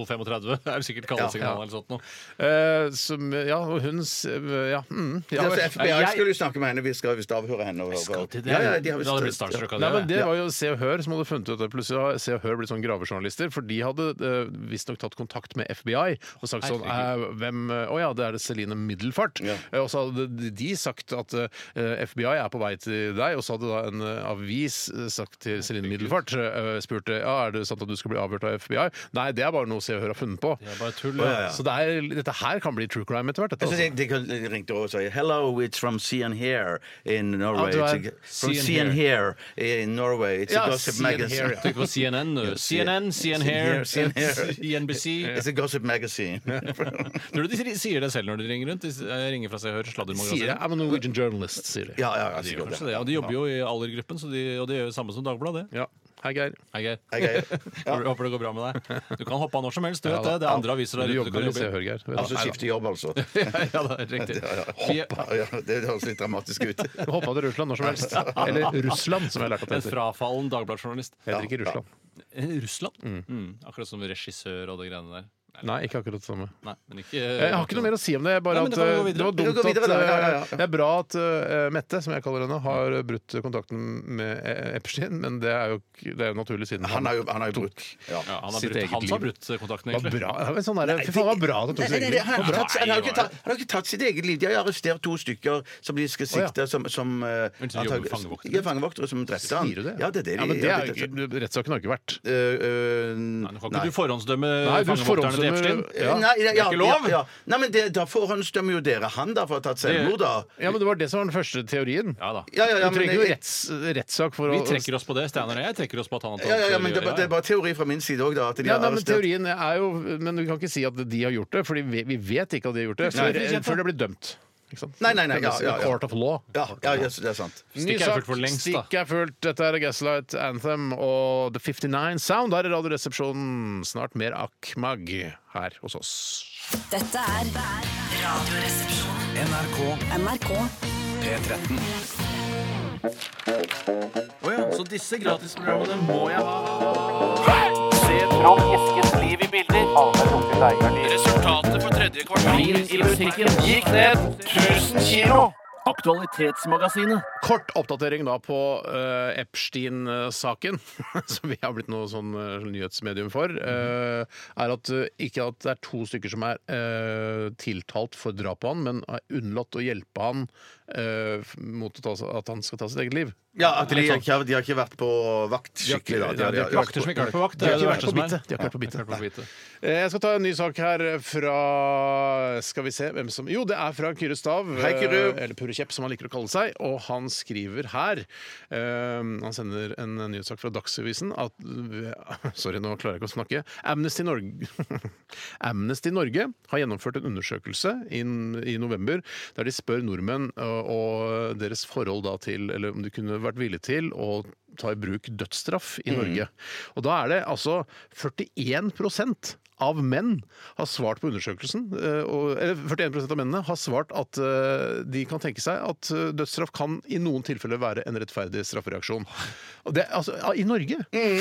Speaker 2: Det (laughs) er jo sikkert kallesignal eller sånt noe.
Speaker 1: Eh, som, ja, og hun s- Ja. Mm, ja
Speaker 3: Ja, altså,
Speaker 1: vel.
Speaker 3: FBI
Speaker 2: Jeg-
Speaker 3: skulle jo snakke med henne. Vi skal visst avhøre henne. og-
Speaker 2: Skal til det?
Speaker 3: Ja, ja, de har
Speaker 2: da
Speaker 3: visst-
Speaker 2: hadde jeg blitt starstruck av det.
Speaker 1: Nei, men Det var jo Se og Hør som hadde funnet ut det. Plutselig har Se og Hør blitt sånn gravejournalister. For de hadde uh, visstnok tatt kontakt med FBI og sagt sånn eh, hvem, "Eh, Å ja, det er det Celine middelfart. Eh, Og så hadde de- de sagt at eh, FBI er på vei til deg, og så hadde da en eh, avis eh, sagt til Celine Middelfart eh, spurte ja, er det sant at du skal bli avhørt av FBI. Nei, det er bare noe Se og Hør har funnet på.
Speaker 2: Det er bare tull.
Speaker 3: ja, ja.
Speaker 1: Så det er, dette her kan bli true crime etter hvert. Dette,
Speaker 3: Jeg synes jeg-
Speaker 1: altså.
Speaker 3: de kan- de ringte over og sa Hello, it's from Sea and Here in Norway.
Speaker 1: det var
Speaker 3: It's a- from
Speaker 2: Sea and
Speaker 3: Sea and Here in Norway. It's
Speaker 1: Ja,
Speaker 3: a gossip
Speaker 1: Sea and
Speaker 3: magazine.
Speaker 1: Here, ja.
Speaker 2: Tenk
Speaker 3: (laughs)
Speaker 2: på CNN, nå. CNN, CNN Hair, (laughs)
Speaker 3: CNN Hair. (laughs)
Speaker 2: CNBC
Speaker 3: It's a gossip magazine.
Speaker 2: (laughs) Tror du de sier det selv når de ringer rundt? De s- eh, ringer fra seg og hører
Speaker 1: Sier jeg,
Speaker 2: sladdermagasinet.
Speaker 1: I'm a Norwegian journalist, sier de.
Speaker 3: ja, ja, ja,
Speaker 2: De,
Speaker 3: sikkert det.
Speaker 2: gjør kanskje det, og de jobber jo i aldergruppen, så de, og de gjør jo det samme som Dagbladet. det.
Speaker 1: Ja. Hei, Geir.
Speaker 2: Hei, Geir.
Speaker 3: Hei,
Speaker 2: (laughs)
Speaker 3: Geir. Ja.
Speaker 2: Håper- Håper det går bra med deg. Du kan hoppe av når som helst. du vet
Speaker 1: Ja,
Speaker 2: det. Det er andre aviser der
Speaker 1: Du
Speaker 2: ute du
Speaker 1: jobber
Speaker 2: kan
Speaker 1: i Se
Speaker 2: jobbe
Speaker 1: og
Speaker 2: i.
Speaker 1: Hør, Geir.
Speaker 3: Altså skifte jobb, altså.
Speaker 2: (laughs) Ja, det er riktig. Vi-
Speaker 3: (laughs) Ja, det høres litt dramatisk ut.
Speaker 1: Hoppa til Russland når som
Speaker 2: (laughs)
Speaker 1: helst. Eller Russland, som jeg lærte at det
Speaker 2: En
Speaker 1: heter.
Speaker 2: frafallen Dagbladet-journalist.
Speaker 1: Heter ikke Russland.
Speaker 2: Eh, Russland? Mm, akkurat som regissør og de greiene der.
Speaker 1: Nei, ikke akkurat det samme.
Speaker 2: Nei, men ikke
Speaker 1: Jeg har ikke noe mer å si om det. Bare
Speaker 2: Nei,
Speaker 1: at
Speaker 2: men da kan vi
Speaker 1: eh,
Speaker 2: gå videre.
Speaker 1: det
Speaker 3: Vi kan
Speaker 1: var
Speaker 3: gå
Speaker 1: dumt
Speaker 3: videre, da. Ja, ja, ja.
Speaker 1: at eh, Det er bra at eh, Mette, som jeg kaller henne, har brutt kontakten med eh, Epstein, men det er jo ikke- det er jo naturlig siden
Speaker 3: Han har jo, han har jo brutt. Ja.
Speaker 2: Ja, han har
Speaker 1: Sitt
Speaker 2: brutt,
Speaker 1: eget
Speaker 2: han som
Speaker 1: liv.
Speaker 2: har brutt kontakten,
Speaker 1: var
Speaker 2: egentlig.
Speaker 1: bra. Det var en sånn der, Fy faen, det var bra at han tok
Speaker 3: Nei,
Speaker 1: sitt
Speaker 3: nei,
Speaker 1: eget
Speaker 3: nei,
Speaker 1: liv.
Speaker 3: han, har ikke
Speaker 2: Bra.
Speaker 3: tatt, han, har jo ikke tatt, han har jo ikke tatt sitt eget liv. De har arrestert to stykker som de skal sikte som, som eh,
Speaker 2: Men som jobber
Speaker 3: antag-
Speaker 2: fangevoktere.
Speaker 3: Ja, fangevoktere som drepte han.
Speaker 1: Sier du det?
Speaker 3: Ja, det er det
Speaker 1: Ja,
Speaker 3: de
Speaker 1: men det
Speaker 3: ja,
Speaker 1: er jo
Speaker 3: det-
Speaker 1: ikke- Rettssaken har ikke vært
Speaker 3: Øh, øh,
Speaker 2: Nei, nå kan ikke du forhåndsdømme
Speaker 1: Nei, du
Speaker 2: fangevokterne til
Speaker 1: forhåndsdømmer-
Speaker 2: Epstein.
Speaker 1: Ja.
Speaker 3: Nei, nei, ja,
Speaker 2: Det er ikke lov.
Speaker 3: Ja, ja. Nei, men det, da forhåndsdømmer jo dere han da for å ha tatt selvmord, da.
Speaker 1: Ja, men Det var det som var den første teorien.
Speaker 2: Ja da.
Speaker 3: Ja, ja, ja,
Speaker 1: Du trenger
Speaker 3: men,
Speaker 1: jo
Speaker 3: jeg-
Speaker 1: retts, rettssak for
Speaker 2: Vi
Speaker 1: å
Speaker 2: trekker oss på det, Steinar og jeg trekker oss på at han har
Speaker 3: ja, ja, ja, men det, er
Speaker 2: selvmord,
Speaker 3: bare- det er bare teori fra min side òg, da. At de
Speaker 1: ja,
Speaker 3: har
Speaker 1: nei, men
Speaker 3: arrestert-
Speaker 1: teorien er jo Men vi kan ikke si at de har gjort det, for vi, vi vet ikke at de har gjort det før,
Speaker 2: det er sant, da.
Speaker 1: før det blir dømt. Ikke sant?
Speaker 3: Nei, nei, nei, ja, ja, ja.
Speaker 1: Court of law.
Speaker 3: Ja, ja, ja, det er sant.
Speaker 1: Ny
Speaker 2: Stikk er
Speaker 1: sak.
Speaker 2: fullt for lengst, da.
Speaker 1: Stikk er fullt. Dette er Gaslight Anthem og The 59 Sound. Der er Radioresepsjonen. Snart mer Akmag her hos oss.
Speaker 4: Dette er Radioresepsjonen. NRK. NRK.
Speaker 7: Så disse gratisprogrammene må jeg ha. Se fram Eskens liv i bilder. Resultatet for tredje kvartal i musikken gikk ned 1000 kilo. Aktualitetsmagasinet.
Speaker 1: Kort oppdatering da på eh, Epstein-saken, (laughs) som vi har blitt noe sånn eh, nyhetsmedium for, eh, er at eh, ikke at det er to stykker som er eh, tiltalt for drap på han, men har unnlatt å hjelpe han eh, f- mot å ta, at han skal ta sitt eget liv.
Speaker 3: Ja, at de,
Speaker 2: sånn.
Speaker 3: har ikke- de har ikke vært på vakt skikkelig, da. De har- de har-
Speaker 2: Vakter som ikke har vært på vakt.
Speaker 1: De har ikke
Speaker 2: det
Speaker 1: vært
Speaker 2: verste
Speaker 1: på
Speaker 2: som er.
Speaker 1: bittet. De har ikke vært på bittet.
Speaker 2: Ja, de har ikke vært på bittet.
Speaker 1: Eh, Jeg skal ta en ny sak her fra Skal vi se hvem som Jo, det er fra Kyrre Stav.
Speaker 3: Hei, Kyrre.
Speaker 1: eh, Eller Purre Kjepp, som han liker å kalle seg. Og han skriver her eh, Han sender en nyhetssak fra Dagsavisen at (laughs) Sorry, nå klarer jeg ikke å snakke. Amnesty Norge, (laughs) Amnesty Norge har gjennomført en undersøkelse inn, i november der de spør nordmenn eh, og deres forhold da til Eller om de kunne vært villige til å ta i bruk dødsstraff
Speaker 3: Mm.
Speaker 1: i Norge. Og da er det altså 41 av menn har svart på undersøkelsen, eh, og, eller 41 av mennene har svart at eh, de kan tenke seg at eh, dødsstraff kan i noen tilfeller være en rettferdig straffereaksjon. Og det, altså, ja, I Norge!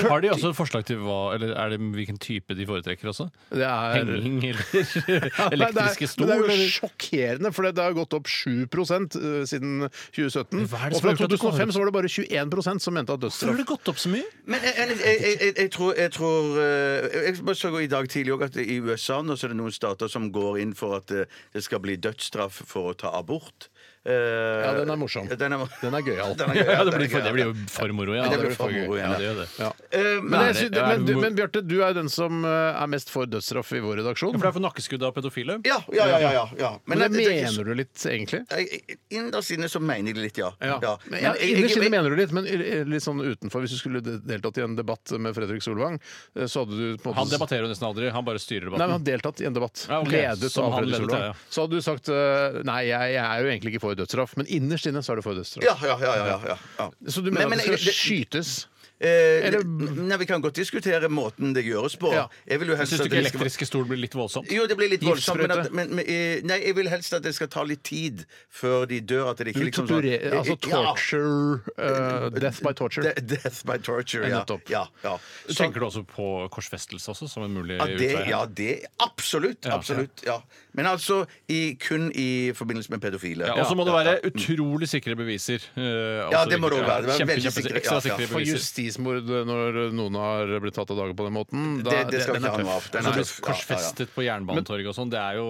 Speaker 2: Har de også forslag til hva, eller er det hvilken type de foretrekker også?
Speaker 1: Det er
Speaker 3: (laughs)
Speaker 2: Henging eller
Speaker 1: Nei, det er-
Speaker 2: (laughs) elektriske
Speaker 1: men
Speaker 2: stol?
Speaker 1: Det er jo sjokkerende, for det har gått opp 7 eh, siden 2017.
Speaker 2: Hva er
Speaker 1: Og
Speaker 2: det som
Speaker 1: fra
Speaker 2: har gjort at det
Speaker 1: 2005
Speaker 2: går-
Speaker 1: så var det bare 21 som mente at
Speaker 2: Hvorfor har
Speaker 1: dødsstraff
Speaker 2: det gått opp så mye?
Speaker 3: Men jeg, jeg, jeg, jeg, jeg tror, jeg, tror eh, jeg bare så i dag tidlig også at i USA nå så er det noen stater som går inn for at eh, det skal bli dødsstraff for å ta abort. Eh,
Speaker 1: Ja, den er morsom.
Speaker 3: Den er,
Speaker 1: (laughs) Den er gøyal.
Speaker 3: (laughs) den er gøy,
Speaker 2: Ja,
Speaker 3: ja,
Speaker 2: det
Speaker 3: den er
Speaker 2: blir, for, det
Speaker 3: gøy,
Speaker 2: blir
Speaker 3: ja.
Speaker 2: jo for moro. Ja,
Speaker 3: Det
Speaker 2: Det
Speaker 3: blir
Speaker 2: blir
Speaker 3: for moro, ja.
Speaker 2: Ja, det gjør det.
Speaker 1: Ja.
Speaker 3: Eh,
Speaker 1: Men,
Speaker 3: Men
Speaker 1: jeg
Speaker 2: det-
Speaker 1: sy-
Speaker 2: er
Speaker 1: men,
Speaker 2: det-
Speaker 1: du- men Bjarte, du er jo den som eh, er mest for dødsstraff i vår redaksjon.
Speaker 2: Ja, For det er for nakkeskudd av pedofile.
Speaker 3: ja, ja, ja, ja, ja.
Speaker 1: Men det,
Speaker 3: det- det er ikke så-
Speaker 1: mener du litt, egentlig?
Speaker 3: Jeg- jeg- Innerst inne så mener jeg det litt, ja. Ja.
Speaker 1: Men, ja,
Speaker 3: jeg- jeg-
Speaker 1: Innerst inne
Speaker 3: jeg-
Speaker 1: mener du litt, men i- litt sånn utenfor. Hvis du skulle de- deltatt i en debatt med Fredrik Solvang, eh, så hadde du på en måte
Speaker 2: Han debatterer jo nesten aldri, han bare styrer
Speaker 1: Nei, men
Speaker 2: debatten.
Speaker 1: han deltatt i en debatt.
Speaker 2: Ja, ok.
Speaker 1: Ledet
Speaker 2: Som
Speaker 1: av
Speaker 2: han
Speaker 1: Fredrik
Speaker 2: ledet,
Speaker 1: Solvang.
Speaker 2: ja.
Speaker 1: Så hadde du sagt eh, nei, jeg, jeg er jo egentlig ikke for dødsstraff, men innerst inne så er du for dødsstraff.
Speaker 3: Ja, ja, ja. ja, ja, ja, ja.
Speaker 1: Så du mener
Speaker 3: Men-
Speaker 1: at
Speaker 3: men
Speaker 1: det skal
Speaker 3: jeg-
Speaker 1: skytes?
Speaker 3: Eh,
Speaker 1: Eller-
Speaker 3: Nei, Vi kan godt diskutere måten det gjøres på.
Speaker 1: Ja.
Speaker 3: Jeg vil jo helst
Speaker 2: Syns du
Speaker 3: at
Speaker 2: ikke
Speaker 3: det skal-
Speaker 2: elektriske stol blir litt voldsomt?
Speaker 3: Jo, det blir litt voldsomt. Men, at,
Speaker 1: Giftsprøyte.
Speaker 3: men, men eh, nei, jeg vil helst at det skal ta litt tid før de dør. At det
Speaker 1: Du
Speaker 3: ikke liksom sånn-
Speaker 1: torturer, altså
Speaker 3: Ja.
Speaker 1: torture eh, Death by torture.
Speaker 3: De- Death by torture,
Speaker 1: Ja,
Speaker 3: ja.
Speaker 1: nettopp.
Speaker 3: ja, ja. Så-
Speaker 2: Tenker du også på korsfestelse også, som en mulig
Speaker 3: ja, det,
Speaker 2: utvei?
Speaker 3: ja, det Absolutt.
Speaker 2: Ja.
Speaker 3: absolutt, ja. Men altså i, kun i forbindelse med pedofile.
Speaker 2: Ja, og så må det være utrolig sikre beviser. eh, altså,
Speaker 3: det må det også være. Det må være
Speaker 2: kjempe,
Speaker 3: veldig
Speaker 2: kjempe,
Speaker 3: sikre,
Speaker 2: ekstra
Speaker 3: ja, ja.
Speaker 2: sikre
Speaker 1: For
Speaker 2: beviser.
Speaker 1: justismord når noen har blitt tatt av dage på den måten.
Speaker 3: Det- det skal
Speaker 1: den
Speaker 3: ikke
Speaker 1: er
Speaker 3: ha noe av.
Speaker 1: tøff.
Speaker 3: Den
Speaker 1: Altså,
Speaker 3: er
Speaker 1: du-
Speaker 3: tøff.
Speaker 2: Korsfestet på Jernbanetorget og sånn. Det er jo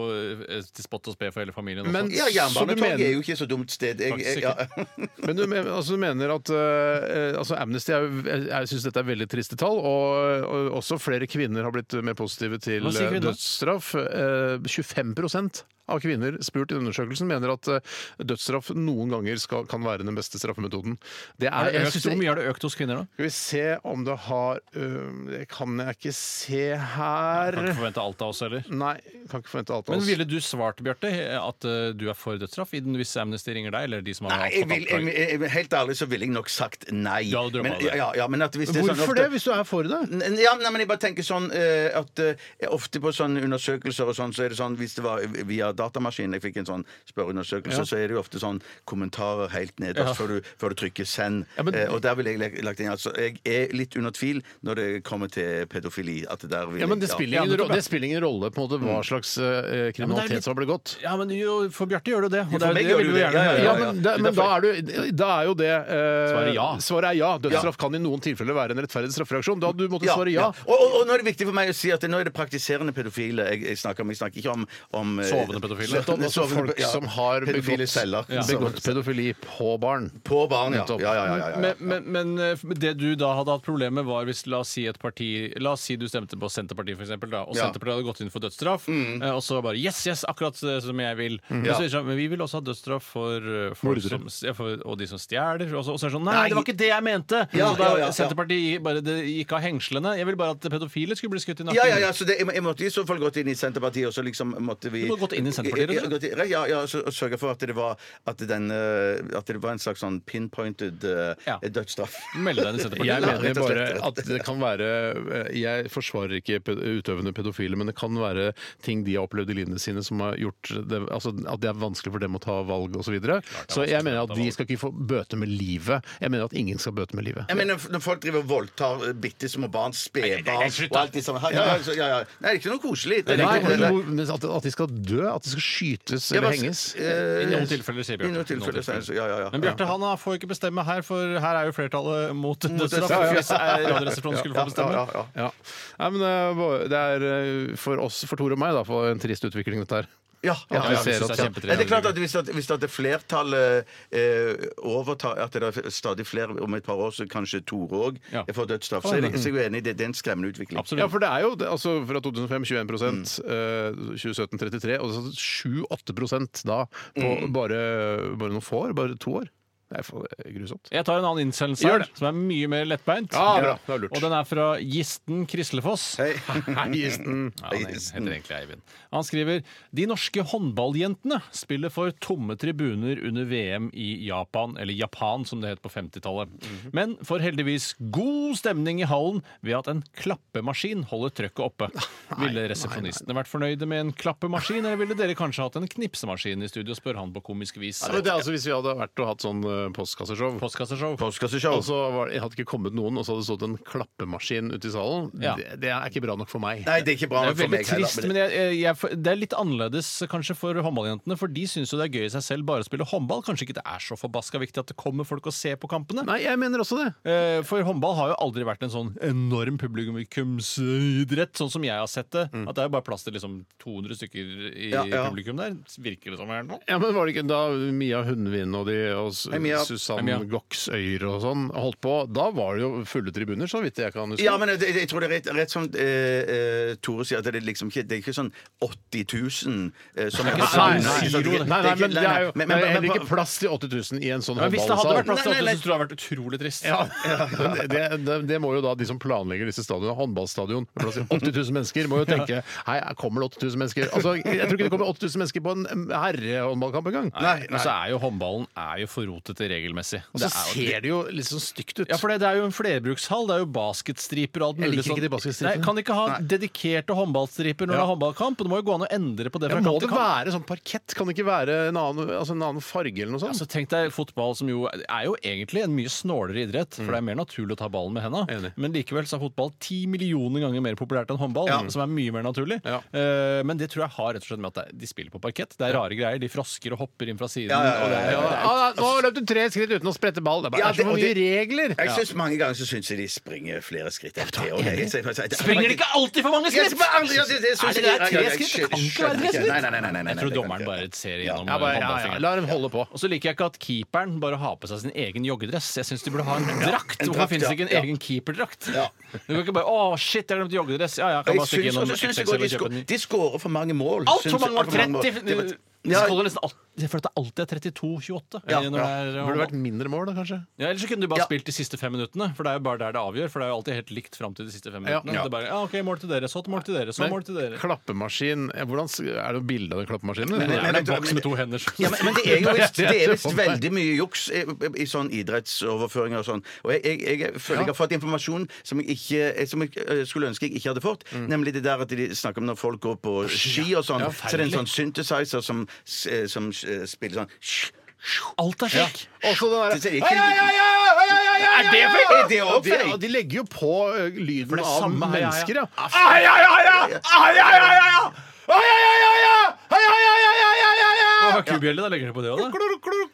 Speaker 2: eh, til spott og spe for hele familien. og sånn.
Speaker 1: Men-
Speaker 2: sånt.
Speaker 3: Ja,
Speaker 1: Så du
Speaker 3: Jernbanetorget
Speaker 1: mener-
Speaker 3: er jo ikke så dumt sted. Jeg, jeg,
Speaker 2: Faktisk
Speaker 3: ja.
Speaker 1: Men du, men- altså, du mener at eh, altså, Amnesty er, jo- jeg, jeg syns dette er veldig triste tall, og, og også flere kvinner har blitt mer positive til
Speaker 2: Hva sier
Speaker 1: eh,
Speaker 2: kvinner?
Speaker 1: dødsstraff. Eh, 25 av kvinner spurt i undersøkelsen mener at eh, dødsstraff noen ganger skal, kan være den beste straffemetoden. Det er,
Speaker 2: Er det
Speaker 1: jeg
Speaker 2: økt,
Speaker 1: synes det-
Speaker 2: hvor mye har det økt hos kvinner, da?
Speaker 1: Skal vi se om det har øh, Det kan jeg ikke se her.
Speaker 2: Kan ikke forvente alt av oss heller.
Speaker 1: Nei, kan ikke forvente alt av
Speaker 2: Men
Speaker 1: oss.
Speaker 2: ville du svart, Bjarte, at eh, du er for dødsstraff i den hvis Amnesty ringer deg, eller de som har
Speaker 3: (laughs) Nei,
Speaker 2: fått
Speaker 3: jeg vil, jeg,
Speaker 2: anklager?
Speaker 3: jeg, jeg- helt ærlig så ville jeg nok sagt nei.
Speaker 2: Du hadde drømt
Speaker 3: men,
Speaker 2: om det.
Speaker 3: ja, ja, men at hvis det er sånn
Speaker 1: Hvorfor
Speaker 3: ofte-
Speaker 1: det, hvis du er for det?
Speaker 3: N- Ja, nei, men jeg bare tenker sånn eh, at eh, ofte på sånne undersøkelser og sånn, så er det sånn hvis det var via datamaskinen jeg fikk en sånn spørreundersøkelse, så er det jo ofte sånn kommentarer helt nederst før, du, før du trykker send.
Speaker 1: men-
Speaker 3: Eh, og der ville jeg le- lagt inn altså Jeg er litt under tvil når det kommer til pedofili. At der vil
Speaker 1: Ja, men Det
Speaker 3: jeg-
Speaker 1: spiller ingen, ro- det spiller ingen rolle på en måte hva slags øh, kriminalitet
Speaker 2: litt-
Speaker 1: som har blitt gått.
Speaker 2: Ja, men jo, for Bjarte gjør det det. Og
Speaker 3: For
Speaker 2: det, er-
Speaker 3: meg
Speaker 2: det
Speaker 3: gjør
Speaker 2: vil
Speaker 3: det
Speaker 2: du
Speaker 3: jo det.
Speaker 2: gjerne
Speaker 3: Ja,
Speaker 2: høre.
Speaker 1: Ja,
Speaker 3: ja, ja.
Speaker 1: men, da, men da, er du, eh, da er jo det øh,
Speaker 2: Svaret ja.
Speaker 1: Svaret er ja. Dødsstraff
Speaker 3: Ja.
Speaker 1: kan i noen tilfeller være en rettferdig straffereaksjon. Da hadde du måttet svare ja.
Speaker 3: Og, og, og nå er det viktig for meg å si at nå er det praktiserende pedofile jeg, jeg snakker om. Jeg snakker ikke om, om eh,
Speaker 2: Sovende pedofile.
Speaker 1: Nettopp, altså
Speaker 3: sovende-
Speaker 1: folk
Speaker 3: ja,
Speaker 1: som har
Speaker 3: pedofile
Speaker 1: begått,
Speaker 3: celler.
Speaker 1: begått pedofili på barn.
Speaker 3: På barn, ja.
Speaker 1: Nettopp.
Speaker 3: Ja, ja, ja, ja, ja.
Speaker 2: Men, men, men eh, det du da hadde hatt problem med, var hvis la oss si et parti La oss si du stemte på Senterpartiet, for eksempel, da, og
Speaker 3: Ja. Mm.
Speaker 2: Senterpartiet hadde gått inn for dødsstraff, eh, og så bare Yes, yes, akkurat eh, som jeg vil. Men,
Speaker 3: Ja.
Speaker 2: så, er det sånn, men vi vil også ha dødsstraff for, eh, folk
Speaker 1: Mordere.
Speaker 2: som, ja, for og de som stjeler. Og så, og så er det sånn Nei,
Speaker 3: Nei.
Speaker 2: det var ikke det jeg mente!
Speaker 3: Ja,
Speaker 2: så da
Speaker 3: ja, ja, ja.
Speaker 2: Senterpartiet gi- bare det gikk av hengslene. Jeg ville bare at pedofile skulle bli skutt i nakken.
Speaker 3: Ja, ja, ja, så det, jeg, må- jeg måtte i så fall gått inn i Senterpartiet, og så liksom måtte vi
Speaker 2: Du må gått inn i Senterpartiet,
Speaker 3: Ja,
Speaker 2: du.
Speaker 3: gått i- Ja, ja, så, og sørge for at det var At, den, eh, at det var en slags sånn pinpointed eh,
Speaker 2: Ja.
Speaker 3: dødsstraff.
Speaker 2: Melde deg inn i
Speaker 1: Jeg
Speaker 2: Senterpartiet.
Speaker 3: Ja,
Speaker 1: mener
Speaker 3: rett og
Speaker 1: bare
Speaker 3: slett, rett og
Speaker 1: at det kan være eh, Jeg forsvarer ikke ped- utøvende pedofile, men det kan være ting de har opplevd i livene sine som har gjort det, altså at det er vanskelig for dem å ta valg osv. Så, videre. så jeg mener at de skal ikke få bøte med livet. Jeg mener at ingen skal bøte med livet.
Speaker 3: Jeg mener, Når folk driver og voldtar eh, bitte små barn, spedbarn og alt det samme ja, ja, så- ja, ja. Nei, det er ikke noe koselig. Det er
Speaker 1: Nei,
Speaker 3: ikke noe-
Speaker 1: jo, men at, at de skal dø, at de skal skytes
Speaker 3: Ja,
Speaker 1: eller
Speaker 3: men-
Speaker 1: henges.
Speaker 3: eh,
Speaker 2: I noen tilfeller, sier
Speaker 3: I noen
Speaker 2: Bjarte.
Speaker 3: tilfeller, så er det så- ja, ja, ja.
Speaker 2: Men Bjarte han ah, får ikke bestemme her, for her er jo flertallet mot dødsstraff.
Speaker 3: dødsstraff, ja.
Speaker 2: Hvis eh, Radioresepsjonen skulle få bestemme.
Speaker 3: Ja, ja, ja.
Speaker 1: Ja. Nei, men eh, hva- det er eh, for oss, for Tor og meg, da, for en trist utvikling dette her.
Speaker 3: Ja, ja, ja,
Speaker 1: At vi
Speaker 3: ja.
Speaker 1: ser
Speaker 2: synes
Speaker 1: at-
Speaker 2: det er kjempetrist.
Speaker 3: Ja, det er klart at Hvis, at, hvis at det flertallet eh, overtar At det er stadig flere om et par år, så kanskje Tore òg
Speaker 2: Ja.
Speaker 3: får dødsstraff, så er det- så er jeg uenig i det. Det er en skremmende utvikling.
Speaker 1: Ja, for det er jo det, altså fra 2005 21 eh, 2017 33 og så 7-8 da på bare, bare noen få år, bare to år. Det er for- det er grusomt.
Speaker 2: Jeg tar en annen innsendelse
Speaker 1: Gjør
Speaker 2: her,
Speaker 1: det.
Speaker 2: som er mye mer lettbeint.
Speaker 1: Ja, bra. Det var lurt.
Speaker 2: Og den er fra Gisten
Speaker 1: (laughs)
Speaker 2: Krislefoss.
Speaker 3: Hei.
Speaker 2: (laughs) Ja, han heter egentlig Eivind. Han skriver De norske håndballjentene spiller for tomme tribuner under VM i Japan, eller Japan som det het på 50-tallet.
Speaker 1: Mhm.
Speaker 2: Men får heldigvis god stemning i hallen ved at en klappemaskin holder trøkket
Speaker 1: (laughs)
Speaker 2: oppe. Ville resepsjonistene vært fornøyde med en klappemaskin, eller ville dere kanskje hatt en knipsemaskin i studio, spør han på komisk vis.
Speaker 1: Ja, men det er altså Hvis vi hadde vært og hatt sånn eh, postkasseshow
Speaker 2: Postkasseshow.
Speaker 3: Postkasseshow.
Speaker 1: og så var, det- hadde ikke kommet noen, og så hadde det stått en klappemaskin ute i salen,
Speaker 2: Ja.
Speaker 1: det, det er ikke bra nok for meg.
Speaker 3: Nei, det er ikke bra
Speaker 2: Det
Speaker 3: nok
Speaker 2: er
Speaker 3: for
Speaker 2: veldig
Speaker 3: meg. heller,
Speaker 2: trist, men jeg, jeg, jeg, det er litt annerledes kanskje for håndballjentene. For de syns jo det er gøy i seg selv bare å spille håndball. Kanskje ikke det er så forbaska viktig at det kommer folk og ser på kampene.
Speaker 1: Nei, jeg mener også det.
Speaker 2: Eh, For håndball har jo aldri vært en sånn enorm publikumsidrett, sånn som jeg har sett det. At det er jo bare plass til liksom 200 stykker i
Speaker 3: Ja, ja.
Speaker 2: publikum der. Virker det som her nå?
Speaker 1: Ja, men Var det ikke da Mia Hundvin og de og S-
Speaker 3: Hei, Mia.
Speaker 1: Susann
Speaker 2: Hei, Mia.
Speaker 1: Goksøyr og sånn holdt på? Da var det jo fulle tribuner, så vidt jeg kan huske.
Speaker 3: Ja, men jeg, jeg tror det er rett, rett som eh, eh, Tore sier, at det er liksom ikke, det er ikke sånn 80 000 eh, som
Speaker 2: ikke
Speaker 3: er
Speaker 2: sånn
Speaker 1: Nei, nei,
Speaker 2: Zero,
Speaker 1: nei,
Speaker 2: det.
Speaker 1: nei, nei, men det er jo
Speaker 3: Men- men-
Speaker 1: det er heller
Speaker 3: men-
Speaker 1: ikke plass til 8000 i en sånn
Speaker 2: Men hvis det hadde vært
Speaker 1: håndballsal.
Speaker 2: plass til
Speaker 3: Nei, nei,
Speaker 2: 8000,
Speaker 3: nei.
Speaker 2: så tror jeg det hadde vært utrolig trist.
Speaker 1: Ja, (laughs) men det, det, det må jo da de som planlegger disse stadionene, håndballstadion med plass til 80 000 mennesker, må jo tenke Hei, her kommer det 8000 mennesker? Altså, Jeg tror ikke det kommer 8000 mennesker på en herrehåndballkamp engang.
Speaker 2: Nei, Og så er jo håndballen er jo for rotete regelmessig.
Speaker 1: Og
Speaker 2: Det
Speaker 1: så
Speaker 2: er jo-
Speaker 1: ser det jo litt sånn stygt ut.
Speaker 2: Ja, for det, det er jo en flerbrukshall. Det er jo basketstriper og alt
Speaker 1: Jeg
Speaker 2: mulig. sånn.
Speaker 1: liker ikke de basketstripene.
Speaker 2: Nei, kan ikke ha dedikerte håndballstriper når
Speaker 1: Ja.
Speaker 2: det er håndballkamp. og Det må jo gå an å endre på det
Speaker 1: Ja,
Speaker 2: fra
Speaker 1: må
Speaker 2: kamp
Speaker 1: det
Speaker 2: til kamp.
Speaker 1: være sånn parkett? Kan det ikke være en annen, altså en annen farge eller noe sånt?
Speaker 2: Altså, tenk deg fotball, som jo er jo egentlig en mye snålere idrett, for det er mer naturlig å ta ballen med henda.
Speaker 1: Mm. Enig.
Speaker 2: Men likevel så er fotball ti millioner ganger mer populært enn håndball, som er mye mer naturlig.
Speaker 1: Ja.
Speaker 2: Eh, men det tror jeg har rett og slett med at det- de spiller på parkett. Det er rare greier. De frosker og hopper inn fra siden.
Speaker 3: ja, ja,
Speaker 2: og det er-
Speaker 1: Ja, ja, nå løp du tre skritt uten å sprette ball. Det er bare
Speaker 3: Ja,
Speaker 1: det er
Speaker 3: det-
Speaker 1: så
Speaker 3: og
Speaker 1: mye
Speaker 3: det-
Speaker 1: regler!
Speaker 3: Jeg synes Mange ganger så syns jeg de springer flere skritt enn tre. og jeg- jeg- jeg- jeg-
Speaker 2: Springer de ikke alltid for mange
Speaker 3: Jeg-
Speaker 2: skritt?
Speaker 3: jeg- jeg- jeg- jeg- jeg-
Speaker 2: Er det der tre skritt? Det kan ikke være tre skritt.
Speaker 3: Nei, nei, nei, nei, nei, nei,
Speaker 2: Jeg tror
Speaker 3: det kan
Speaker 2: dommeren
Speaker 3: ikke.
Speaker 2: bare ser igjennom
Speaker 1: Ja, bare, ja, ja.
Speaker 2: håndballfingeren.
Speaker 1: La dem holde på.
Speaker 2: Og så liker jeg ikke at keeperen bare har på seg sin egen joggedress. Jeg syns de burde ha en drakt.
Speaker 3: en
Speaker 2: Hvorfor
Speaker 3: drakt,
Speaker 2: finnes det
Speaker 3: ja.
Speaker 2: ikke en
Speaker 3: Ja.
Speaker 2: egen keeperdrakt?
Speaker 3: Ja.
Speaker 2: Du kan ikke bare 'Å, shit, jeg glemte joggedress'. Ja, ja, jeg kan
Speaker 3: Jeg
Speaker 2: bare stikke
Speaker 3: syns
Speaker 2: innom
Speaker 3: også- syns jeg
Speaker 2: XXL
Speaker 3: også
Speaker 2: og
Speaker 3: de
Speaker 2: kjøpe en ny.
Speaker 3: sko- De skårer for mange mål. syns
Speaker 2: Altfor
Speaker 3: jeg.
Speaker 2: mange år!
Speaker 3: Altfor mange mål.
Speaker 2: 30
Speaker 3: Det-
Speaker 2: De skårer nesten alt- Jeg føler at det alltid er 32-28.
Speaker 3: Ja,
Speaker 2: når det er-
Speaker 1: Det burde vært mindre mål, da, kanskje.
Speaker 2: Ja, Eller så kunne du bare
Speaker 3: Ja.
Speaker 2: spilt de siste fem minuttene. For det er jo bare der det avgjør. For det er jo alltid helt likt fram til de siste fem
Speaker 1: Ja.
Speaker 2: minuttene. Det er bare, ja, ok, mål til dere, så til mål til dere, så mål til dere.
Speaker 1: Klappemaskin ja, hvordan, s- Er det noe bilde av den klappemaskinen? eller?
Speaker 2: Det
Speaker 3: men-
Speaker 2: er en
Speaker 3: men-
Speaker 2: boks med to hender.
Speaker 3: Ja, men, men det er jo
Speaker 2: (laughs)
Speaker 3: visst,
Speaker 1: Det er
Speaker 3: det er
Speaker 1: det
Speaker 3: visst
Speaker 2: sånn.
Speaker 1: for meg.
Speaker 3: veldig mye juks i, i sånn idrettsoverføringer og sånn. Og jeg, jeg, jeg føler jeg har fått informasjon som jeg, ikke, som jeg eh, skulle ønske jeg ikke hadde fått.
Speaker 2: Mm.
Speaker 3: Nemlig det der at de snakker om når folk går på ski og sånn, så det er en sånn synthesizer som, s- eh, som eh, spiller sånn
Speaker 2: Alt er slik.
Speaker 1: Også den der-
Speaker 3: Det ser ikke-
Speaker 1: Ai, ai, ai, ai, ai, ai, ai, ai,
Speaker 3: Er det feil?
Speaker 1: ai,
Speaker 3: Er det også
Speaker 1: Ja,
Speaker 3: feil?
Speaker 1: De legger jo på ø, lyden
Speaker 2: det er
Speaker 1: av
Speaker 2: samme, ai, ai, ai.
Speaker 1: mennesker, ja.
Speaker 2: Hva er kubjelle? Da legger dere på det òg, da.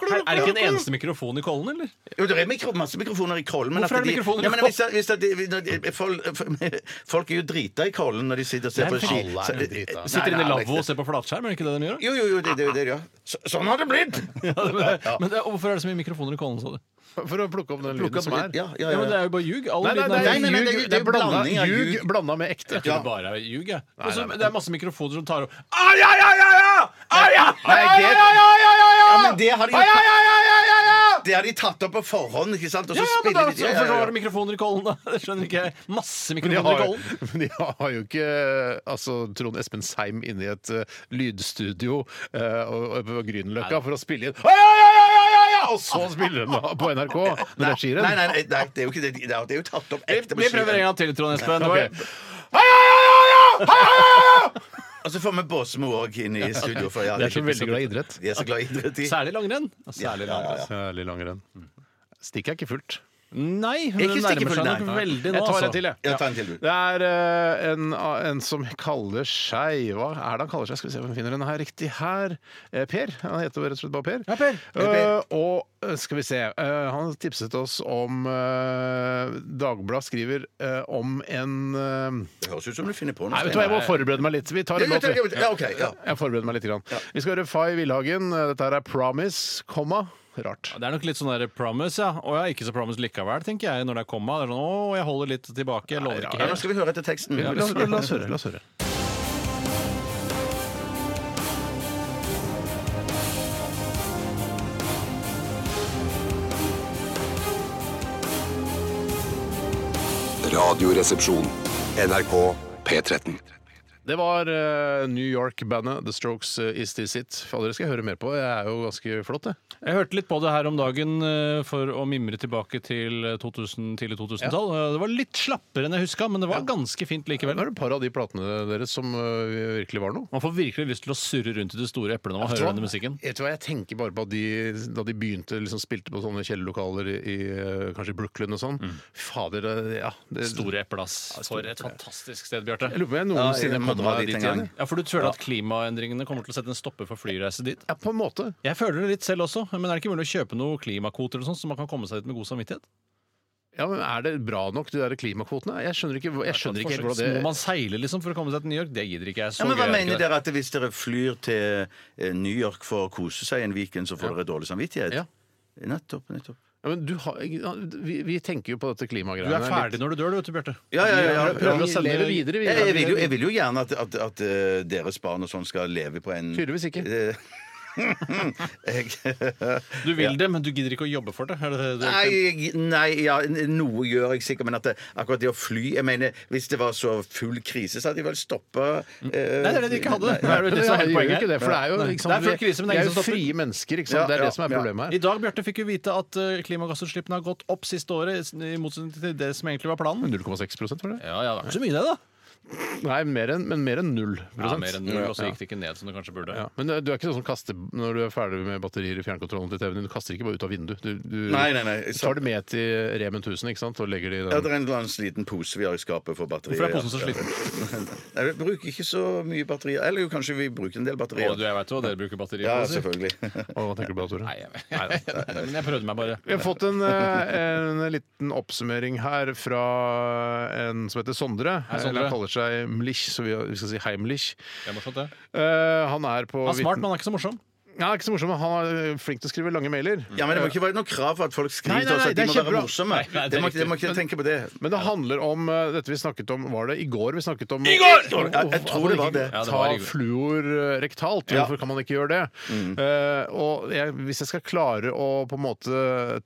Speaker 2: Her, er det ikke en eneste mikrofon i kollen, eller?
Speaker 3: Jo, det er mikro, masse mikrofoner i kollen. Men
Speaker 2: Hvorfor
Speaker 3: at
Speaker 2: er det
Speaker 3: de-
Speaker 2: mikrofoner i
Speaker 3: ja, men hvis, hvis at de, når de, folk, (laughs) folk er jo drita i kollen når de sitter og ser
Speaker 2: Nei,
Speaker 3: på ski.
Speaker 1: alle er
Speaker 3: Så-
Speaker 1: jo drita.
Speaker 2: Sitter inne i
Speaker 3: Nei, nei,
Speaker 2: lavvo og ser på flatskjerm, er det ikke det de gjør?
Speaker 3: Jo, jo, jo, det er det, det, ja. Så, sånn har det blitt!
Speaker 2: Ja, (laughs) men- Men det, hvorfor er det så mye mikrofoner i kollen, sa du?
Speaker 1: For å plukke opp den
Speaker 3: Plukka
Speaker 1: lyden som
Speaker 3: på
Speaker 1: er.
Speaker 3: litt- Ja, ja,
Speaker 2: Ja, men det
Speaker 3: ja, ja.
Speaker 2: er jo bare ljug. All
Speaker 1: Nei, nei, nei,
Speaker 2: lyden er
Speaker 3: nei, nei, det
Speaker 1: ljug-
Speaker 3: er jo-
Speaker 1: det er blanda
Speaker 3: blanding av
Speaker 1: ljug
Speaker 3: ljug.
Speaker 1: blanda med ekte.
Speaker 2: Jeg tror det bare er ljug, jeg. Og så-
Speaker 1: nei, nei.
Speaker 2: Det er masse mikrofoner som tar opp Ah,
Speaker 3: Nei, det, ja, men det har de jo Det har de tatt opp på forhånd, ikke sant? Og så
Speaker 2: Ja, ja, men da
Speaker 3: spiller de ja,
Speaker 2: så
Speaker 3: ja,
Speaker 2: var
Speaker 3: ja.
Speaker 2: det mikrofoner i kollen, da. Det skjønner ikke jeg. Masse
Speaker 1: Men de
Speaker 2: mikrofoner i
Speaker 1: har,
Speaker 2: kollen.
Speaker 1: men de har jo ikke altså, Trond Espen Seim inne i et ø, lydstudio ø, og- og på Grünerløkka for å spille inn ai, ai, ai, ai, ai, ai, ai, Og så spiller den da på NRK når det er
Speaker 3: Nei,
Speaker 1: skirenn.
Speaker 3: nei, nei, nei, det er jo ikke det. Det er jo- det er jo tatt opp
Speaker 2: Vi
Speaker 3: ekte på
Speaker 2: prøver en
Speaker 3: skirenn.
Speaker 2: gang til, Trond Espen. Det var-
Speaker 1: Ok.
Speaker 3: Og så får vi Båsmo òg inn i studio. For, ja,
Speaker 1: Jeg er så veldig glad i idrett.
Speaker 3: De er så glad i idrett. de.
Speaker 2: Særlig langrenn. Ja, Særlig
Speaker 3: Ja, ja,
Speaker 2: langrenn.
Speaker 3: ja.
Speaker 1: Særlig langrenn. Stikker jeg ikke fullt.
Speaker 2: Nei, hun
Speaker 3: Ikke
Speaker 2: nærmer
Speaker 3: stikke
Speaker 2: seg
Speaker 3: full,
Speaker 2: nok
Speaker 3: nei.
Speaker 2: veldig nå,
Speaker 1: Jeg tar en til,
Speaker 2: altså.
Speaker 1: jeg.
Speaker 3: Ja, ta en til, du.
Speaker 1: Det er eh, en, en som kaller seg Hva er det han kaller seg? Skal vi se om vi finner den her riktig her. Eh, per. Han heter jo rett og slett bare Per.
Speaker 2: Ja, Per.
Speaker 1: Eh, og eh, skal vi se eh, Han tipset oss om uh, Dagbladet skriver eh, om en eh,
Speaker 3: Det høres ut som du finner på noe.
Speaker 1: Nei, vet du hva, jeg må forberede meg litt. Vi tar en låt, vi.
Speaker 3: Ja, ok, ja.
Speaker 1: Jeg forbereder meg litt. Grann. Vi skal høre Fay Villhagen. Dette her er 'Promise', komma. Rart.
Speaker 2: Ja, Det er nok litt sånn der promise, ja. Og jeg er ikke så promise likevel, tenker jeg, når det er komma. Det er sånn, å, jeg holder litt tilbake, jeg lover ikke
Speaker 3: Ja, nå
Speaker 2: helt.
Speaker 3: skal vi høre etter teksten.
Speaker 1: La, la, la oss høre. La oss høre.
Speaker 5: Radioresepsjon. NRK P13.
Speaker 1: Det var eh, New York-bandet The Strokes eh, Is This It. Fader, det skal jeg høre mer på. Jeg er jo ganske flott, jeg.
Speaker 2: Jeg hørte litt på det her om dagen eh, for å mimre tilbake til 2000, tidlig 2000-tall. Eh, Det var litt slappere enn jeg huska, men det var ganske fint
Speaker 1: Nå
Speaker 2: likevel.
Speaker 1: er det et par av de platene deres som eh, virkelig var noe.
Speaker 2: Man får virkelig lyst til å surre rundt i det store eplet når man
Speaker 1: Vet du
Speaker 2: hører
Speaker 1: hva?
Speaker 2: denne musikken.
Speaker 1: Vet du hva, Jeg tenker bare på at de, da de begynte liksom spilte på sånne kjellerlokaler i, i eh, kanskje Brooklyn og sånn. Fader, eh, ja det,
Speaker 2: Store epleass. For et fantastisk sted, Bjarte.
Speaker 1: Jeg lurer på om jeg
Speaker 3: Ja,
Speaker 1: noensinne
Speaker 3: jeg må
Speaker 1: kom
Speaker 3: dra
Speaker 1: meg
Speaker 3: dit
Speaker 1: dit
Speaker 3: en
Speaker 1: igjen.
Speaker 3: gang.
Speaker 1: jeg.
Speaker 2: Ja, For du føler at klimaendringene kommer til å sette en stopper for flyreise dit?
Speaker 1: Ja, på en måte.
Speaker 2: Jeg føler det litt selv også, men er det ikke mulig å kjøpe noen klimakvoter og sånn, så man kan komme seg dit med god samvittighet?
Speaker 1: Ja, men Er det bra nok, de der klimakvotene? Jeg skjønner ikke, jeg
Speaker 2: sånn
Speaker 1: skjønner ikke helt hvordan
Speaker 2: Må
Speaker 1: det
Speaker 2: man seile liksom for å komme seg til New York? Det gidder ikke jeg.
Speaker 3: Ja,
Speaker 2: Så
Speaker 3: men Hva
Speaker 2: gøy er det
Speaker 3: mener
Speaker 2: ikke det.
Speaker 3: dere at hvis dere flyr til eh, New York for å kose seg en weekend, så får dere dårlig samvittighet?
Speaker 1: Ja.
Speaker 3: Nettopp. nettopp.
Speaker 1: ja, men du har, ja, vi, vi tenker jo på dette
Speaker 2: Du
Speaker 1: klimagreiene.
Speaker 2: er
Speaker 1: litt.
Speaker 2: ferdig når du dør, du vet du, Bjarte.
Speaker 3: Ja, ja, ja, ja.
Speaker 1: Vi prøver å sende- lever videre, vi.
Speaker 3: Jeg, jeg, vil jo, jeg vil jo gjerne at, at, at eh, deres barn og sånn skal leve på en (laughs)
Speaker 1: Tydeligvis ikke.
Speaker 3: Eh, jeg,
Speaker 2: Du vil det, men du gidder ikke å jobbe for det. Er det, det,
Speaker 3: nei, jeg- nei, ja, noe gjør jeg sikkert, men at det, akkurat det å fly jeg mener, Hvis det var så full krise, så hadde de vel eh, stoppa
Speaker 2: Nei, det er det de ikke hadde. Det
Speaker 1: Nei,
Speaker 2: er jo
Speaker 1: det
Speaker 2: det som er
Speaker 1: er
Speaker 2: hele
Speaker 1: jo
Speaker 2: poenget.
Speaker 1: ikke det, for det er jo liksom
Speaker 2: Nei.
Speaker 1: ikke sant,
Speaker 2: Det er full krise, men det er
Speaker 1: vi
Speaker 2: ingen som
Speaker 1: jo
Speaker 2: stopper.
Speaker 1: frie mennesker, ikke sant?
Speaker 3: Ja,
Speaker 1: det er
Speaker 3: ja,
Speaker 1: det som er
Speaker 3: ja.
Speaker 1: problemet
Speaker 2: I
Speaker 1: her.
Speaker 2: dag Bjarte, fikk vi vite at eh, klimagassutslippene har gått opp siste året, i motsetning til det som egentlig var planen.
Speaker 1: 0,6 var det?
Speaker 2: Ja, ja, det er ikke så mye, det, da.
Speaker 1: Nei, mer enn, men mer enn null
Speaker 2: Ja,
Speaker 1: prosent.
Speaker 2: mer enn null, og så gikk det ikke ned som det kanskje burde.
Speaker 1: Ja, Men eh, du er ikke sånn som kaster når du er ferdig med batterier i fjernkontrollen til TV-en din. Du kaster ikke bare ut av vinduet. Du, du
Speaker 3: Nei, nei, nei.
Speaker 1: du tar det med til Remen 1000 ikke sant? og legger det i
Speaker 3: Ja,
Speaker 1: den.
Speaker 3: det er en eller annen sliten pose vi har i skapet for batterier.
Speaker 2: Hvorfor er posen så sliten?
Speaker 3: (laughs) Nei, vi bruker ikke så mye batterier. Eller jo, kanskje vi bruker en del batterier.
Speaker 2: Og du, jeg vet jo hva dere bruker batteri på.
Speaker 3: ja,
Speaker 1: (laughs)
Speaker 2: si.
Speaker 3: selvfølgelig.
Speaker 1: Og hva tenker du på, Tore?
Speaker 2: (laughs) Nei, jeg vet Men jeg prøvde meg bare.
Speaker 1: Vi har fått en, eh, en liten oppsummering her fra en som heter Sondre.
Speaker 2: Hei, Sondre.
Speaker 1: Eller han kaller seg Mlich, så vi vi skal si Hei, Mlich.
Speaker 2: Det er morsomt, det.
Speaker 1: Eh, han er på
Speaker 2: Han er smart,
Speaker 1: vitten-
Speaker 2: men han er ikke så morsom.
Speaker 1: Ja, ikke så morsom, men han er flink til å skrive lange mailer.
Speaker 3: Ja, men Det må ikke være noe krav for at folk
Speaker 1: Nei,
Speaker 3: skriver
Speaker 1: nei,
Speaker 3: til oss
Speaker 1: nei,
Speaker 3: at
Speaker 1: det
Speaker 3: de
Speaker 1: er
Speaker 3: må være
Speaker 1: kjempebra.
Speaker 3: morsomme.
Speaker 2: Nei, nei, det er
Speaker 3: det, må, ikke-
Speaker 2: riktig.
Speaker 3: det må ikke tenke på det.
Speaker 1: Men det handler om eh, dette vi snakket om Var det i går vi snakket om
Speaker 3: Jeg- jeg tror det var det.
Speaker 2: Ja, det
Speaker 1: ta
Speaker 2: var i går. Mm.
Speaker 1: fluor eh, rektalt.
Speaker 3: Ja.
Speaker 1: Hvorfor kan man ikke gjøre det? Eh, og jeg, hvis jeg skal klare å på en måte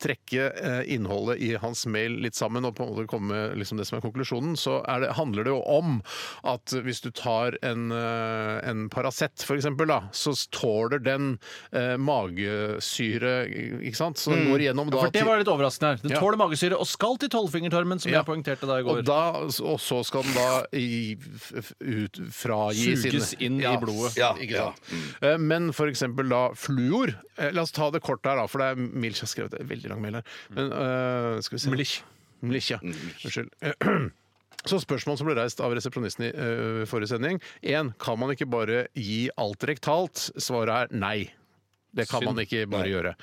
Speaker 1: trekke eh, innholdet i hans mail litt sammen, og på en måte komme med liksom det som er konklusjonen, så er det, handler det jo om at hvis du tar en, eh, en Paracet f.eks., så tåler den eh, magesyre, ikke sant? Så den går igjennom da
Speaker 2: Mm. For det
Speaker 1: til-
Speaker 2: var litt overraskende her. Den
Speaker 1: Ja.
Speaker 2: tåler magesyre og skal til tolvfingertarmen, som
Speaker 1: Ja.
Speaker 2: jeg poengterte da i går.
Speaker 1: Og, da, og så skal den da i, f- f- ut, fragi
Speaker 2: Suges
Speaker 1: sine-
Speaker 2: inn i blodet.
Speaker 1: Ja,
Speaker 3: Ja,
Speaker 1: ikke sant? Eh, Men for eksempel da fluor Eh, La oss ta det kort her, da, for det er Milch har skrevet en veldig lang mail her. Men
Speaker 2: Mm.
Speaker 1: eh, skal vi se Mlich. ja. Unnskyld. (clears throat) Så spørsmål som ble reist av resepsjonisten i eh, forrige sending. 1. Kan man ikke bare gi alt rektalt? Svaret er nei. Det kan man ikke bare gjøre.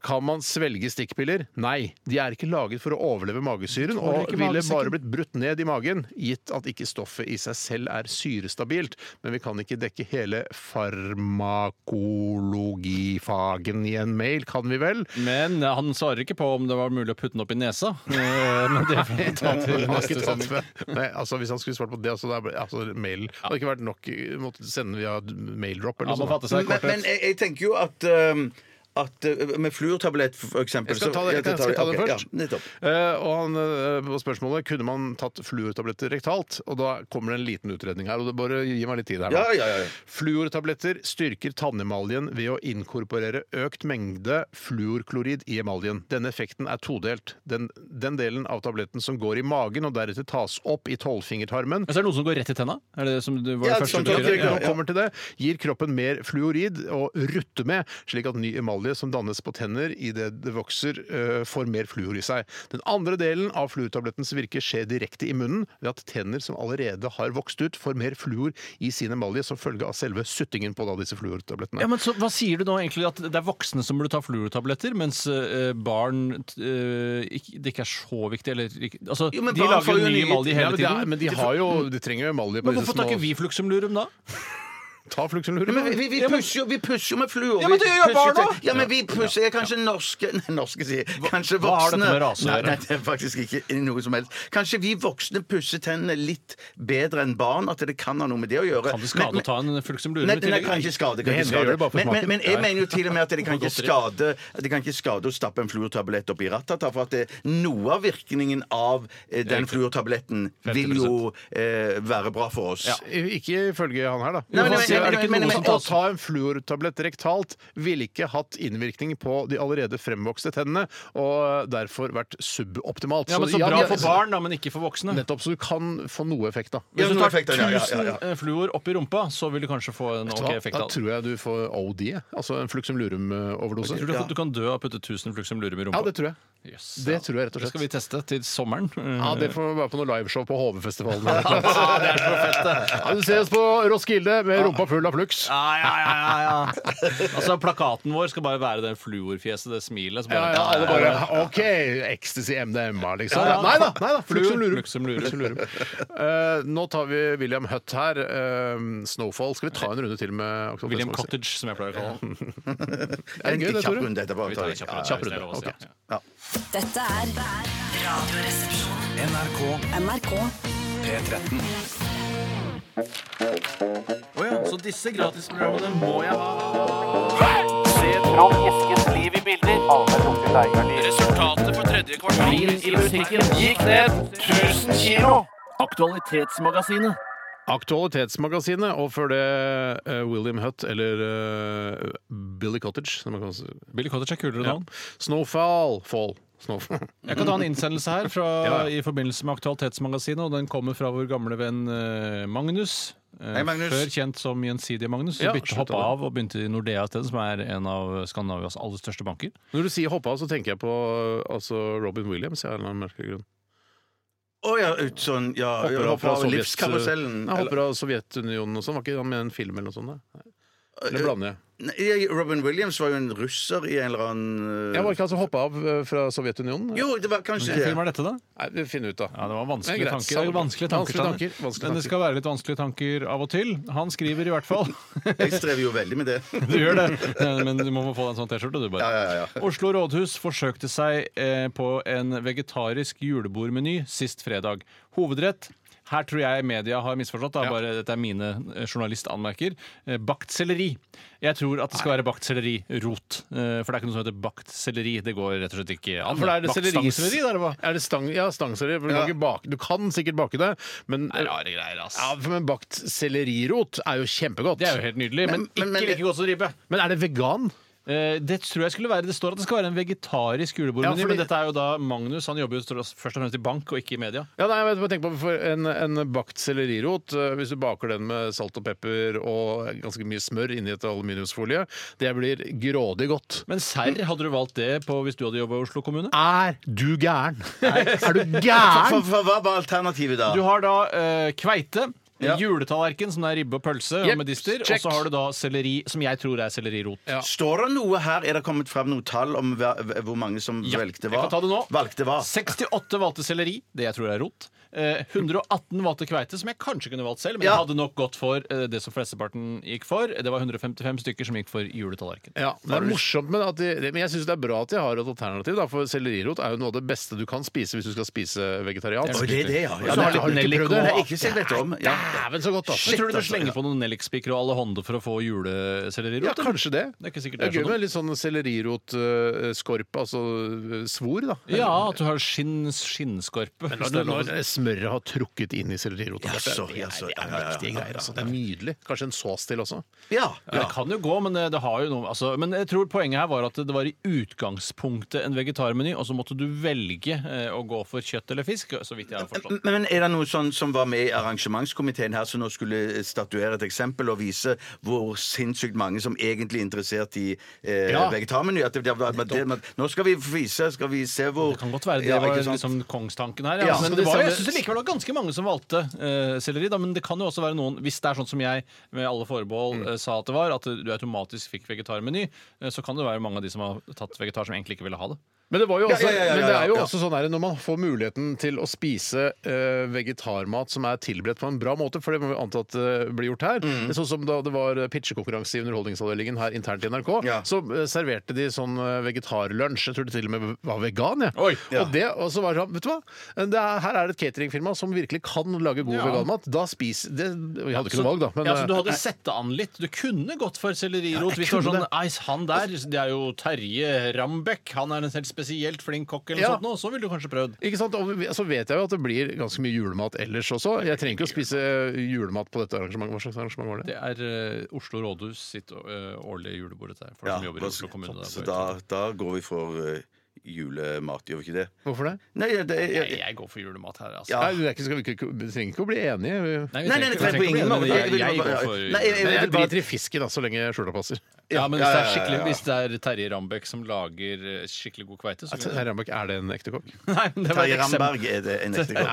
Speaker 1: Kan man svelge stikkpiller? Nei. De er ikke laget for å overleve magesyren og
Speaker 2: ikke
Speaker 1: ville
Speaker 2: magesekken.
Speaker 1: bare blitt brutt ned i magen, gitt at ikke stoffet i seg selv er syrestabilt. Men vi kan ikke dekke hele farmakologifagen i en mail, kan vi
Speaker 2: (laughs)
Speaker 1: vel?
Speaker 2: Men eh, han svarer ikke på om det var mulig å putte den opp i (laughs) nesa. Eh, Men det sånn. får vi ta til
Speaker 1: Han har ikke
Speaker 2: neste
Speaker 1: tatt
Speaker 2: sending.
Speaker 1: med- Nei, altså, hvis han skulle svart på det, altså, det er, altså, mailen Det hadde ikke vært nok. Måtte sende via maildrop eller sånn.
Speaker 2: Han må
Speaker 1: noe sånt.
Speaker 2: fatte seg i
Speaker 3: Men, men
Speaker 2: korthet.
Speaker 3: jeg, jeg tenker jo at um, at uh, Med fluortablett, for eksempel
Speaker 1: Jeg skal
Speaker 3: så-
Speaker 1: ta det,
Speaker 3: Ja,
Speaker 1: jeg skal ta det
Speaker 3: ok,
Speaker 1: først.
Speaker 3: Ja, nettopp.
Speaker 1: Eh, og han, eh, på spørsmålet kunne man tatt fluortabletter rektalt. Og da kommer det en liten utredning her. og det bare Gi meg litt tid her nå.
Speaker 3: Ja, ja, ja, ja.
Speaker 1: Fluortabletter styrker tannemaljen ved å inkorporere økt mengde fluorklorid i emaljen. Denne effekten er todelt. Den, den delen av tabletten som går i magen og deretter tas opp i tolvfingertarmen,
Speaker 2: Men så er det noen som går rett i tenna? Er det det som du var
Speaker 3: Ja,
Speaker 2: det første
Speaker 3: sånn
Speaker 2: du
Speaker 3: tror jeg
Speaker 2: gjorde?
Speaker 3: ikke.
Speaker 1: Nå
Speaker 3: ja.
Speaker 1: kommer til det. Gir kroppen mer fluorid å rutte med, slik at ny emalje som dannes på tenner idet det vokser, eh, får mer fluor i seg. Den andre delen av fluortablettens virke skjer direkte i munnen ved at tenner som allerede har vokst ut, får mer fluor i sin emalje som følge av selve suttingen på da disse fluortablettene.
Speaker 2: Ja, men så, hva sier du nå egentlig? At det er voksne som burde ta fluortabletter, mens eh, barn eh, ikke, Det ikke er så viktig, eller ikke- altså,
Speaker 3: Jo, men
Speaker 2: De
Speaker 3: barn
Speaker 2: lager
Speaker 3: får
Speaker 2: jo
Speaker 3: jo
Speaker 2: ny
Speaker 3: nye-
Speaker 2: emalje
Speaker 1: Ja,
Speaker 2: hele
Speaker 1: men, de, er-
Speaker 2: tiden.
Speaker 1: men de har jo De trenger jo emalje. på
Speaker 2: Men
Speaker 1: disse
Speaker 2: hvorfor tar
Speaker 1: små-
Speaker 2: ikke vi fluxumlurum da?
Speaker 1: Ta fluxumlurum?
Speaker 3: Men vi, vi, vi, pusher, jo- vi pusher jo med fluor.
Speaker 2: Ja, men
Speaker 3: Vi
Speaker 2: det gjør
Speaker 3: pusher
Speaker 2: barn
Speaker 3: til-
Speaker 2: også.
Speaker 3: Ja, men vi pusher er kanskje norske (laughs) Nei, norske sier jeg. Kanskje voksne
Speaker 2: hva har dette med rase å
Speaker 3: Nei,
Speaker 2: gjøre?
Speaker 3: Nei, det er faktisk ikke noe som helst. Kanskje vi voksne pusser tennene litt bedre enn barn, at det kan ha noe med det å gjøre.
Speaker 2: Kan det skade
Speaker 3: Men-
Speaker 2: å ta en fluxumlurum
Speaker 3: Nei,
Speaker 2: i
Speaker 3: nei,
Speaker 2: tillegg?
Speaker 3: kan ikke skade. Kan
Speaker 1: Det
Speaker 3: ikke
Speaker 1: hender jeg gjør
Speaker 3: skade.
Speaker 1: det bare for
Speaker 3: Men, men,
Speaker 1: smaken.
Speaker 3: men jeg mener jo til og med at
Speaker 2: (laughs)
Speaker 3: det kan ikke
Speaker 2: Godteri.
Speaker 3: skade Det kan ikke skade å stappe en fluortablett opp i ratata, for at det, noe av virkningen av eh, den fluortabletten vil jo eh, være bra for oss.
Speaker 1: Ikke ifølge han her, da.
Speaker 3: Nei, men-
Speaker 1: han
Speaker 3: men-
Speaker 1: sier, er det
Speaker 3: men-
Speaker 1: ikke
Speaker 3: men-
Speaker 1: noe
Speaker 3: men-
Speaker 1: som Å ta en fluortablett rektalt ville ikke hatt innvirkning på de allerede fremvokste tennene, og derfor vært suboptimalt.
Speaker 2: Ja, men Så
Speaker 1: ja,
Speaker 2: bra
Speaker 1: ja,
Speaker 2: for barn, da, men ikke for voksne.
Speaker 1: Nettopp, så du kan få noe effekt, da.
Speaker 3: Ja,
Speaker 2: Hvis du
Speaker 3: noe
Speaker 2: tar
Speaker 3: effekt, ja, ja, ja,
Speaker 2: 1000
Speaker 3: ja.
Speaker 2: eh, fluor opp i rumpa, så vil du kanskje få en
Speaker 1: Så
Speaker 2: OK
Speaker 1: da-
Speaker 2: effekt
Speaker 1: da
Speaker 2: av det.
Speaker 1: tror jeg du får OD, altså en fluxum lurum-overdose.
Speaker 2: Tror du at du kan dø av å putte 1000 fluxumlurum i rumpa?
Speaker 1: Ja, det tror jeg.
Speaker 2: Jøss,
Speaker 1: det
Speaker 2: ja.
Speaker 1: tror jeg rett og slett.
Speaker 2: Det skal vi teste til sommeren.
Speaker 1: Ja, Det får være på noe liveshow på HV-festivalen.
Speaker 2: Ah, det er så fett, det.
Speaker 1: Ja, du ses på Roskilde med rumpa full av flux.
Speaker 2: Ja, ja, ja, ja, ja. Altså, plakaten vår skal bare være det fluorfjeset, det smilet. som
Speaker 1: Ja,
Speaker 2: bare-
Speaker 1: ja, alle bare OK, ecstasy, MDMA, liksom.
Speaker 2: Ja, ja.
Speaker 1: Nei da! Nei da
Speaker 2: Fluor,
Speaker 1: fluxum lurum.
Speaker 2: fluxum lurum.
Speaker 1: Fluxum lurum. Eh, nå tar vi William Hutt her. eh, Snowfall. Skal vi ta en runde til med Oktoberfest?
Speaker 2: William Cottage, som jeg pleier å kalle den.
Speaker 1: Er det gøy, det,
Speaker 3: kjapp
Speaker 1: Tore?
Speaker 3: runde etterpå.
Speaker 2: Vi tar en
Speaker 3: Ja, ja.
Speaker 2: kjapp runde. hvis det er lov å si,
Speaker 1: Ok.
Speaker 2: ja.
Speaker 4: Dette er Radioresepsjonen. NRK. NRK.
Speaker 7: Å ja, så disse gratisprogrammene må jeg ha. Se Trond Eskens liv i bilder. Resultatet for tredje kvartal i butikken gikk ned 1000 kilo. Aktualitetsmagasinet.
Speaker 1: Aktualitetsmagasinet, og før det eh, William Hutt eller eh, Billy Cottage. Som man kan si.
Speaker 2: Billy Cottage er kulere
Speaker 1: Ja.
Speaker 2: navn.
Speaker 1: Snowfall. (laughs) Fall. Snoff.
Speaker 2: Jeg kan ta en innsendelse her fra,
Speaker 1: Ja, ja.
Speaker 2: i forbindelse med Aktualitetsmagasinet, og den kommer fra vår gamle venn eh, Magnus. Eh,
Speaker 3: Hei, Magnus.
Speaker 2: Før kjent som Gjensidige-Magnus.
Speaker 1: Ja,
Speaker 2: Ja, bytte
Speaker 1: slutt
Speaker 2: hopp
Speaker 1: å det.
Speaker 2: av og begynte i Nordea i stedet, som er en av Skandinavias aller største banker.
Speaker 1: Når du sier hoppa av, så tenker jeg på eh, altså Robin Williams. Jeg, av en eller annen merkelig grunn.
Speaker 3: Å ja, ut sånn ja,
Speaker 1: Hopper av fra
Speaker 3: hopper av
Speaker 1: Sovjet-
Speaker 3: livskarusellen.
Speaker 1: Nei, hopper av Sovjetunionen og sånn. Var ikke han med i en film eller noe sånt? da? Eller
Speaker 3: Eller-
Speaker 1: blander jeg?
Speaker 3: Nei, Robin Williams var jo en russer i en eller annen
Speaker 1: Jeg var ikke altså hoppa av eh, fra Sovjetunionen?
Speaker 3: Jo, det var kanskje
Speaker 2: Hvilken
Speaker 3: det.
Speaker 2: film er dette, da?
Speaker 1: Nei, vi finner ut, da.
Speaker 2: Ja, det var
Speaker 1: Det
Speaker 2: vanskelige
Speaker 1: er greit.
Speaker 2: tanker. Det er Vanskelige tanker,
Speaker 1: Vanskelige
Speaker 2: Steiner.
Speaker 1: tanker, vanskelige
Speaker 2: Men det skal være litt vanskelige tanker av og til. Han skriver i hvert fall. (laughs)
Speaker 3: Jeg strever jo veldig med det.
Speaker 2: Du gjør
Speaker 1: (laughs)
Speaker 2: det, Nei, men du må få deg en sånn T-skjorte, du bare.
Speaker 3: Ja, ja, ja.
Speaker 2: Oslo rådhus forsøkte seg eh, på en vegetarisk julebordmeny sist fredag. Hovedrett her tror jeg media har misforstått. Da.
Speaker 1: Ja.
Speaker 2: Bare, dette er mine eh, journalistanmerker. Eh, Bakt selleri. Jeg tror at det skal være bakt sellerirot. Eh, For det er ikke noe som heter bakt selleri. Det går rett og slett ikke an.
Speaker 1: For det er det
Speaker 2: Bakt
Speaker 1: selleriselleri,
Speaker 2: stangselleri,
Speaker 1: da,
Speaker 2: da,
Speaker 1: eller hva? Er det stang, ja, stangselleri. for Du, kan
Speaker 3: Ja.
Speaker 1: ikke bake- du kan sikkert bake det, men
Speaker 2: Det er rare greier, ass.
Speaker 1: ja, for men bakt sellerirot er jo kjempegodt.
Speaker 2: Det er jo helt nydelig, men,
Speaker 3: Men- men- men-
Speaker 2: ikke like godt som ribbe.
Speaker 1: Men er det vegan?
Speaker 2: Eh, Det tror jeg skulle være, det står at det skal være en vegetarisk julebordmeny,
Speaker 1: Ja, fordi-
Speaker 2: men dette er jo da Magnus. Han jobber jo stro- først og fremst i bank og ikke i media.
Speaker 1: Ja, nei, jeg vet- bare tenk på for en, en bakt sellerirot. eh, Hvis du baker den med salt og pepper og ganske mye smør inni et aluminiumsfolie, det blir grådig godt.
Speaker 2: Men serr, hadde du valgt det på hvis du hadde jobba i Oslo kommune?
Speaker 1: Er du gæren? Er du
Speaker 3: For, for,
Speaker 1: gæren?
Speaker 3: for hva var alternativet da?
Speaker 2: Du har da eh, kveite.
Speaker 3: Ja.
Speaker 2: Juletallerken, som det er ribbe og pølse
Speaker 1: Jepp,
Speaker 2: og medister.
Speaker 1: check.
Speaker 2: Og så har du da selleri, som jeg tror er sellerirot.
Speaker 1: Ja.
Speaker 3: Står det noe her? Er det kommet fram noe tall om hva, hvor mange som valgte
Speaker 2: jeg
Speaker 3: hva?
Speaker 2: kan ta det nå.
Speaker 3: Valgte hva?
Speaker 2: 68 valgte selleri, det jeg tror er rot. Eh, 118 valgte kveite, som jeg kanskje kunne valgt selv, men
Speaker 3: Ja.
Speaker 2: jeg hadde nok gått for eh, det som flesteparten gikk for. Det var 155 stykker som gikk for juletallerken.
Speaker 1: Ja, men det er morsomt, men, at de, men jeg syns det er bra at de har et alternativ. Da, for sellerirot er jo noe av det beste du kan spise hvis du skal spise vegetariansk.
Speaker 3: Å, det er det, ja.
Speaker 1: Og
Speaker 3: ja
Speaker 1: så
Speaker 3: det
Speaker 1: har
Speaker 3: er-
Speaker 1: du- har du ikke
Speaker 2: nellik
Speaker 1: prøvd det?
Speaker 3: Nei, ikke så jeg vet om. Ja.
Speaker 1: Dæven, så godt, da.
Speaker 2: Men
Speaker 3: Shit,
Speaker 2: tror du du
Speaker 3: altså,
Speaker 2: slenger
Speaker 3: ja.
Speaker 2: på noen nellikspiker og alle hånder for å få julesellerirot?
Speaker 1: Ja, kanskje det.
Speaker 2: Det er ikke sikkert
Speaker 1: det er
Speaker 2: det er
Speaker 1: gøy
Speaker 2: så
Speaker 1: med litt sånn sellerirot-skorpe, altså eh, svor, da.
Speaker 2: Ja, at du har skinn, skinnskorpe. hvis det er lov å
Speaker 1: Når
Speaker 2: si.
Speaker 1: smøret har trukket inn i sellerirota.
Speaker 3: Ja,
Speaker 1: Dette er-
Speaker 3: sorry,
Speaker 1: det er-
Speaker 3: altså.
Speaker 1: Det er
Speaker 3: Ja, ja, ja.
Speaker 1: viktige greier. Altså. Det er nydelig. Kanskje en sås til også.
Speaker 3: Ja.
Speaker 2: Ja.
Speaker 3: ja.
Speaker 2: Det kan jo gå, men det, det har jo noe altså, Men jeg tror poenget her var at det var i utgangspunktet en vegetarmeny, og så måtte du velge eh, å gå for kjøtt eller fisk, så vidt jeg har forstått.
Speaker 3: Men er det noe sånn som var med i arrangementskomiteen her, som nå skulle statuere et eksempel og vise hvor sinnssykt mange som egentlig er interessert i eh,
Speaker 1: Ja.
Speaker 3: vegetarmeny? At det, det, det, det, nå skal vi vise, skal vi se hvor
Speaker 2: Det kan godt være det
Speaker 3: Ja,
Speaker 2: var
Speaker 3: ikke sant?
Speaker 2: liksom kongstanken her. Ja.
Speaker 3: Ja, skal
Speaker 2: men det
Speaker 3: det
Speaker 2: var,
Speaker 3: samme-
Speaker 2: jeg synes det likevel var ganske mange som valgte eh, selleri. Da, men det kan jo også være noen, hvis det er sånn som jeg med alle forbehold
Speaker 3: Mm.
Speaker 2: eh, sa at det var, at du automatisk fikk vegetarmeny, eh, så kan det være mange av de som har tatt vegetar, som egentlig ikke ville ha det.
Speaker 1: Men det, var jo også,
Speaker 3: ja, ja, ja,
Speaker 1: men det er jo
Speaker 3: ja.
Speaker 1: også sånn her, når man får muligheten til å spise eh, vegetarmat som er tilberedt på en bra måte, for det må vi anta at eh, blir gjort her.
Speaker 3: Mm.
Speaker 1: Det er Sånn som da det var pitchekonkurranse i Underholdningsavdelingen her internt i NRK,
Speaker 3: Ja.
Speaker 1: så eh, serverte de sånn eh, vegetarlunsj. Jeg tror det til og med var vegan, jeg.
Speaker 2: Oi,
Speaker 3: ja.
Speaker 1: Og det og så var det sånn, vet du hva? Det er, her er det et cateringfirma som virkelig kan lage god
Speaker 2: Ja.
Speaker 1: veganmat. Da spiser det, Vi hadde ikke noe valg, da. Men,
Speaker 2: ja, så du
Speaker 1: eh,
Speaker 2: hadde sett det an litt. Du kunne gått for sellerirot. hvis det var sånn Eis, han der, det er jo Terje Rambekk, han er en helt spesielt flink kokk eller
Speaker 1: Ja.
Speaker 2: noe sånt, nå, så ville du kanskje prøvd.
Speaker 1: Ikke sant? Og vi- så vet jeg jo at det blir ganske mye julemat ellers også. Jeg trenger ikke å spise eh, julemat på dette arrangementet. Hva slags arrangement var det?
Speaker 2: Det er eh, Oslo rådhus sitt eh, årlige julebord, dette her, for de
Speaker 3: Ja,
Speaker 2: som jobber i Oslo kommune. da,
Speaker 3: så
Speaker 2: på
Speaker 3: da, da går vi for eh, julemat, gjør vi ikke det?
Speaker 1: Hvorfor det?
Speaker 3: Nei, det er
Speaker 2: Jeg, jeg går for julemat her, altså.
Speaker 3: Ja.
Speaker 1: Nei, vi, er ikke, skal vi, ikke, vi trenger ikke å bli enige. Vi-
Speaker 2: Nei, vi
Speaker 3: Nei, nei,
Speaker 2: trenger-
Speaker 3: nei,
Speaker 2: vi
Speaker 3: på
Speaker 2: trenger
Speaker 3: ingen
Speaker 2: ikke
Speaker 3: måte.
Speaker 2: bli enige,
Speaker 3: Jeg-
Speaker 2: men Jeg, jeg
Speaker 3: jeg-
Speaker 2: går for
Speaker 3: Nei, jeg-
Speaker 1: Men jeg
Speaker 3: vil bare-
Speaker 1: driter i fisken da, så lenge skjorta passer.
Speaker 2: Ja, men
Speaker 3: ja, ja,
Speaker 2: hvis det er
Speaker 3: ja,
Speaker 2: skikkelig
Speaker 3: ja.
Speaker 2: Hvis det er Terje Rambekk som lager eh, skikkelig god kveite, så
Speaker 1: Terje Rambøk, eh, er det en ekte kokk?
Speaker 2: (laughs) Nei, men det var et
Speaker 3: Terje
Speaker 2: eksempel.
Speaker 3: Ramberg er det en
Speaker 2: (laughs)
Speaker 3: ekte
Speaker 1: (laughs)
Speaker 3: gang.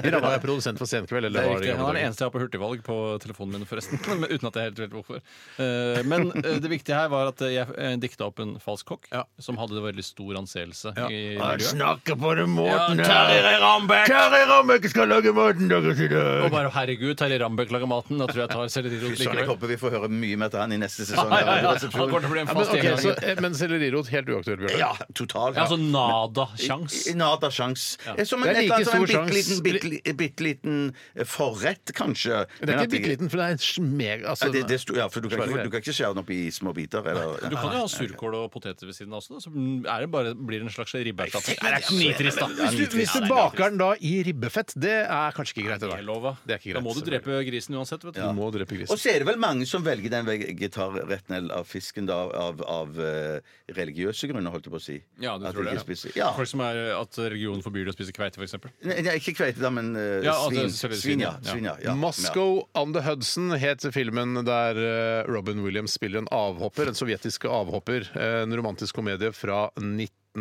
Speaker 1: Terje Rambøk er produsent for Senkveld. Eller
Speaker 2: Det er
Speaker 1: var
Speaker 2: riktig.
Speaker 1: det i
Speaker 2: Han er
Speaker 1: gamle
Speaker 2: den
Speaker 1: dager?
Speaker 2: eneste jeg har på hurtigvalg på telefonen min, forresten. (laughs) Men uten at jeg helt vet hvorfor. Eh, Men eh, det viktige her var at eh, jeg dikta opp en falsk kokk
Speaker 1: Ja.
Speaker 2: som hadde veldig stor anseelse i
Speaker 1: Han
Speaker 2: miljøet.
Speaker 1: snakker på den måten
Speaker 2: Rambekk!
Speaker 1: Terje Rambøk skal lage maten deres i
Speaker 2: Og
Speaker 1: dag!
Speaker 2: bare herregud, Terje Rambekk lager maten. Da tror jeg jeg tar sellerirot
Speaker 3: Sånn, jeg
Speaker 2: likevel.
Speaker 3: håper sånn. vi får høre mye mer til han i
Speaker 2: (laughs)
Speaker 3: neste sesong.
Speaker 2: Ja, ja, ja.
Speaker 3: av
Speaker 2: Han kommer til å bli en
Speaker 1: Ja, men,
Speaker 2: fast
Speaker 1: okay, så,
Speaker 2: gjenganger.
Speaker 1: eh, men sellerirot, helt uaktuelt, Bjørn.
Speaker 3: Ja, totalt.
Speaker 2: Ja, Altså nada-sjans.
Speaker 3: Nada sjans. Eh, Som en,
Speaker 1: Det er
Speaker 3: et eller
Speaker 1: like
Speaker 3: annet som en bitte
Speaker 1: stor sjans.
Speaker 3: liten, bitte, li- bitte liten eh, forrett, kanskje.
Speaker 1: Det er ikke bitte liten, for det er smeg... Altså,
Speaker 3: Det, det sto, ja, for du kan,
Speaker 1: Svære
Speaker 3: ikke,
Speaker 1: greier.
Speaker 3: du kan ikke skjære den opp i små biter. Eller,
Speaker 2: Du kan jo ha surkål og poteter ved siden av også. Da. Så er det bare blir en slags ribbeerstatning. Nei, Det er knitrist, da.
Speaker 1: Hvis du, hvis du baker den da i ribbefett, det er kanskje ikke greit. Det
Speaker 2: Det er lov, da.
Speaker 1: Det er ikke greit,
Speaker 2: Da må du
Speaker 1: selvfølgelig.
Speaker 2: drepe grisen uansett, vet du.
Speaker 1: Du må drepe
Speaker 3: Og
Speaker 1: grisen.
Speaker 3: så er det vel mange som velger den vegetarretten eller av fisken da, av, av eh, religiøse grunner, holdt jeg på å si.
Speaker 2: Ja, du
Speaker 3: At
Speaker 2: tror
Speaker 3: de
Speaker 2: det.
Speaker 3: ikke spiser- Ja.
Speaker 2: Folk som er At religionen forbyr det å spise kveite, f.eks.
Speaker 3: Nei, nei, ikke kveite, da, men eh,
Speaker 2: Ja, altså,
Speaker 3: svin.
Speaker 2: selvfølgelig
Speaker 3: svin, ja.
Speaker 2: svin, ja.
Speaker 3: Svin, ja. ja.
Speaker 1: Moscow on the Hudson het filmen der eh, Robin Williams spiller en avhopper, en sovjetisk avhopper. eh, En romantisk komedie fra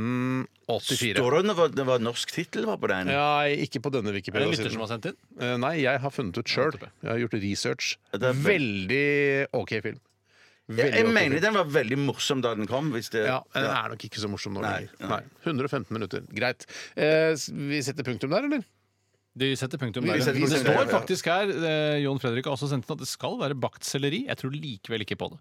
Speaker 1: 1984.
Speaker 3: Står det under hva, det var norsk tittel var på den?
Speaker 1: Ja, ikke på denne
Speaker 2: Er det en lytter
Speaker 1: Wikipedia-siden.
Speaker 2: som har sendt inn?
Speaker 1: Eh, Nei, jeg har funnet ut sjøl. Jeg har gjort research.
Speaker 3: Ja, det er vel-
Speaker 1: Veldig OK film.
Speaker 3: jeg jeg
Speaker 1: ok
Speaker 3: mener
Speaker 1: film.
Speaker 3: den var veldig morsom da den kom. Hvis det,
Speaker 1: Ja, eh, men Den
Speaker 3: ja.
Speaker 1: er nok ikke så morsom nå
Speaker 3: Nei,
Speaker 1: lenger. Nei. 115 minutter. Greit. Eh, s- vi setter punktum der, eller?
Speaker 2: De setter punktum
Speaker 3: Vi
Speaker 2: der.
Speaker 3: setter
Speaker 2: Det
Speaker 3: punktum der,
Speaker 2: står
Speaker 3: ja.
Speaker 2: faktisk her, eh, Jon Fredrik har også sendt inn, at det skal være bakt selleri. Jeg tror likevel ikke på det.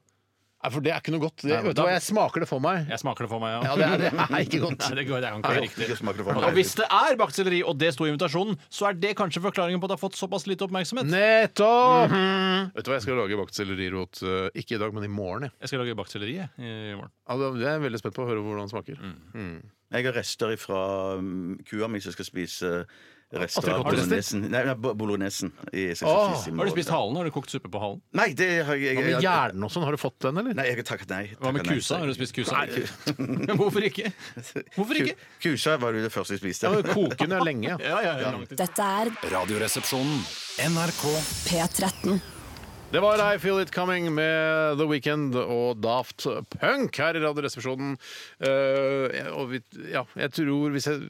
Speaker 1: Nei, for det er ikke noe godt. Det,
Speaker 2: Nei, men
Speaker 1: vet du
Speaker 2: da-
Speaker 1: hva, jeg smaker det for meg.
Speaker 2: Jeg smaker det for meg,
Speaker 1: Ja, det er, det er ikke godt.
Speaker 2: (laughs) Nei, det går, det kan ikke være riktig.
Speaker 3: Ikke smaker det for meg.
Speaker 2: Og hvis det er bakt selleri, og det sto i invitasjonen, så er det kanskje forklaringen på at det har fått såpass lite oppmerksomhet.
Speaker 1: Nettopp! Vet du hva, jeg skal lage bakt sellerirot. eh, Ikke i dag, men i morgen. jeg.
Speaker 2: Jeg skal lage bakt selleri jeg, i morgen.
Speaker 1: Ja, det jeg er veldig spent på å høre hvordan det smaker.
Speaker 3: Jeg har rester fra kua mi som skal spise eh, rester av
Speaker 2: Entrecôte-rester?
Speaker 3: bolognesen. Nei, nei, bo- bolognesen. i- som jeg skal
Speaker 1: Åh,
Speaker 3: spise i
Speaker 2: Har
Speaker 3: morgen.
Speaker 2: du spist halen? Har du kokt suppe på halen?
Speaker 3: Nei, det har jeg,
Speaker 1: Hva
Speaker 3: jeg,
Speaker 1: med
Speaker 3: jeg
Speaker 1: hjernen og sånn? Har du fått den, eller?
Speaker 3: Nei, jeg har takket nei.
Speaker 2: Hva med
Speaker 3: Takket nei, så-
Speaker 2: kusa? Har du spist kusa? (laughs) Hvorfor ikke? Hvorfor ikke?
Speaker 3: Ku- Kusa var jo det første jeg spiste.
Speaker 1: Ja, men Koken er lenge. ja.
Speaker 2: Ja, ja, ja. langt ut.
Speaker 4: Dette er
Speaker 5: Radioresepsjonen. NRK.
Speaker 4: P13.
Speaker 1: Det var I Feel It Coming med The Weekend og Daft Punk her i Radioresepsjonen. Eh, jeg- og vi, ja, jeg tror hvis jeg,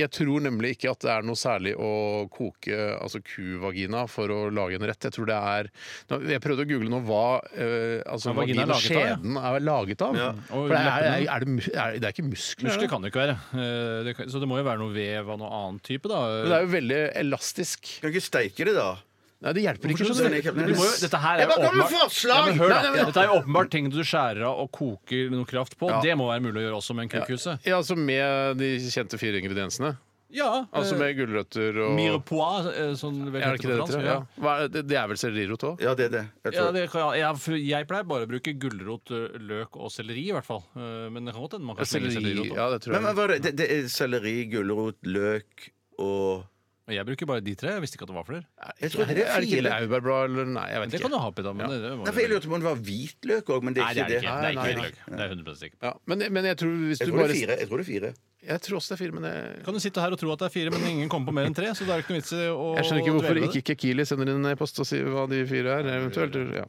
Speaker 1: jeg tror nemlig ikke at det er noe særlig å koke altså kuvagina for å lage en rett. Jeg tror det er Nå, Jeg prøvde å google nå hva eh, altså,
Speaker 2: Hva vagina er laget av,
Speaker 1: vaginaskjeden er laget av. For det er, er, er, det, mus- er, det er ikke muskler.
Speaker 2: Muskler
Speaker 1: det.
Speaker 2: kan det ikke være. Eh, det kan- Så det må jo være noe vev av noe annen type, da.
Speaker 1: Men det er jo veldig elastisk.
Speaker 3: Kan du ikke steike det, da?
Speaker 1: Nei, det hjelper ikke.
Speaker 2: Hvorfor
Speaker 1: skjønner
Speaker 3: skal
Speaker 1: du.
Speaker 3: man
Speaker 2: Du må jo, dette her er
Speaker 3: Jeg
Speaker 2: jo
Speaker 3: bare kommer med
Speaker 2: åpenbart-
Speaker 3: forslag!
Speaker 2: Ja, men hør, da.
Speaker 1: Nei, nei, men-
Speaker 2: Dette er jo åpenbart ting du skjærer av og koker noe kraft på. Det må være mulig å gjøre også med en kukuse.
Speaker 1: Ja, altså Med de kjente fire ingrediensene.
Speaker 2: Ja, eh,
Speaker 1: Altså med gulrøtter og
Speaker 2: Mirepoix, eh, som det vel
Speaker 1: Er det ikke
Speaker 2: heter
Speaker 1: det
Speaker 2: på
Speaker 1: det
Speaker 2: fransk.
Speaker 1: heter? Ja. Hva er det? Det er vel sellerirot òg?
Speaker 3: Ja, det er det. Jeg tror.
Speaker 2: Ja, det kan, ja, for jeg pleier bare å bruke gulrot, ø, løk og selleri, i hvert fall. Eh, Men det kan godt hende man kan slenge selleri.
Speaker 1: Ja, det tror
Speaker 3: men, men,
Speaker 1: jeg.
Speaker 3: hva er det? Det, det er selleri, gulrot, løk og
Speaker 2: Jeg bruker bare de tre. Jeg visste ikke at det var flere.
Speaker 3: Jeg tror
Speaker 1: Er
Speaker 3: det
Speaker 1: det
Speaker 3: er
Speaker 1: ikke
Speaker 3: fire.
Speaker 1: laurbærblad eller Nei, jeg vet
Speaker 2: Det kan du
Speaker 1: ikke.
Speaker 2: ha på da, men det, det,
Speaker 3: Nei,
Speaker 2: må jo
Speaker 3: for jeg
Speaker 2: være-
Speaker 3: lurte på om det var hvitløk òg, men det er
Speaker 2: Nei, det
Speaker 3: ikke det.
Speaker 2: er det ikke. Det er
Speaker 1: Nei,
Speaker 2: ikke
Speaker 1: nei,
Speaker 2: hvitløk. Det er jeg 100 sikker på.
Speaker 1: Ja, men, men jeg tror
Speaker 3: Jeg
Speaker 1: hvis du
Speaker 3: tror det
Speaker 1: bare
Speaker 3: er fire. Jeg tror det er fire.
Speaker 1: Jeg tror også det er fire, men jeg
Speaker 2: Kan du sitte her og tro at det er fire, men ingen kommer på mer enn tre? Så det er jo ikke noe vits i å
Speaker 1: (laughs) jeg skjønner ikke hvorfor
Speaker 2: dvele ved
Speaker 1: ikke
Speaker 2: det.
Speaker 1: Kekili sender inn en e-post og sier hva de fire er. eventuelt. Ja.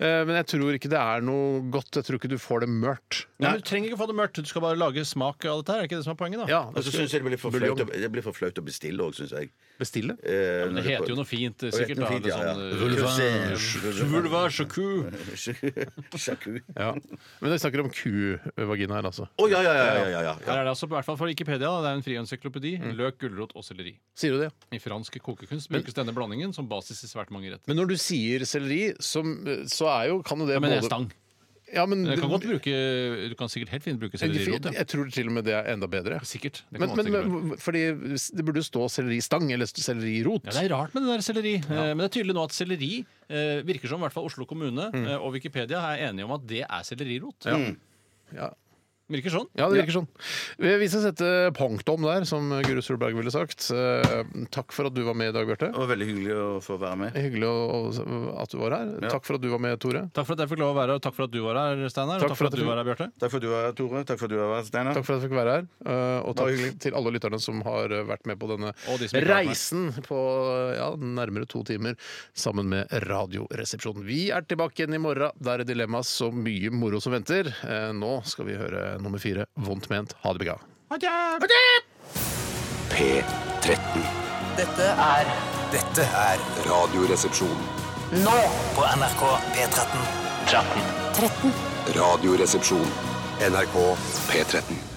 Speaker 1: Eh, Men jeg tror ikke det er noe godt. Jeg tror ikke du får det mørkt.
Speaker 2: Nei, men Du trenger ikke få det mørkt. Du skal bare lage smak av dette her. Er ikke det som er poenget, da?
Speaker 1: Ja,
Speaker 3: Og så
Speaker 1: skal-
Speaker 3: syns jeg det blir for
Speaker 1: Buljong.
Speaker 3: flaut å- det blir for flaut å bestille òg, syns jeg.
Speaker 1: Bestille?
Speaker 3: Eh,
Speaker 2: Men det heter jo noe fint, sikkert. da. Det er sånn, ø, eh,
Speaker 3: (laughs) Vulva
Speaker 2: Vulva chocu.
Speaker 3: Sjaku.
Speaker 1: Ja. Men vi snakker om kuvagina her, altså.
Speaker 3: Å, ja, ja, ja. ja, ja, ja.
Speaker 2: Her er det altså, i hvert fall fra Wikipedia, da. det er en fri encyklopedi.
Speaker 1: Mm.
Speaker 2: Løk, gulrot og selleri.
Speaker 1: Sier du det?
Speaker 2: I fransk kokekunst brukes denne blandingen som basis i svært mange retter.
Speaker 1: Men når du sier selleri, som, så er jo Kan jo det
Speaker 2: Ja, men det er
Speaker 1: både-
Speaker 2: stang.
Speaker 1: Ja, men,
Speaker 2: Du kan godt bruke Du kan sikkert helt fint bruke sellerirot.
Speaker 1: Jeg,
Speaker 2: Ja.
Speaker 1: jeg tror til og med det er enda bedre.
Speaker 2: Sikkert. Det kan
Speaker 1: Men,
Speaker 2: man
Speaker 1: men,
Speaker 2: sikkert gjøre.
Speaker 1: men fordi det burde jo stå selleristang eller sellerirot.
Speaker 2: ja, det er rart med det der selleri. Eh, Men det er tydelig nå at selleri eh, virker som i hvert fall Oslo kommune eh, og Wikipedia er enige om at det er sellerirot.
Speaker 1: Mm. Ja.
Speaker 2: Virker sånn.
Speaker 1: Ja, det virker sånn. Vi vi skal sette punktum der, som Guru Solberg ville sagt. Eh, Takk for at du var med i dag, Bjarte.
Speaker 3: Det var veldig hyggelig å få være med.
Speaker 1: Hyggelig å- at du var her. Takk for at du var med, Tore.
Speaker 2: Takk for at jeg fikk lov å være her, og takk for at du var her, Steinar. Og
Speaker 1: Takk
Speaker 2: takk
Speaker 1: for
Speaker 2: for
Speaker 1: at
Speaker 2: at du
Speaker 1: du-
Speaker 2: var her, Bjarte.
Speaker 3: Takk for at du var her, Tore. Takk for at du var her, Steinar.
Speaker 1: Takk for at jeg fikk være her. eh, Og
Speaker 3: Det var
Speaker 1: takk
Speaker 3: hyggelig.
Speaker 1: til alle lytterne som har eh, vært med på denne
Speaker 2: Og de som ikke har vært med.
Speaker 1: reisen på ja, nærmere to timer sammen med Radioresepsjonen. Vi er tilbake igjen i morgen. Der er dilemma så mye moro som venter. Eh, Nå skal vi høre nummer fire, Vondt ment. Ha det bra.
Speaker 5: P13.
Speaker 9: Dette er
Speaker 5: Dette er Radioresepsjonen.
Speaker 9: Nå på NRK P13. 13.
Speaker 4: 13.
Speaker 5: Radioresepsjon. NRK P13.